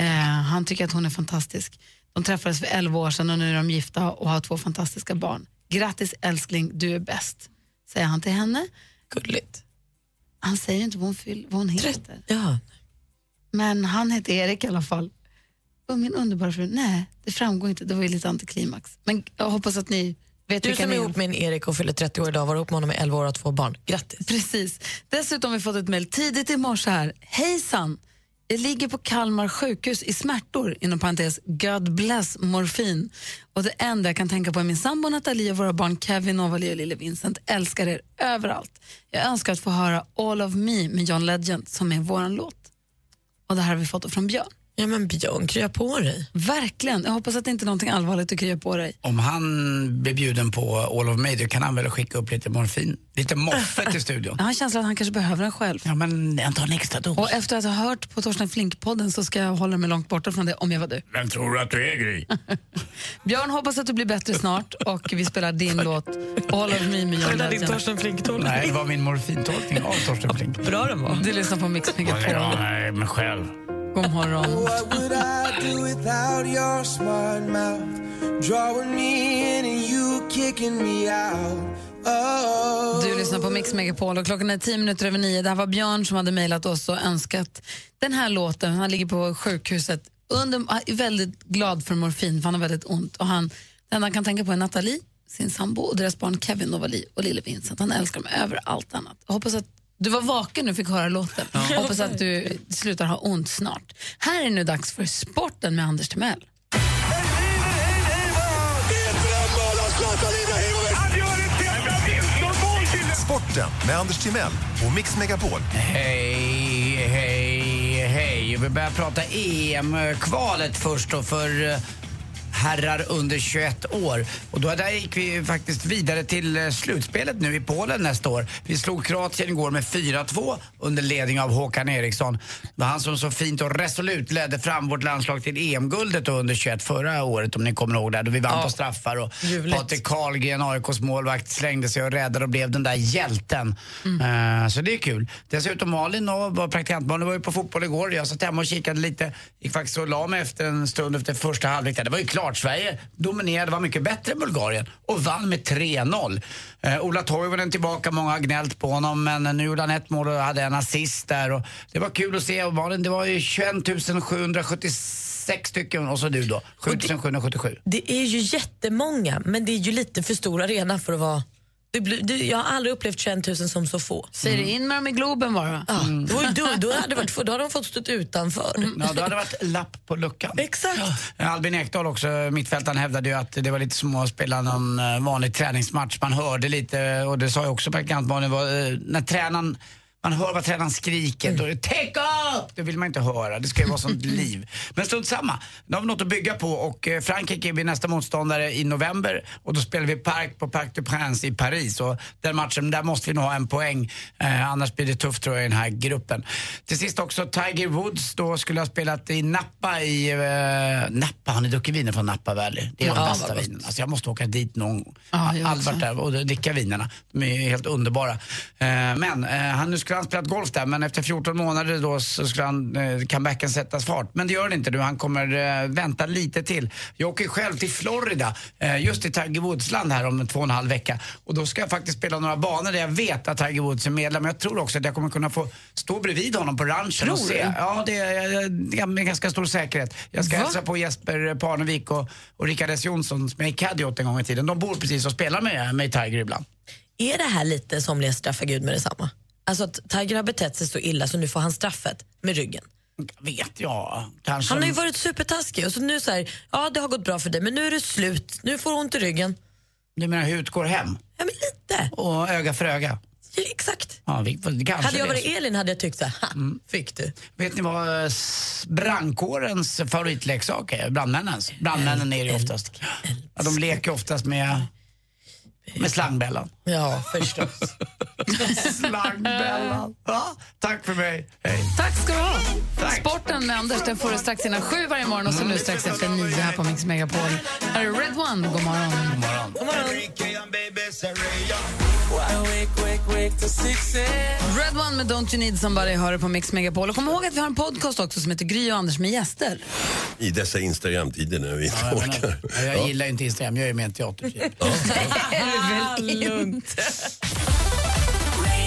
Speaker 3: Eh, han tycker att hon är fantastisk. De träffades för 11 år sedan och nu är de gifta och har två fantastiska barn. Grattis älskling, du är bäst, säger han till henne.
Speaker 6: Gulligt.
Speaker 3: Han säger ju inte vad hon, fyll, vad hon heter.
Speaker 6: Ja.
Speaker 3: Men han heter Erik i alla fall. Och min underbara fru, nej, det framgår inte. Det var ju lite antiklimax. Men jag hoppas att ni vet
Speaker 6: Du
Speaker 3: vilka
Speaker 6: som är
Speaker 3: ni
Speaker 6: ihop med en Erik och fyller 30 år idag var ihop med honom i 11 år och har två barn. Grattis.
Speaker 3: Precis. Dessutom har vi fått ett mejl tidigt i morse här. Hejsan! Jag ligger på Kalmar sjukhus i smärtor, inom parentes God bless morfin. Och det enda jag kan tänka på är min sambo Nathalie och våra barn Kevin, Novali och lille Vincent. Älskar er överallt. Jag önskar att få höra All of me med John Legend som är våran låt. Och det här har vi fått från Björn.
Speaker 6: Ja men Björn, krya på dig.
Speaker 3: Verkligen. Jag hoppas att det inte är någonting allvarligt du kryar på dig.
Speaker 4: Om han blir bjuden på All of Me, då kan han väl skicka upp lite morfin? Lite moffe till studion.
Speaker 3: Jag har en känsla att han kanske behöver den själv.
Speaker 4: Ja, men han tar en extra dos.
Speaker 3: Och efter att ha hört på Torsten Flink-podden så ska jag hålla mig långt borta från det om jag var du.
Speaker 4: Vem tror du att du är, Gry?
Speaker 3: Björn, hoppas att du blir bättre snart och vi spelar din låt All of me med John
Speaker 4: Var det där din
Speaker 3: Legend.
Speaker 4: Torsten Flink-tolkning? Nej, det var min morfintolkning av Torsten Flink.
Speaker 6: Bra den var.
Speaker 3: Du lyssnar på Mix
Speaker 4: Ja,
Speaker 3: Megapol.
Speaker 4: nej, men själv.
Speaker 3: God morgon.
Speaker 15: What would I do without your smart mouth? Drawing me in and you kicking me out. Oh.
Speaker 3: Du lyssnar på Mix Megapol och klockan är tio minuter över nio. Det här var Björn som hade mejlat oss och önskat den här låten. Han ligger på sjukhuset under, ah, är väldigt glad för morfin för han har väldigt ont. Och han, det enda han kan tänka på är Nathalie, sin sambo och deras barn Kevin Novali och lille Vincent. Han älskar dem över allt annat. Jag hoppas att du var vaken och fick höra låten. Jag Hoppas att du slutar ha ont snart. Här är det nu dags för sporten med Anders Timell.
Speaker 5: Sporten med Anders Timell och Mix Megapol.
Speaker 4: Hej, hej, hej. Vi börjar prata EM-kvalet först och för eh, herrar under 21 år. Och då där gick vi ju faktiskt vidare till eh, slutspelet nu i Polen nästa år. Vi slog Kroatien igår med 4-2 under ledning av Håkan Eriksson. Det var han som så fint och resolut ledde fram vårt landslag till EM-guldet då under 21 förra året om ni kommer ihåg det. Då vi vann på straffar och Patrik Karlgren, AIKs målvakt, slängde sig och räddade och blev den där hjälten. Eh, så det är kul. Dessutom Malin och var praktikant Malin var ju på fotboll igår. Jag satt hemma och kikade lite. Gick faktiskt och la mig efter en stund efter första halvlek. där. Det var ju klart, Sverige dominerade, var mycket bättre än Bulgarien och vann med 3-0. Eh, Ola Toivonen tillbaka, många har gnällt på honom men nu gjorde han ett mål och hade en assist där. Och det var kul att se och Malin, det var ju 21 776 stycken och så du då, 7777.
Speaker 6: Det är ju jättemånga, men det är ju lite för stor arena för att vara... Det blir, det, jag har aldrig upplevt 21 000 som så få. Mm.
Speaker 3: Säger du in med dem i Globen bara?
Speaker 6: Ja, då, då, då, hade det varit, få- då hade de fått stå utanför.
Speaker 4: Mm. Ja, då hade det varit lapp på luckan.
Speaker 6: Exakt.
Speaker 4: Albin Ekdal också, mittfältaren, hävdade ju att det var lite som att spela någon eh, vanlig träningsmatch. Man hörde lite, och det sa ju också praktikant Malin, var, eh, när tränaren man hör vad tränaren skriker, då är det “Take up!” Det vill man inte höra, det ska ju vara sånt liv. Men strunt samma, nu har vi något att bygga på och eh, Frankrike blir nästa motståndare i november och då spelar vi Park på Parc du Prince i Paris och den matchen, där måste vi nog ha en poäng eh, annars blir det tufft tror jag i den här gruppen. Till sist också Tiger Woods då skulle ha spelat i Napa i... Eh, Napa, har ni druckit viner från Napa Valley? Det är de
Speaker 3: Ja,
Speaker 4: bästa
Speaker 3: vad gott.
Speaker 4: vinerna. Alltså jag måste åka dit någon gång.
Speaker 3: Ja, jag
Speaker 4: Albert
Speaker 3: också.
Speaker 4: där och dricka vinerna. De är ju helt underbara. Eh, men eh, han, nu skulle han spelat golf där men efter 14 månader då så skulle han, eh, comebacken sättas fart. Men det gör den inte nu. Han kommer eh, vänta lite till. Jag åker själv till Florida, eh, just till Tiger Woods-land här om två och en halv vecka. Och då ska jag faktiskt spela några banor där jag vet att Tiger Woods är medlem. Men jag tror också att jag kommer kunna få stå bredvid honom på ranchen och
Speaker 6: Tror
Speaker 4: se.
Speaker 6: du?
Speaker 4: Ja, det är, jag- det är med ganska stor säkerhet. Jag ska
Speaker 6: Va?
Speaker 4: hälsa på Jesper Parnevik och, och Rickard S Jonsson som jag gick caddy åt en gång i tiden. De bor precis och spelar med mig Tiger ibland.
Speaker 6: Är det här lite somliga straffar Gud med detsamma? Alltså att Tiger har betett sig så illa så nu får han straffet med ryggen.
Speaker 4: Vet jag. Kanske.
Speaker 6: Han har ju varit supertaskig och så nu så här, ja det har gått bra för dig men nu är det slut, nu får du ont i ryggen.
Speaker 4: Du menar hur går hem?
Speaker 6: Ja men lite.
Speaker 4: Och öga för öga.
Speaker 6: Ja, exakt.
Speaker 4: Ja, vi, kanske
Speaker 6: hade jag
Speaker 4: det är
Speaker 6: varit
Speaker 4: så. Mm.
Speaker 6: Elin hade jag tyckt så här, ha, fick du.
Speaker 4: Vet ni vad eh, s- brandkårens favoritleksak är? Brandmännens. Brandmännen är det ju oftast. Ja, de leker oftast med, med slangbällan.
Speaker 6: Ja, förstås.
Speaker 4: slangbällan. Ja, tack för mig. Hej.
Speaker 3: Tack ska du ha. Sporten med Anders den får du strax innan sju varje morgon och så nu strax efter nio här på Mix Megapol. Här är Red One. God morgon. God
Speaker 4: morgon.
Speaker 3: Red One med Don't You Need Somebody hör du på Mix Megapol. Och kom ihåg att vi har en podcast också som heter Gry och Anders med gäster.
Speaker 16: I dessa Instagram-tider när vi inte
Speaker 4: Ja, jag
Speaker 16: orkar.
Speaker 4: menar, jag gillar ju inte Instagram, jag är med i en teaterfilm.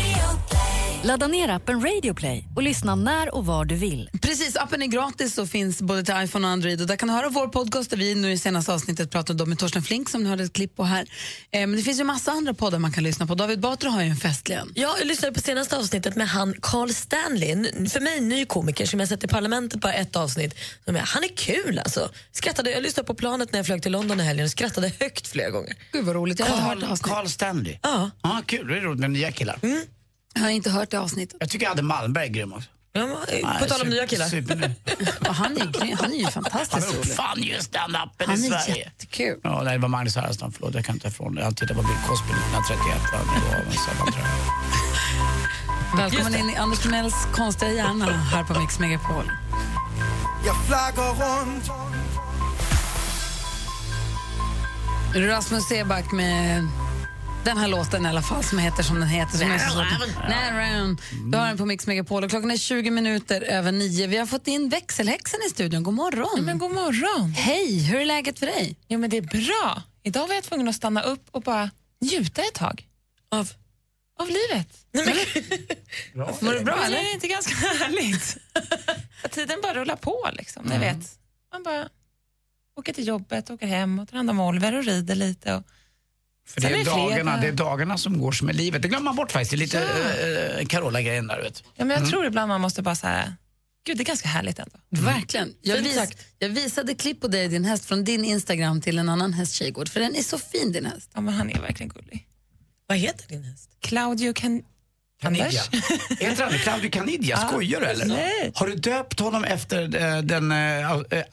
Speaker 1: Ladda ner appen Radio Play och lyssna när och var du vill.
Speaker 3: Precis, appen är gratis och finns både till iPhone och Android. Och där kan du höra vår podcast där vi nu i senaste avsnittet pratade om med Torsten Flink som du hörde ett klipp på här. Eh, men det finns ju massa andra poddar man kan lyssna på. David Batra har ju en fästlön.
Speaker 6: Ja, jag lyssnade på senaste avsnittet med han Carl Stanley, en för mig ny komiker som jag sett i Parlamentet bara ett avsnitt. Som jag, han är kul alltså. Skrattade, jag lyssnade på planet när jag flög till London i helgen och skrattade högt flera gånger.
Speaker 3: Gud vad roligt, jag har inte hört det
Speaker 4: Carl,
Speaker 3: avsnittet.
Speaker 4: Carl Stanley.
Speaker 6: Ja.
Speaker 4: kul, det är roligt med nya killar.
Speaker 3: Jag har inte hört det avsnittet.
Speaker 4: Jag tycker Adde Malmberg är grym också.
Speaker 6: på tal om nya killar.
Speaker 3: Och han, är, ju grym, han är ju fantastisk
Speaker 4: Han uppfann ju stand-upen
Speaker 3: Han
Speaker 4: i
Speaker 3: är
Speaker 4: Sverige.
Speaker 3: jättekul.
Speaker 4: Ja, nej, det var Magnus Härenstam, förlåt jag kan inte ta ifrån det. Jag tittar på Bill Cosby 1931. va, men det var väl så, vad tror jag.
Speaker 3: Välkommen in i Anders Timells konstiga hjärna här på Mix Megapol.
Speaker 15: Jag flaggar runt
Speaker 3: Rasmus Seback med den här låten i alla fall som heter som den heter. Som är så svårt. Närround. Du har den på Mix Megapol och klockan är 20 minuter över nio. Vi har fått in växelhäxan i studion. God morgon. men
Speaker 18: god morgon.
Speaker 3: Hej, hur är läget för dig?
Speaker 18: Jo, men det är bra. Idag var jag tvungen att stanna upp och bara njuta ett tag. Av? Av livet.
Speaker 3: Mår du bra
Speaker 18: Men
Speaker 3: eller?
Speaker 18: Är det inte ganska härligt? Att tiden bara rullar på liksom, ni
Speaker 3: Mm.
Speaker 18: vet. Man bara åker till jobbet, åker hem och tar hand om Oliver och rider lite. Och...
Speaker 4: För det
Speaker 18: Sen
Speaker 4: är,
Speaker 18: fredag.
Speaker 4: dagarna, det är dagarna som går som är livet. Det glömmer man bort faktiskt. Det är lite
Speaker 18: Ja.
Speaker 4: eh, Carola-grejen där. Vet.
Speaker 18: Ja, men jag
Speaker 4: Mm.
Speaker 18: tror ibland man måste bara så här, gud det är ganska härligt ändå.
Speaker 3: Verkligen. Jag, vis, jag visade klipp på dig och din häst från din Instagram till en annan häst Tjejgård, för den är så fin din häst.
Speaker 18: Ja, men han är verkligen gullig. Vad heter din häst? Claudio Can...
Speaker 4: Canidia.
Speaker 18: Anders?
Speaker 4: Heter han Claudio Canidia?
Speaker 18: Ja.
Speaker 4: Skojar du eller?
Speaker 18: Nej.
Speaker 4: Har du döpt honom efter eh, den eh, eh,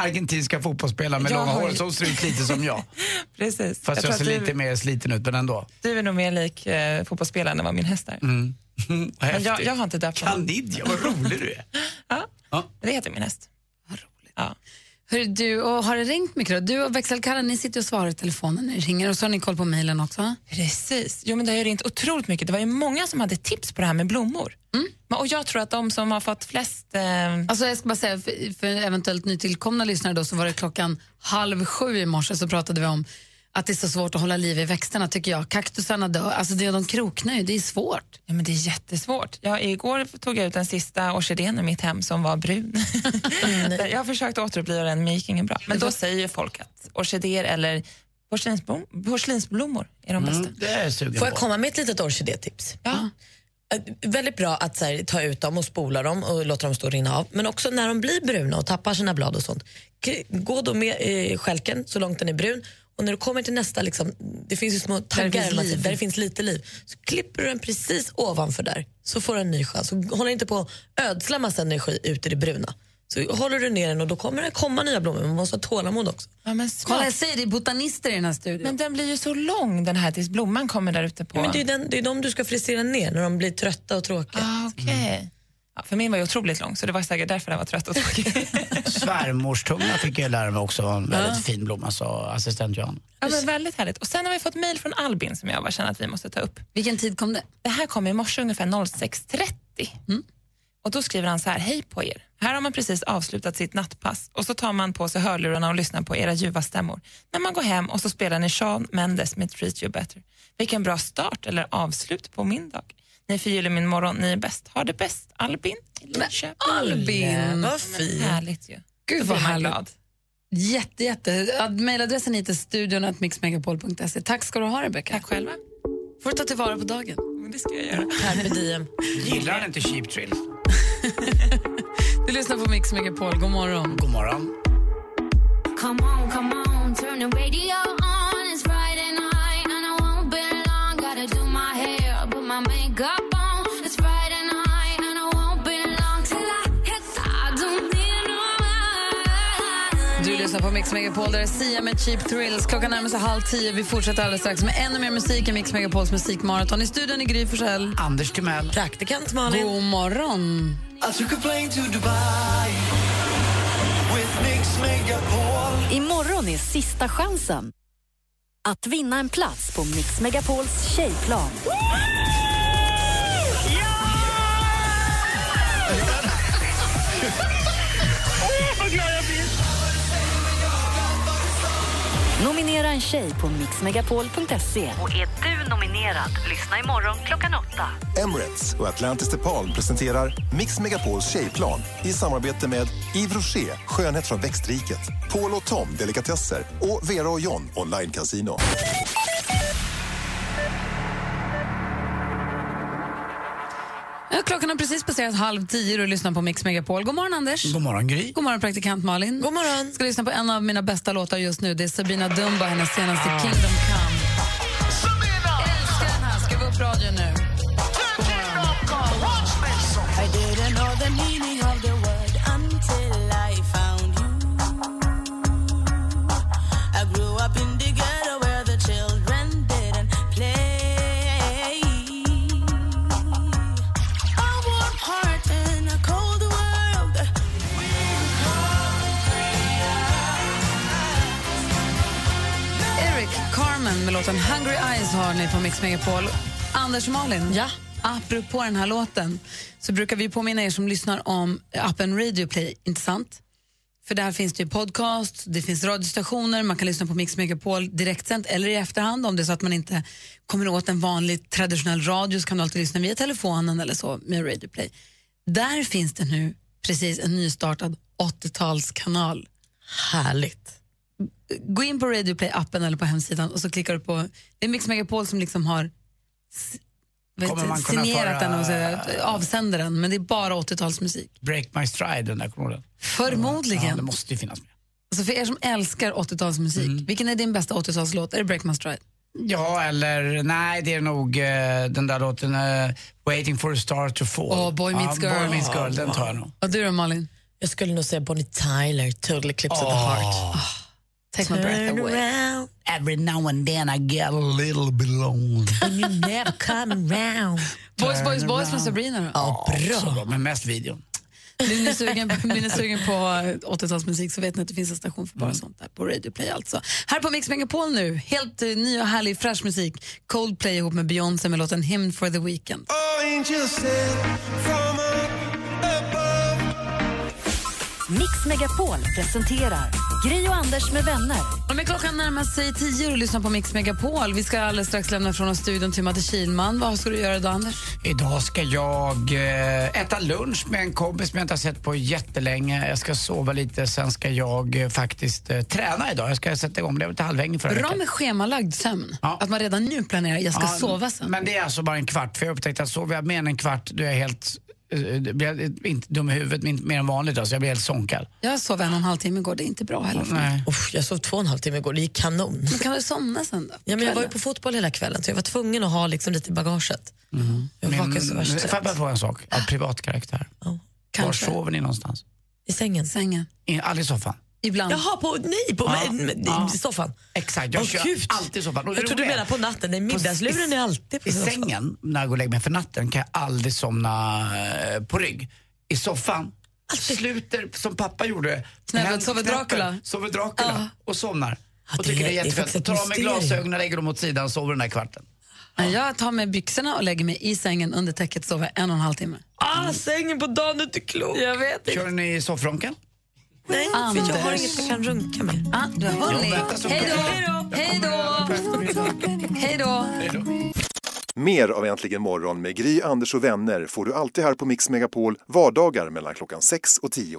Speaker 4: argentinska fotbollsspelaren med
Speaker 18: Jag
Speaker 4: långa
Speaker 18: har
Speaker 4: håret
Speaker 18: ju-
Speaker 4: som ser ut lite som jag?
Speaker 18: Precis.
Speaker 4: Fast jag,
Speaker 18: tror
Speaker 4: ser
Speaker 18: att du-
Speaker 4: lite mer sliten ut, men ändå.
Speaker 18: Du är nog mer lik eh, fotbollsspelaren än vad min häst är.
Speaker 4: Mm.
Speaker 18: Men jag,
Speaker 4: häftigt.
Speaker 18: jag har inte döpt honom.
Speaker 4: Canidia, vad rolig du är.
Speaker 18: Det heter min häst.
Speaker 3: Hör du, och har det ringt mycket då? Du och växelkarren, ni sitter och svarar i telefonen när det ringer och så har ni koll på mejlen också.
Speaker 18: Precis. Jo, men det har ju ringt otroligt mycket. Det var ju många som hade tips på det här med blommor.
Speaker 3: Mm.
Speaker 18: Men- Och jag tror att de som har fått flest... Eh,
Speaker 3: Alltså jag ska bara säga, för, för eventuellt nytillkomna lyssnare då, så var det klockan halv sju i morse så pratade vi om att det är så svårt att hålla liv i växterna tycker jag. Kaktusarna dör, alltså det, de kroknar ju, det är svårt.
Speaker 18: Ja, men det är jättesvårt. Jag, igår tog jag ut den sista orkidén i mitt hem som var brun.
Speaker 3: Mm.
Speaker 18: jag har försökt återuppliva den, men det gick ingen bra. Men då säger ju folk att orkidéer eller porslinsblom, porslinsblommor är de
Speaker 6: Mm.
Speaker 18: bästa.
Speaker 4: Mm, Det är jag sugen
Speaker 6: Får jag
Speaker 4: på.
Speaker 6: komma med ett litet orkidétips?
Speaker 18: Ja.
Speaker 6: Eh, Väldigt bra att så här, ta ut dem och spola dem och låta dem stå och rinna av. Men också när de blir bruna och tappar sina blad och sånt. K- Gå då med eh, skälken så långt den är brun. Och när du kommer till nästa, liksom, det finns ju små taggar
Speaker 18: finns
Speaker 6: eller något,
Speaker 18: liv.
Speaker 6: där det finns lite liv. Så klipper du den precis ovanför där så får du en ny chans. Och Håll inte på att ödsla massa energi ut i det bruna. Så håller du ner den och då kommer det komma nya blommor. Man måste ha tålamod också.
Speaker 18: Ja, men smart.
Speaker 6: Kolla, jag
Speaker 3: säger det är botanister i den här studion.
Speaker 18: Men den blir ju så lång den här tills blomman kommer där ute på...
Speaker 6: Ja, men det, är den, det är de du ska frisera ner när de blir trötta och tråkiga.
Speaker 18: Ah, okej. Ja, för min var ju otroligt lång så det var säkert därför den var trött och tråkig.
Speaker 4: Svärmorstunga fick jag lära mig också var en väldigt
Speaker 18: Ja.
Speaker 4: fin blomma, sa assistent Jan.
Speaker 18: Ja, men väldigt härligt. Och sen har vi fått mejl från Albin som jag bara känner att vi måste ta upp.
Speaker 3: Vilken tid kom det? Mm.
Speaker 18: Det här kom i morse ungefär 06.30. Och då skriver han så här, hej på er. Här har man precis avslutat sitt nattpass och så tar man på sig hörlurarna och lyssnar på era ljuva stämmor. När man går hem och så spelar ni Sean Mendes med Treat You Better. Vilken bra start eller avslut på min dag. Ni förgyller min morgon, ni är bäst. Ha det bäst, Albin. i Linköping.
Speaker 3: Albin!
Speaker 18: Ja, men Härligt ju.
Speaker 3: Gud
Speaker 18: Då
Speaker 3: vad
Speaker 18: blir man
Speaker 3: härligt.
Speaker 18: glad.
Speaker 3: Jätte, jätte. Ad- Mailadressen hit är studion.mixmegapol.se. Tack ska du ha Rebecca. Tack
Speaker 18: själva.
Speaker 3: Får du ta tillvara på dagen.
Speaker 18: Det ska jag göra.
Speaker 6: Carpe diem.
Speaker 4: Gillar han inte Cheap Trill?
Speaker 3: Du lyssnar på Mix Megapol. God morgon.
Speaker 4: God morgon.
Speaker 19: Come on, come on, turn the radio on. It's Friday night, and I won't be long. Gotta do my hair, put my makeup on. It's Friday night, and I won't be long till I hit. I don't need no
Speaker 3: Du lyssnar på Mix Megapol, där är Sia med Cheap Thrills. Klockan närmar sig halv tio. Vi fortsätter alldeles strax med ännu mer musik i Mix Megapols musikmaraton. I studion i Gry Forssell.
Speaker 4: Anders Timell.
Speaker 6: Praktikant Malin.
Speaker 3: God morgon.
Speaker 2: I took a plane to Dubai with Mix Megapol.
Speaker 1: Imorgon är sista chansen att vinna en plats på Mix Megapols tjejplan.
Speaker 13: Åh, vad glad jag blir!
Speaker 1: Nominera en tjej på mixmegapol.se. Och är du nominerad, lyssna imorgon klockan åtta.
Speaker 5: Emirates och Atlantis DePaul presenterar Mix Megapols tjejplan i samarbete med Yves Rocher, skönhet från växtriket, Paul och Tom, delikatesser och Vera och John, online casino.
Speaker 3: Ja, Klockan har precis passerat halv tio och du lyssnar på Mix Megapol. God morgon, Anders.
Speaker 4: God morgon, Gry.
Speaker 3: God morgon, praktikant Malin. God morgon. ska lyssna på en av mina bästa låtar just nu. Det är Sabina Dumba, hennes senaste
Speaker 4: Ah.
Speaker 3: Kingdom Come. Sabina! Älskar den här. Skruva upp radion nu.
Speaker 13: Turn it up, come on, watch me some. I did
Speaker 2: I know the meaning of the word until I found you. I grew up in the ghetto where the children didn't play. A warm heart in a cold world. We call
Speaker 3: Eric Carmen med låten Hungry Eyes har ni på Mix Megapol. Anders och Malin, ja. apropå den här låten så brukar vi påminna er som lyssnar om appen Radio Play, inte sant? För där finns det ju podcast, det finns radiostationer, man kan lyssna på Mix Megapol direktsänt eller i efterhand om det är så att man inte kommer åt en vanlig traditionell radio så kan du alltid lyssna via telefonen eller så med Radio Play. Där finns det nu precis en nystartad 80-talskanal. Härligt. Gå in på Radio Play-appen eller på hemsidan och så klickar du på, det är Mix Megapol som liksom har s- vet,
Speaker 4: Kommer man kunna
Speaker 3: signerat
Speaker 4: föra-
Speaker 3: den och så, här, avsänder den, men det är bara 80-talsmusik.
Speaker 4: Break My Stride, den där, kommer du ihåg den?
Speaker 3: Förmodligen.
Speaker 4: Ja, det måste ju finnas Mm. med.
Speaker 3: Alltså för er som älskar 80-talsmusik, vilken är din bästa 80-talslåt? Är det Break My Stride?
Speaker 4: Ja, eller nej, det är nog eh, den där låten eh, Waiting for a star to fall.
Speaker 3: Åh, Boy Meets
Speaker 4: Ja,
Speaker 3: Girl.
Speaker 4: Boy Meets Girl, den tar jag nog.
Speaker 3: Och du då Malin?
Speaker 6: Jag skulle nog säga Bonnie Tyler, Total Eclipse of the Heart.
Speaker 3: Take my breath
Speaker 6: Turn
Speaker 3: away.
Speaker 6: around.
Speaker 4: Every now and then I get a little belong.
Speaker 6: And you never come around.
Speaker 3: Boys, boys, boys från Sabrina då?
Speaker 6: Ja,
Speaker 4: Så bra, men mest videon.
Speaker 3: Nu är ni sugen, nu är ni sugen på 80-talsmusik så vet ni att det finns en station för bara
Speaker 4: Mm.
Speaker 3: sånt där på Radio Play alltså. Här på Mix Megapol nu, helt eh, ny och härlig fräsch musik. Coldplay ihop med Beyoncé med låten Hymn for the Weekend.
Speaker 15: Oh, angels sent from above.
Speaker 1: Mix Megapol presenterar Gri och Anders med vänner.
Speaker 3: Och med klockan närmar sig tio och du lyssnar på Mix Megapol. Vi ska alldeles strax lämna från oss studion till Madde Kihlman. Vad ska du göra idag, Anders?
Speaker 4: Mm. Idag ska jag eh, äta lunch med en kompis som jag inte har sett på jättelänge. Jag ska sova lite, sen ska jag eh, faktiskt eh, träna idag. Jag ska sätta igång, blev lite halväng förra
Speaker 3: Bra
Speaker 4: veckan.
Speaker 3: med schemalagd sömn. Att man redan nu planerar, jag ska
Speaker 4: Ja,
Speaker 3: sova sen.
Speaker 4: Men det är alltså bara en kvart, för jag upptäckte att sover jag mer än en kvart då är jag helt, eh, blir jag eh, inte dum i huvudet men inte mer än vanligt. Alltså, jag blir helt sånkad.
Speaker 3: Jag sov en och en halv timme igår, det är inte bra heller. för mig.
Speaker 4: Nej.
Speaker 6: Uff, jag sov två och en halv timme igår, det gick kanon.
Speaker 3: Men kan du somna sen då?
Speaker 6: Ja, men jag var ju
Speaker 3: Kvällen?
Speaker 6: på fotboll hela kvällen så jag var tvungen att ha liksom lite i bagaget. Jag
Speaker 4: Men,
Speaker 6: vaknade så värst
Speaker 4: Mm. får jag bara fråga en sak av privat karaktär? Var
Speaker 6: kanske.
Speaker 4: sover ni någonstans?
Speaker 6: I sängen.
Speaker 3: Sängen.
Speaker 4: I, aldrig i soffan?
Speaker 3: Ibland.
Speaker 6: Jaha, på, nej, på men- men- i soffan.
Speaker 4: Exakt, jag
Speaker 6: Åh,
Speaker 4: kör
Speaker 6: gud.
Speaker 4: alltid i soffan. Och det
Speaker 6: Jag trodde du
Speaker 4: roliga
Speaker 6: menade på natten, nej middagsluren
Speaker 4: i-
Speaker 6: är alltid på
Speaker 4: I
Speaker 6: soffan.
Speaker 4: sängen, när jag går och lägger mig för natten, kan jag aldrig somna eh, på rygg. I soffan, sluter som pappa gjorde.
Speaker 3: Knäppet,
Speaker 4: Händer-
Speaker 3: sover
Speaker 4: knäppen,
Speaker 3: Dracula.
Speaker 4: Sover Dracula och somnar.
Speaker 6: Ja,
Speaker 4: och
Speaker 6: det
Speaker 4: tycker det är
Speaker 6: är faktiskt
Speaker 4: jättefett.
Speaker 6: ett
Speaker 4: Tar av mig
Speaker 6: mysterium.
Speaker 4: glasögonen, lägger dem åt sidan och sover den där kvarten.
Speaker 3: Nej, Jag tar med byxorna och lägger mig i sängen under täcket och sover en och en halv timme.
Speaker 6: Ah, sängen på dagen, du är inte klok.
Speaker 3: Jag vet inte.
Speaker 4: Kör ni soffronken?
Speaker 6: Nej, för jag har inget jag kan runka med.
Speaker 3: Ah, du har
Speaker 4: Ja,
Speaker 3: hörni.
Speaker 4: vänta så-
Speaker 3: Hej då! Hej då! Hej då!
Speaker 5: Mer av Äntligen morgon med Gry, Anders och vänner får du alltid här på Mix Megapol vardagar mellan klockan 6 och 10.